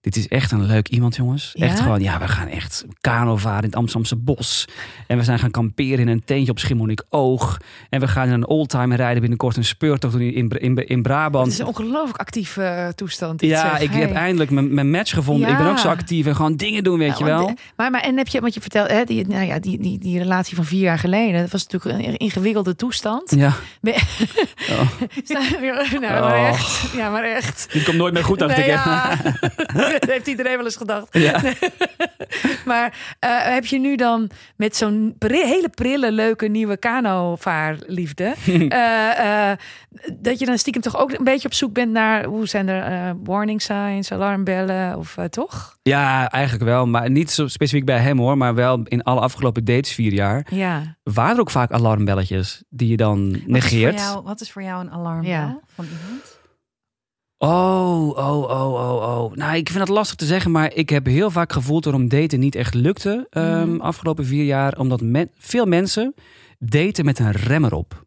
[SPEAKER 3] Dit is echt een leuk iemand, jongens. Echt
[SPEAKER 1] Ja?
[SPEAKER 3] gewoon, ja, we gaan echt kano varen in het Amsterdamse bos. En we zijn gaan kamperen in een teentje op Schimmelnik Oog. En we gaan in een oldtimer rijden binnenkort een speurtocht doen in, in, in
[SPEAKER 1] Het
[SPEAKER 3] Brabant.
[SPEAKER 1] is een ongelooflijk actief eh, toestand. dit,
[SPEAKER 3] Ja,
[SPEAKER 1] zeg.
[SPEAKER 3] ik heb
[SPEAKER 1] Hey.
[SPEAKER 3] eindelijk mijn, mijn match gevonden. Ik ben
[SPEAKER 1] Ja.
[SPEAKER 3] ook zo actief en gewoon dingen doen,
[SPEAKER 1] Ja,
[SPEAKER 3] weet je wel.
[SPEAKER 1] want, eh, Maar, maar en heb je, want je vertelt, hè, die, nou ja, die, die, die relatie van vier jaar geleden, dat was natuurlijk een ingewikkelde toestand.
[SPEAKER 3] Ja.
[SPEAKER 1] Ben-
[SPEAKER 3] Oh,
[SPEAKER 1] nou, maar
[SPEAKER 3] Oh.
[SPEAKER 1] echt. Ja, maar echt.
[SPEAKER 3] dit komt nooit meer goed, dacht
[SPEAKER 1] Nou
[SPEAKER 3] ik. hè?
[SPEAKER 1] ja, dat heeft iedereen wel eens gedacht.
[SPEAKER 3] Ja.
[SPEAKER 1] Maar eh, heb je nu dan met zo'n pri- hele prille, leuke nieuwe kanovaarliefde... eh, eh, dat je dan stiekem toch ook een beetje op zoek bent naar... hoe zijn er eh, warning signs, alarmbellen of eh, toch?
[SPEAKER 3] ja, eigenlijk wel. Maar niet zo specifiek bij hem hoor. Maar wel in alle afgelopen dates vier jaar.
[SPEAKER 1] Ja.
[SPEAKER 3] Waren er ook vaak alarmbelletjes die je dan
[SPEAKER 2] Wat is voor
[SPEAKER 3] negeert?
[SPEAKER 2] jou, wat is voor jou een alarm
[SPEAKER 1] Ja.
[SPEAKER 2] van iemand?
[SPEAKER 3] Oh, oh, oh, oh, oh. Nou, ik vind dat lastig te zeggen. Maar ik heb heel vaak gevoeld waarom daten niet echt lukte. ehm,
[SPEAKER 1] Mhm.
[SPEAKER 3] Afgelopen vier jaar. Omdat men- veel mensen daten met een remmer op.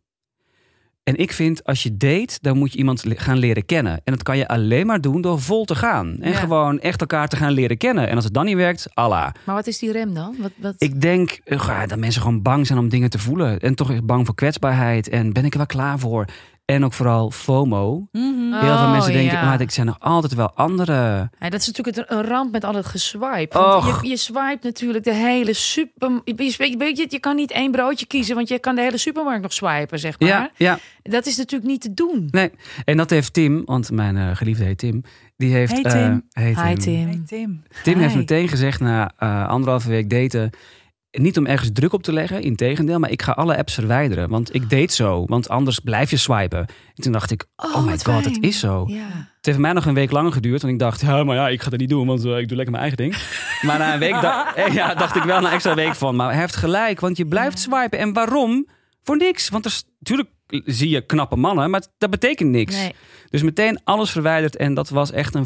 [SPEAKER 3] En ik vind, als je date, dan moet je iemand le- gaan leren kennen. En dat kan je alleen maar doen door vol te gaan. En
[SPEAKER 2] Ja.
[SPEAKER 3] gewoon echt elkaar te gaan leren kennen. En als het dan niet werkt, Allah.
[SPEAKER 1] Maar wat is die rem dan? Wat, wat...
[SPEAKER 3] Ik denk eh, ja, dat mensen gewoon bang zijn om dingen te voelen. En toch echt bang voor kwetsbaarheid. En ben ik er wel klaar voor? En ook vooral FOMO.
[SPEAKER 2] Mhm.
[SPEAKER 1] Ah.
[SPEAKER 3] Heel veel mensen
[SPEAKER 1] Oh,
[SPEAKER 3] denken,
[SPEAKER 1] ja.
[SPEAKER 3] maar ik zijn er altijd wel andere.
[SPEAKER 1] Ja, dat is natuurlijk het- een ramp met al het geswipe. Want
[SPEAKER 3] Och.
[SPEAKER 1] je, je swipe natuurlijk de hele super... Je, je, weet je, je kan niet één broodje kiezen, want je kan de hele supermarkt nog swipen, zeg maar.
[SPEAKER 3] Ja, ja.
[SPEAKER 1] Dat is natuurlijk niet te doen.
[SPEAKER 3] Nee. En dat heeft Tim, want mijn eh, geliefde heet Tim. Die heeft.
[SPEAKER 2] Hey,
[SPEAKER 3] eh,
[SPEAKER 2] Tim.
[SPEAKER 3] hey,
[SPEAKER 1] Hi
[SPEAKER 2] Hey,
[SPEAKER 1] Tim.
[SPEAKER 2] Tim.
[SPEAKER 3] Tim heeft
[SPEAKER 1] Hi.
[SPEAKER 3] meteen gezegd na eh, anderhalve week daten. Niet om ergens druk op te leggen, integendeel. Maar ik ga alle apps verwijderen. Want ik date zo, want anders blijf je swipen. En toen dacht ik, oh, my god,
[SPEAKER 1] wat fijn.
[SPEAKER 3] dat is zo.
[SPEAKER 1] Ja.
[SPEAKER 3] Het heeft mij nog een week langer geduurd. Want ik dacht, ja, maar ja, ik ga dat niet doen, want eh, ik doe lekker mijn eigen ding. maar na een week da- eh, ja, dacht ik wel een extra week van. Maar hij heeft gelijk, want je blijft swipen. En waarom? Voor niks. Want er is- natuurlijk zie je knappe mannen, maar dat betekent niks.
[SPEAKER 1] Nee.
[SPEAKER 3] Dus meteen alles verwijderd en dat was echt een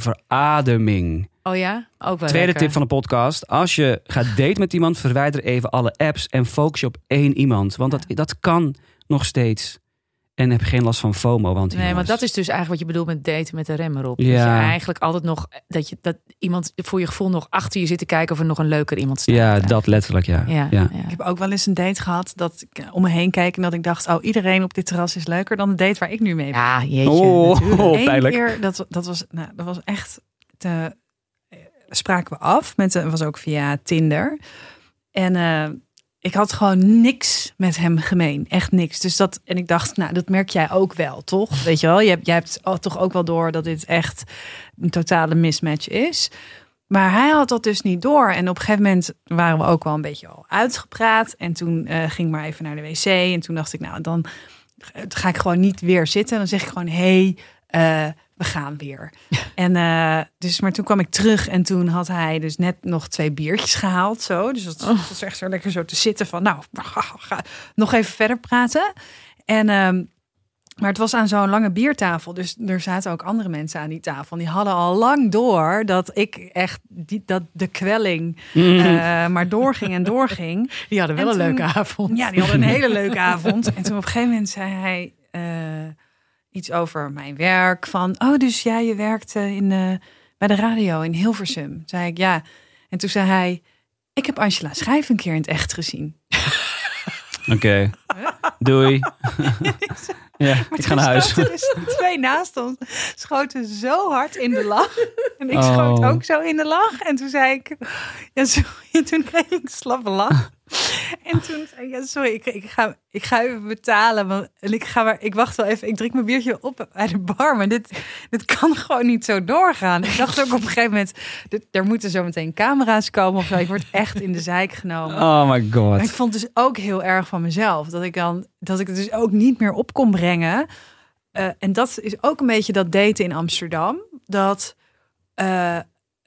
[SPEAKER 3] verademing.
[SPEAKER 1] Oh ja? Ook wel
[SPEAKER 3] Tweede
[SPEAKER 1] lekker.
[SPEAKER 3] tip van de podcast. Als je gaat daten met iemand, verwijder even alle apps en focus je op één iemand. Want dat, dat kan nog steeds. En heb geen last van FOMO. Want
[SPEAKER 1] Nee, want
[SPEAKER 3] jongens,
[SPEAKER 1] dat is dus eigenlijk wat je bedoelt met daten met de rem erop.
[SPEAKER 3] Ja.
[SPEAKER 1] Dat je eigenlijk altijd nog... eh, Dat, je, dat iemand voor je gevoel nog achter je zit te kijken of er nog een leuker iemand staat.
[SPEAKER 3] Ja, dat letterlijk, ja.
[SPEAKER 1] Ja, ja.
[SPEAKER 3] ja.
[SPEAKER 2] Ik heb ook wel eens een date gehad dat ik eh, om me heen keek en dat ik dacht, oh, iedereen op dit terras is leuker dan de date waar ik nu mee ben.
[SPEAKER 1] Ja, jeetje.
[SPEAKER 3] Oh,
[SPEAKER 2] Eén
[SPEAKER 3] pijnlijk.
[SPEAKER 2] keer, dat, dat, was, nou, dat was echt. Te, eh, spraken we af. Met, een- was ook via Tinder. En eh, ik had gewoon niks met hem gemeen. Echt niks. Dus dat, en ik dacht, nou, dat merk jij ook wel, toch? Weet je wel, je hebt, jij hebt al- toch ook wel door dat dit echt een totale mismatch is. Maar hij had dat dus niet door. En op een gegeven moment waren we ook wel een beetje al uitgepraat. En toen eh, ging ik maar even naar de wc. En toen dacht ik, nou, dan ga ik gewoon niet weer zitten. Dan zeg ik gewoon, hey, eh, we gaan weer. En eh, dus, maar toen kwam ik terug en toen had hij dus net nog twee biertjes gehaald. Zo. Dus dat dat was echt zo lekker zo te zitten van, nou, ga nog even verder praten. En, ehm, maar het was aan zo'n lange biertafel. Dus er zaten ook andere mensen aan die tafel. En die hadden al lang door dat ik echt die, dat de kwelling
[SPEAKER 3] Mm.
[SPEAKER 2] eh, maar doorging en doorging.
[SPEAKER 1] Die hadden wel
[SPEAKER 2] En
[SPEAKER 1] een
[SPEAKER 2] toen-
[SPEAKER 1] leuke avond.
[SPEAKER 2] Ja, die hadden een hele leuke avond. En toen op een gegeven moment zei hij eh, iets over mijn werk. Van, oh, dus jij je werkt eh, in, eh, bij de radio in Hilversum. Toen zei ik, ja. En toen zei hij, ik heb Angela Schrijf een keer in het echt gezien.
[SPEAKER 3] Oké. Doei. ja, ik ga naar
[SPEAKER 2] toen
[SPEAKER 3] huis.
[SPEAKER 2] schoten Dus de twee naast ons schoten zo hard in de lach. En ik
[SPEAKER 3] Oh.
[SPEAKER 2] schoot ook zo in de lach. En toen zei ik, ja, sorry. En toen kreeg ik een slappe lach. En toen zei ik, ja, sorry, ik, ik, ga, ik ga even betalen. Want, en ik, ga maar, ik wacht wel even, ik drink mijn biertje op bij de bar. Maar dit, dit kan gewoon niet zo doorgaan. Ik dacht ook op een gegeven moment, dit- er moeten zo meteen camera's komen of zo. Ik word echt in de zeik genomen.
[SPEAKER 3] Oh my
[SPEAKER 2] Maar
[SPEAKER 3] god.
[SPEAKER 2] ik vond het dus ook heel erg van mezelf. Dat ik dan dat ik het dus ook niet meer op kon brengen. Eh, en dat is ook een beetje dat daten in Amsterdam. Dat eh,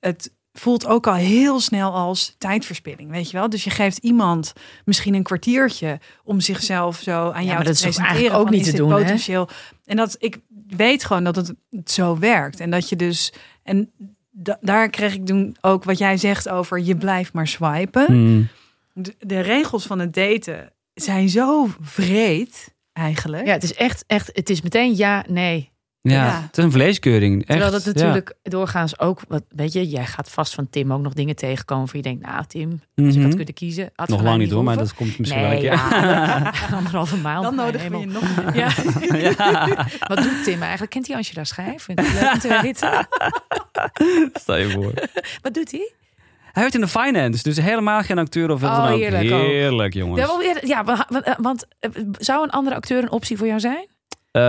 [SPEAKER 2] het voelt ook al heel snel als tijdverspilling, weet je wel? Dus je geeft iemand misschien een kwartiertje om zichzelf zo aan
[SPEAKER 1] Ja,
[SPEAKER 2] jou
[SPEAKER 1] maar
[SPEAKER 2] te
[SPEAKER 1] dat is toch
[SPEAKER 2] presenteren.
[SPEAKER 1] eigenlijk ook
[SPEAKER 2] van,
[SPEAKER 1] niet
[SPEAKER 2] is
[SPEAKER 1] te
[SPEAKER 2] dit
[SPEAKER 1] doen, hè?
[SPEAKER 2] potentieel. En dat ik weet gewoon dat het zo werkt en dat je dus en da- daar kreeg ik toen ook wat jij zegt over je blijft maar swipen
[SPEAKER 3] Mm.
[SPEAKER 2] de, de regels van het daten zijn zo vreed eigenlijk.
[SPEAKER 1] Ja, het is echt, echt, het is meteen ja, nee.
[SPEAKER 3] Ja,
[SPEAKER 2] Ja.
[SPEAKER 3] het is een vleeskeuring. Echt.
[SPEAKER 1] Terwijl dat
[SPEAKER 3] ja.
[SPEAKER 1] natuurlijk doorgaans ook, wat, weet je, jij gaat vast van Tim ook nog dingen tegenkomen. Of je denkt, nou Tim, als ik
[SPEAKER 3] Mhm.
[SPEAKER 1] had kunnen kiezen, had
[SPEAKER 3] Nog
[SPEAKER 1] van mij
[SPEAKER 3] lang niet hoor, maar
[SPEAKER 1] hoeven.
[SPEAKER 3] dat komt misschien
[SPEAKER 1] nee,
[SPEAKER 3] wel een keer.
[SPEAKER 1] ja, anderhalve maand.
[SPEAKER 2] Dan nodigen we je
[SPEAKER 1] nee,
[SPEAKER 2] nog een keer.
[SPEAKER 1] Ja. Wat doet Tim eigenlijk? Kent hij Angela Schijf? Vindt hij leuk om te weten?
[SPEAKER 3] Stel je voor.
[SPEAKER 1] Wat doet hij?
[SPEAKER 3] Hij werd in de finance, dus helemaal geen acteur of wat
[SPEAKER 1] Oh,
[SPEAKER 3] dan ook.
[SPEAKER 1] heerlijk ook.
[SPEAKER 3] heerlijk jongens.
[SPEAKER 1] Ja, wel weer- Ja, wa- wa- eh, want eh, zou een andere acteur een optie voor jou zijn?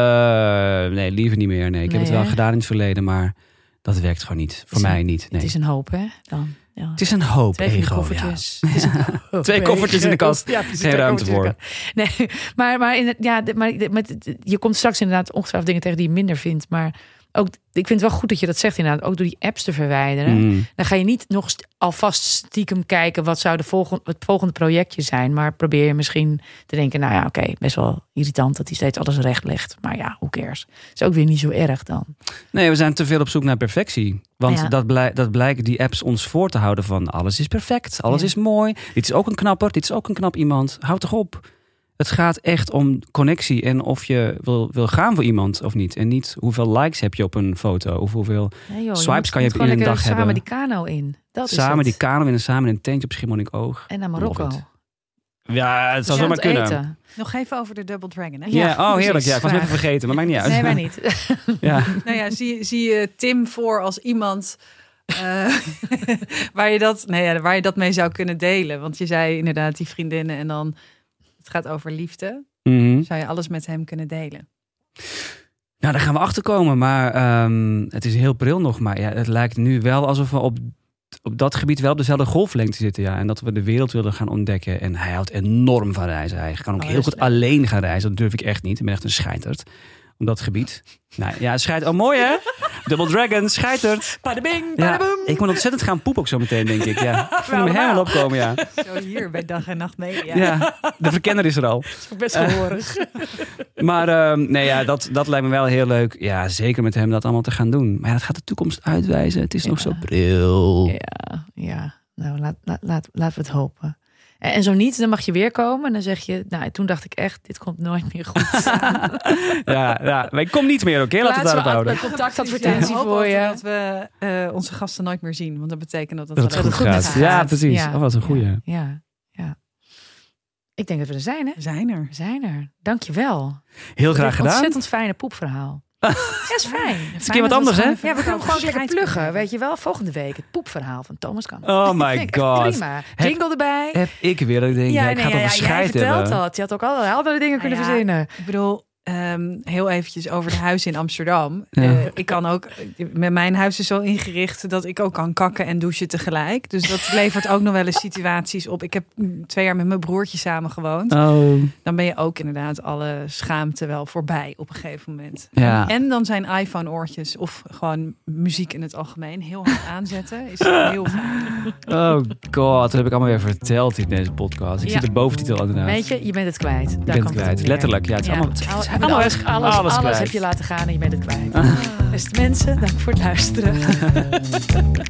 [SPEAKER 3] Eh, nee, liever niet meer. Nee, ik
[SPEAKER 1] Nee,
[SPEAKER 3] heb het wel
[SPEAKER 1] hè?
[SPEAKER 3] gedaan in het verleden, maar dat werkt gewoon niet. Voor
[SPEAKER 1] is een-
[SPEAKER 3] mij niet. Nee.
[SPEAKER 1] Het is een hoop, hè? Dan, ja.
[SPEAKER 3] het is een hoop
[SPEAKER 1] Twee van die
[SPEAKER 3] ego. Ja.
[SPEAKER 1] koffertjes. Het is een hoop
[SPEAKER 3] Twee koffertjes in de
[SPEAKER 1] ego.
[SPEAKER 3] kast.
[SPEAKER 1] Ja, precies,
[SPEAKER 3] Geen
[SPEAKER 1] twee
[SPEAKER 3] ruimte
[SPEAKER 1] koffertjes in de kast. Nee, maar, maar, in, ja, de- maar de- met, de- je komt straks inderdaad ongetwijfeld dingen tegen die je minder vindt. Maar ook, ik vind het wel goed dat je dat zegt inderdaad. Ook door die apps te verwijderen.
[SPEAKER 3] Mm.
[SPEAKER 1] Dan ga je niet nog st- alvast stiekem kijken wat zou de volgende, het volgende projectje zijn. Maar probeer je misschien te denken, nou ja, oké, best wel irritant dat hij steeds alles recht legt. Maar ja, hoe cares? Is ook weer niet zo erg dan.
[SPEAKER 3] Nee, we zijn te veel op zoek naar perfectie. Want
[SPEAKER 1] Ja.
[SPEAKER 3] dat, blij, dat blijken die apps ons voor te houden van alles is perfect, alles
[SPEAKER 1] Ja.
[SPEAKER 3] is mooi. Dit is ook een knapper, dit is ook een knap iemand. Houd toch op. Het gaat echt om connectie en of je wil, wil gaan voor iemand of niet. En niet hoeveel likes heb je op een foto of hoeveel
[SPEAKER 1] Nee, joh,
[SPEAKER 3] Swipes
[SPEAKER 1] moet-
[SPEAKER 3] kan je
[SPEAKER 1] moet gewoon
[SPEAKER 3] in een
[SPEAKER 1] lekker
[SPEAKER 3] dag
[SPEAKER 1] samen
[SPEAKER 3] hebben.
[SPEAKER 1] die kano in. Dat
[SPEAKER 3] samen
[SPEAKER 1] is
[SPEAKER 3] die
[SPEAKER 1] het.
[SPEAKER 3] kano in en samen in een tentje op Schiermonnikoog.
[SPEAKER 1] En naar Marokko.
[SPEAKER 3] Mocht. Ja, het zou
[SPEAKER 1] Aan
[SPEAKER 3] zomaar
[SPEAKER 1] het
[SPEAKER 3] kunnen.
[SPEAKER 1] eten.
[SPEAKER 2] Nog even over de Double Dragon. Hè?
[SPEAKER 1] Ja,
[SPEAKER 3] Ja, oh heerlijk.
[SPEAKER 1] precies.
[SPEAKER 3] Ja, ik was het even
[SPEAKER 1] Graag.
[SPEAKER 3] vergeten, maar maakt niet uit.
[SPEAKER 1] Nee, maar niet.
[SPEAKER 3] Ja.
[SPEAKER 2] Nou ja, zie, zie je Tim voor als iemand eh, waar, je dat, nou ja, waar je dat mee zou kunnen delen? Want je zei inderdaad die vriendinnen en dan het gaat over liefde.
[SPEAKER 3] Mhm.
[SPEAKER 2] Zou je alles met hem kunnen delen?
[SPEAKER 3] Nou, daar gaan we achter komen. Maar ehm, het is heel pril nog. Maar ja, het lijkt nu wel alsof we op, op dat gebied wel op dezelfde golflengte zitten. Ja. En dat we de wereld willen gaan ontdekken. En hij houdt enorm van reizen. Hij kan ook
[SPEAKER 2] Oh,
[SPEAKER 3] heel
[SPEAKER 2] dat is
[SPEAKER 3] goed alleen gaan reizen. Dat durf ik echt niet. Ik ben echt een scheiterd. Op dat gebied. Nou ja, scheiterd. Oh, mooi hè? Double Dragon, scheiterd.
[SPEAKER 1] Padabing,
[SPEAKER 3] Ja,
[SPEAKER 1] padaboom.
[SPEAKER 3] ik moet ontzettend gaan poepen ook zo meteen, denk ik. Ja. Ik voel me helemaal
[SPEAKER 2] nou.
[SPEAKER 3] opkomen, ja.
[SPEAKER 2] Zo hier bij dag en nacht mee.
[SPEAKER 3] ja. De verkenner is er al. Eh.
[SPEAKER 1] Dat is Best gehoorig.
[SPEAKER 3] Maar ehm, nee, ja, dat, dat lijkt me wel heel leuk. Ja, zeker met hem dat allemaal te gaan doen. Maar ja, dat gaat de toekomst uitwijzen. Het is nog zo bril.
[SPEAKER 1] ja, ja. Nou, laat, laat, laat, laten we het hopen. En, en zo niet, dan mag je weer komen. En dan zeg je, nou, toen dacht ik echt, dit komt nooit meer goed.
[SPEAKER 3] Ja, ja, maar ik kom niet meer, oké? Laten we het daarop houden.
[SPEAKER 1] een contactadvertentie voor je.
[SPEAKER 2] Dat we eh, onze gasten nooit meer zien. Want dat betekent dat,
[SPEAKER 3] Dat het
[SPEAKER 2] wel
[SPEAKER 3] goed
[SPEAKER 1] goed
[SPEAKER 2] met
[SPEAKER 1] met
[SPEAKER 3] gaat.
[SPEAKER 2] haar
[SPEAKER 3] Ja,
[SPEAKER 1] gaat.
[SPEAKER 3] precies.
[SPEAKER 1] Ja.
[SPEAKER 3] Oh, wat een goeie.
[SPEAKER 1] Ja, ja, ja. Ik denk dat we er zijn, hè?
[SPEAKER 2] We zijn er.
[SPEAKER 1] We zijn er. Dankjewel.
[SPEAKER 3] Heel graag
[SPEAKER 1] Dit
[SPEAKER 3] gedaan.
[SPEAKER 1] ontzettend fijne poepverhaal. Ja, is fijn. Het
[SPEAKER 3] keer wat anders, hè?
[SPEAKER 1] Ja, we kunnen hem gewoon lekker pluggen. Weet je wel, volgende week het poepverhaal van Thomas Kamp.
[SPEAKER 3] Oh my
[SPEAKER 1] Vind ik echt
[SPEAKER 3] God.
[SPEAKER 1] Prima. Jingle erbij.
[SPEAKER 3] Heb ik weer dat ik denk, ja, ik ga het over
[SPEAKER 1] jij
[SPEAKER 3] scheid
[SPEAKER 1] vertelt
[SPEAKER 3] hebben.
[SPEAKER 1] dat. Je had ook allerlei andere dingen
[SPEAKER 2] Ah,
[SPEAKER 1] kunnen
[SPEAKER 2] ja.
[SPEAKER 1] verzinnen.
[SPEAKER 2] Ik bedoel, ehm, heel eventjes over de huizen in Amsterdam.
[SPEAKER 3] Ja.
[SPEAKER 2] Eh, ik kan ook, met mijn huis is zo ingericht dat ik ook kan kakken en douchen tegelijk. Dus dat levert ook nog wel eens situaties op. Ik heb mm, twee jaar met mijn broertje samen gewoond.
[SPEAKER 3] Oh,
[SPEAKER 2] Dan ben je ook inderdaad alle schaamte wel voorbij op een gegeven moment.
[SPEAKER 3] ja.
[SPEAKER 2] En dan zijn iPhone-oortjes of gewoon muziek in het algemeen heel hard aanzetten. Is heel fijn.
[SPEAKER 3] Oh god, dat heb ik allemaal weer verteld in deze podcast. Ik
[SPEAKER 1] Ja.
[SPEAKER 3] zit de boventitel inderdaad.
[SPEAKER 1] Weet je, je bent het kwijt. Daar
[SPEAKER 3] ik ben het
[SPEAKER 1] komt
[SPEAKER 3] kwijt.
[SPEAKER 1] neer.
[SPEAKER 3] Letterlijk, ja. Het is
[SPEAKER 1] Ja.
[SPEAKER 3] allemaal...
[SPEAKER 1] Al-
[SPEAKER 3] Alles,
[SPEAKER 1] Alles, alles, alles,
[SPEAKER 3] kwijt.
[SPEAKER 1] heb je laten gaan en je bent het kwijt. Beste mensen, dank voor het luisteren.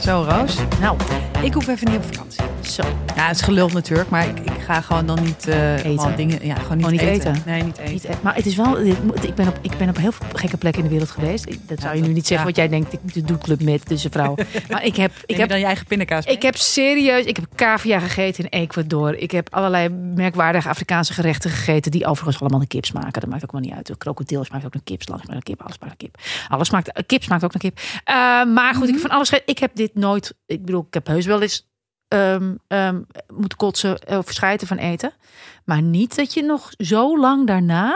[SPEAKER 2] Zo, Roos.
[SPEAKER 1] Nou,
[SPEAKER 2] Ik hoef even niet op vakantie.
[SPEAKER 1] zo.
[SPEAKER 2] Ja, het is gelul natuurlijk, maar ik, ik ga gewoon dan niet eh, allemaal dingen. Ja, gewoon niet,
[SPEAKER 1] Gewoon niet
[SPEAKER 2] eten.
[SPEAKER 1] eten.
[SPEAKER 2] Nee, niet eten.
[SPEAKER 1] Niet echt, maar het is wel, dit moet- ik ben, op, ik ben op heel veel gekke plekken in de wereld geweest. Ik- Dat zou je nu
[SPEAKER 2] dat-
[SPEAKER 1] niet zeggen,
[SPEAKER 2] ja.
[SPEAKER 1] want jij denkt, ik doe de club met, dus een vrouw. Maar ik heb, ik
[SPEAKER 2] Neem
[SPEAKER 1] heb
[SPEAKER 2] je dan je eigen pindakaas. mee?
[SPEAKER 1] Ik heb serieus, ik heb cavia gegeten in Ecuador. Ik heb allerlei merkwaardige Afrikaanse gerechten gegeten die overigens allemaal een kip smaken. Dat maakt ook wel niet uit. De krokodil smaakt ook naar kip, slang smaakt naar kip, alles smaakt naar kip. Alles smaakt, eh, kip smaakt ook naar kip. Eh, maar goed, ik heb van alles gegeten. Ik heb dit nooit, ik bedoel, ik heb heus wel eens ehm, ehm, moeten kotsen eh, of schijten van eten. Maar niet dat je nog zo lang daarna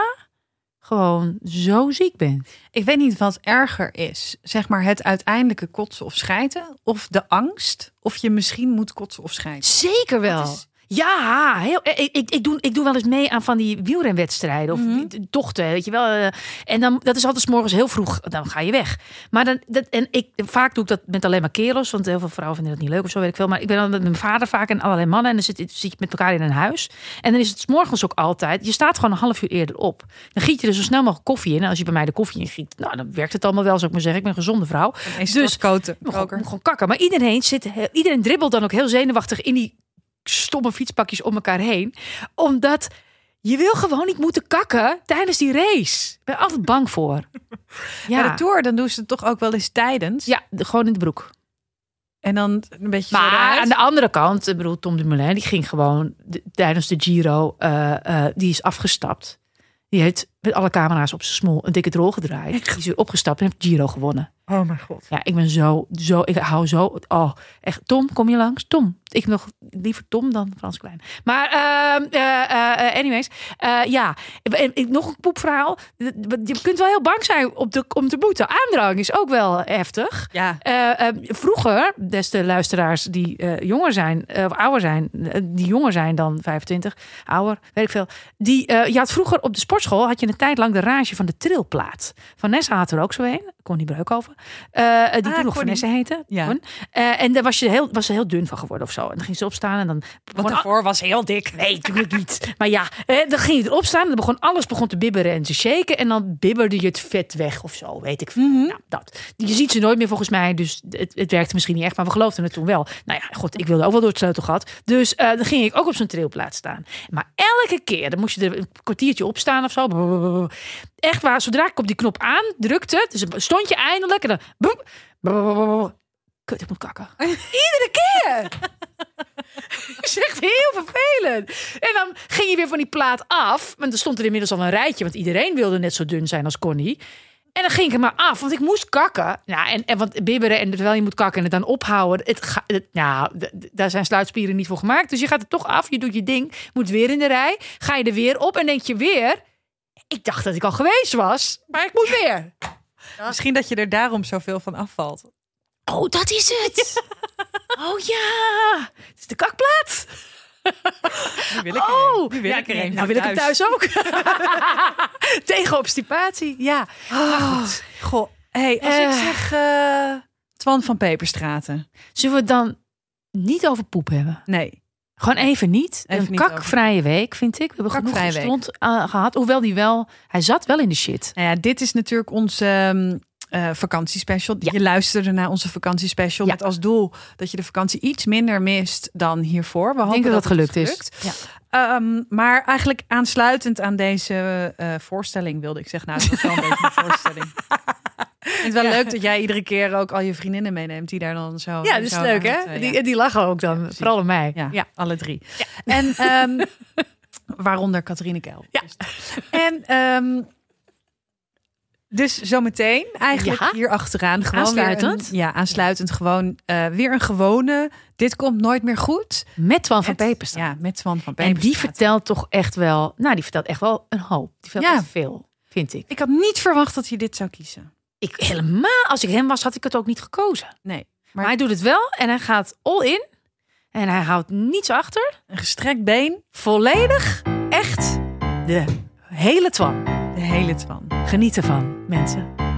[SPEAKER 1] gewoon zo ziek bent.
[SPEAKER 2] Ik weet niet wat erger is. Zeg maar het uiteindelijke kotsen of schijten. Of de angst. Of je misschien moet kotsen of schijten.
[SPEAKER 1] Zeker wel.
[SPEAKER 2] Dat is-
[SPEAKER 1] Ja, heel, eh, ik, ik, ik, doe, ik doe wel eens mee aan van die wielrenwedstrijden of
[SPEAKER 2] Mhm.
[SPEAKER 1] die tochten, weet je wel. eh, En dan, dat is altijd 's morgens heel vroeg, dan ga je weg. Maar dan, dat, en ik, vaak doe ik dat met alleen maar kerels, want heel veel vrouwen vinden dat niet leuk of zo, weet ik veel. Maar ik ben dan met mijn vader vaak en allerlei mannen en dan zit, zit je met elkaar in een huis. En dan is het 's morgens ook altijd, je staat gewoon een half uur eerder op. Dan giet je er zo snel mogelijk koffie in. En als je bij mij de koffie in giet, nou, dan werkt het allemaal wel, zou ik maar zeggen. Ik ben een gezonde vrouw.
[SPEAKER 2] Dus koten.
[SPEAKER 1] Moet gewoon, moet gewoon kakken. Maar iedereen, zit, heel- iedereen dribbelt dan ook heel zenuwachtig in die stomme fietspakjes om elkaar heen. Omdat je wil gewoon niet moeten kakken tijdens die race. Ik ben er altijd bang voor.
[SPEAKER 2] Ja. Bij
[SPEAKER 1] Ja,
[SPEAKER 2] de tour dan doen ze het toch ook wel eens tijdens.
[SPEAKER 1] ja de- gewoon in de broek.
[SPEAKER 2] En dan een beetje. zo
[SPEAKER 1] Maar
[SPEAKER 2] eruit.
[SPEAKER 1] aan de andere kant, ik bedoel, Tom Dumoulin, die ging gewoon de- tijdens de Giro, eh, eh, die is afgestapt. Die heeft met alle camera's op zijn smol een dikke drol gedraaid. Die is weer opgestapt en heeft Giro gewonnen.
[SPEAKER 2] Oh mijn god.
[SPEAKER 1] Ja, ik ben zo, zo, ik hou zo. Oh, echt. Tom, kom je langs? Tom. Ik nog liever Tom dan Frans Klein. Maar, ehm, eh, eh, eh, anyways. Eh, ja, en, en nog een poepverhaal. Je kunt wel heel bang zijn op de, om te boeten. Aandrang is ook wel heftig.
[SPEAKER 2] Ja.
[SPEAKER 1] Eh, eh, vroeger, des de luisteraars die eh, jonger zijn, eh, of ouder zijn, eh, die jonger zijn dan 25, ouder, weet ik veel. Die, eh, je had vroeger op de sportschool had je een tijd lang de rage van de trilplaat. Van Nessa had er ook zo een. Connie Bruikhoven. Eh, eh, die
[SPEAKER 2] Ah,
[SPEAKER 1] toen nog
[SPEAKER 2] Connie.
[SPEAKER 1] Vanessa heette.
[SPEAKER 2] Ja.
[SPEAKER 1] Con. Eh, en daar was ze, heel, was ze heel dun van geworden of zo. En dan ging ze opstaan en dan... begon al-
[SPEAKER 2] was heel dik.
[SPEAKER 1] Nee, natuurlijk niet. Maar ja, eh, dan ging je erop staan en dan begon, alles begon te bibberen en te shaken. En dan bibberde je het vet weg of zo, weet ik veel.
[SPEAKER 2] Mhm.
[SPEAKER 1] Nou, dat. Je ziet ze nooit meer volgens mij, dus het, het werkte misschien niet echt. Maar we geloofden het toen wel. Nou ja, god, ik wilde ook wel door het sleutelgat. Dus eh, dan ging ik ook op zo'n trailplaats staan. Maar elke keer, dan moest je er een kwartiertje op staan of zo. Blablabla. Echt waar, zodra ik op die knop aandrukte, dus stond je eindelijk en dan... boep, blablabla. Kut, ik moet kakken. Iedere keer! Het is echt heel vervelend. En dan ging je weer van die plaat af. Want er stond er inmiddels al een rijtje. Want iedereen wilde net zo dun zijn als Connie. En dan ging ik er maar af, want ik moest kakken. Nou, en, en want bibberen en terwijl je moet kakken en het dan ophouden. Het ga, het- nou, d- d- daar zijn sluitspieren niet voor gemaakt. Dus je gaat er toch af, je doet je ding, moet weer in de rij. Ga je er weer op en denk je weer... Ik dacht dat ik al geweest was, maar ik moet weer.
[SPEAKER 2] Misschien dat je er daarom zoveel van afvalt.
[SPEAKER 1] Oh, dat is het. Oh ja, het is de kakplaat.
[SPEAKER 2] Nu wil ik er
[SPEAKER 1] Oh,
[SPEAKER 2] een. Nu wil
[SPEAKER 1] ja,
[SPEAKER 2] ik er
[SPEAKER 1] nee,
[SPEAKER 2] een
[SPEAKER 1] Nou
[SPEAKER 2] voor
[SPEAKER 1] wil ik hem thuis ook. Tegen obstipatie, ja. Maar goed.
[SPEAKER 2] Oh. Goh, hey, als ik
[SPEAKER 1] Eh.
[SPEAKER 2] zeg eh, Twan van Peperstraten.
[SPEAKER 1] Zullen we het dan niet over poep hebben?
[SPEAKER 2] Nee.
[SPEAKER 1] Gewoon even niet.
[SPEAKER 2] Even
[SPEAKER 1] een
[SPEAKER 2] niet
[SPEAKER 1] kakvrije week, vind ik. We hebben genoeg
[SPEAKER 2] Kakvrije week.
[SPEAKER 1] stond gehad. Hoewel die wel... Hij zat wel in de shit.
[SPEAKER 2] Nou ja, dit is natuurlijk onze ehm, eh, vakantiespecial.
[SPEAKER 1] Ja.
[SPEAKER 2] Je luisterde naar onze vakantiespecial
[SPEAKER 1] Ja.
[SPEAKER 2] met als doel dat je de vakantie iets minder mist dan hiervoor. We
[SPEAKER 1] Ik
[SPEAKER 2] hopen
[SPEAKER 1] denk dat dat
[SPEAKER 2] het
[SPEAKER 1] gelukt is.
[SPEAKER 2] lukt.
[SPEAKER 1] Ja.
[SPEAKER 2] Ehm, maar eigenlijk aansluitend aan deze eh, voorstelling wilde ik zeggen. Nou, het was wel een beetje een voorstelling. Ik vind het wel leuk dat jij iedere keer ook al je vriendinnen meeneemt die daar dan zo...
[SPEAKER 1] Ja, dat is
[SPEAKER 2] zo
[SPEAKER 1] leuk,
[SPEAKER 2] aan het, eh,
[SPEAKER 1] hè?
[SPEAKER 2] ja.
[SPEAKER 1] Die, die lachen ook dan.
[SPEAKER 2] precies.
[SPEAKER 1] Vooral om mij.
[SPEAKER 2] Ja, alle drie. En ehm, waaronder Catharine Keil.
[SPEAKER 1] Ja.
[SPEAKER 2] En ehm, dus zometeen eigenlijk
[SPEAKER 1] Ja.
[SPEAKER 2] hier achteraan gewoon
[SPEAKER 1] Aansluitend.
[SPEAKER 2] Weer een, ja, aansluitend gewoon eh, weer een gewone. Dit komt nooit meer goed.
[SPEAKER 1] Met Twan van
[SPEAKER 2] Met-
[SPEAKER 1] Pepers.
[SPEAKER 2] Ja, met Twan van
[SPEAKER 1] en
[SPEAKER 2] Peperstraat.
[SPEAKER 1] die vertelt toch echt wel... Nou, die vertelt echt wel een hoop. Die vertelt
[SPEAKER 2] Ja.
[SPEAKER 1] echt veel, vind ik.
[SPEAKER 2] Ik had niet verwacht dat hij dit zou kiezen.
[SPEAKER 1] ik. Helemaal, als ik hem was, had ik het ook niet gekozen.
[SPEAKER 2] Nee.
[SPEAKER 1] Maar hij doet het wel en hij gaat all in. En hij houdt niets achter.
[SPEAKER 2] Een gestrekt been,
[SPEAKER 1] Volledig, echt, de hele twan.
[SPEAKER 2] de hele Twan.
[SPEAKER 1] Geniet ervan, mensen.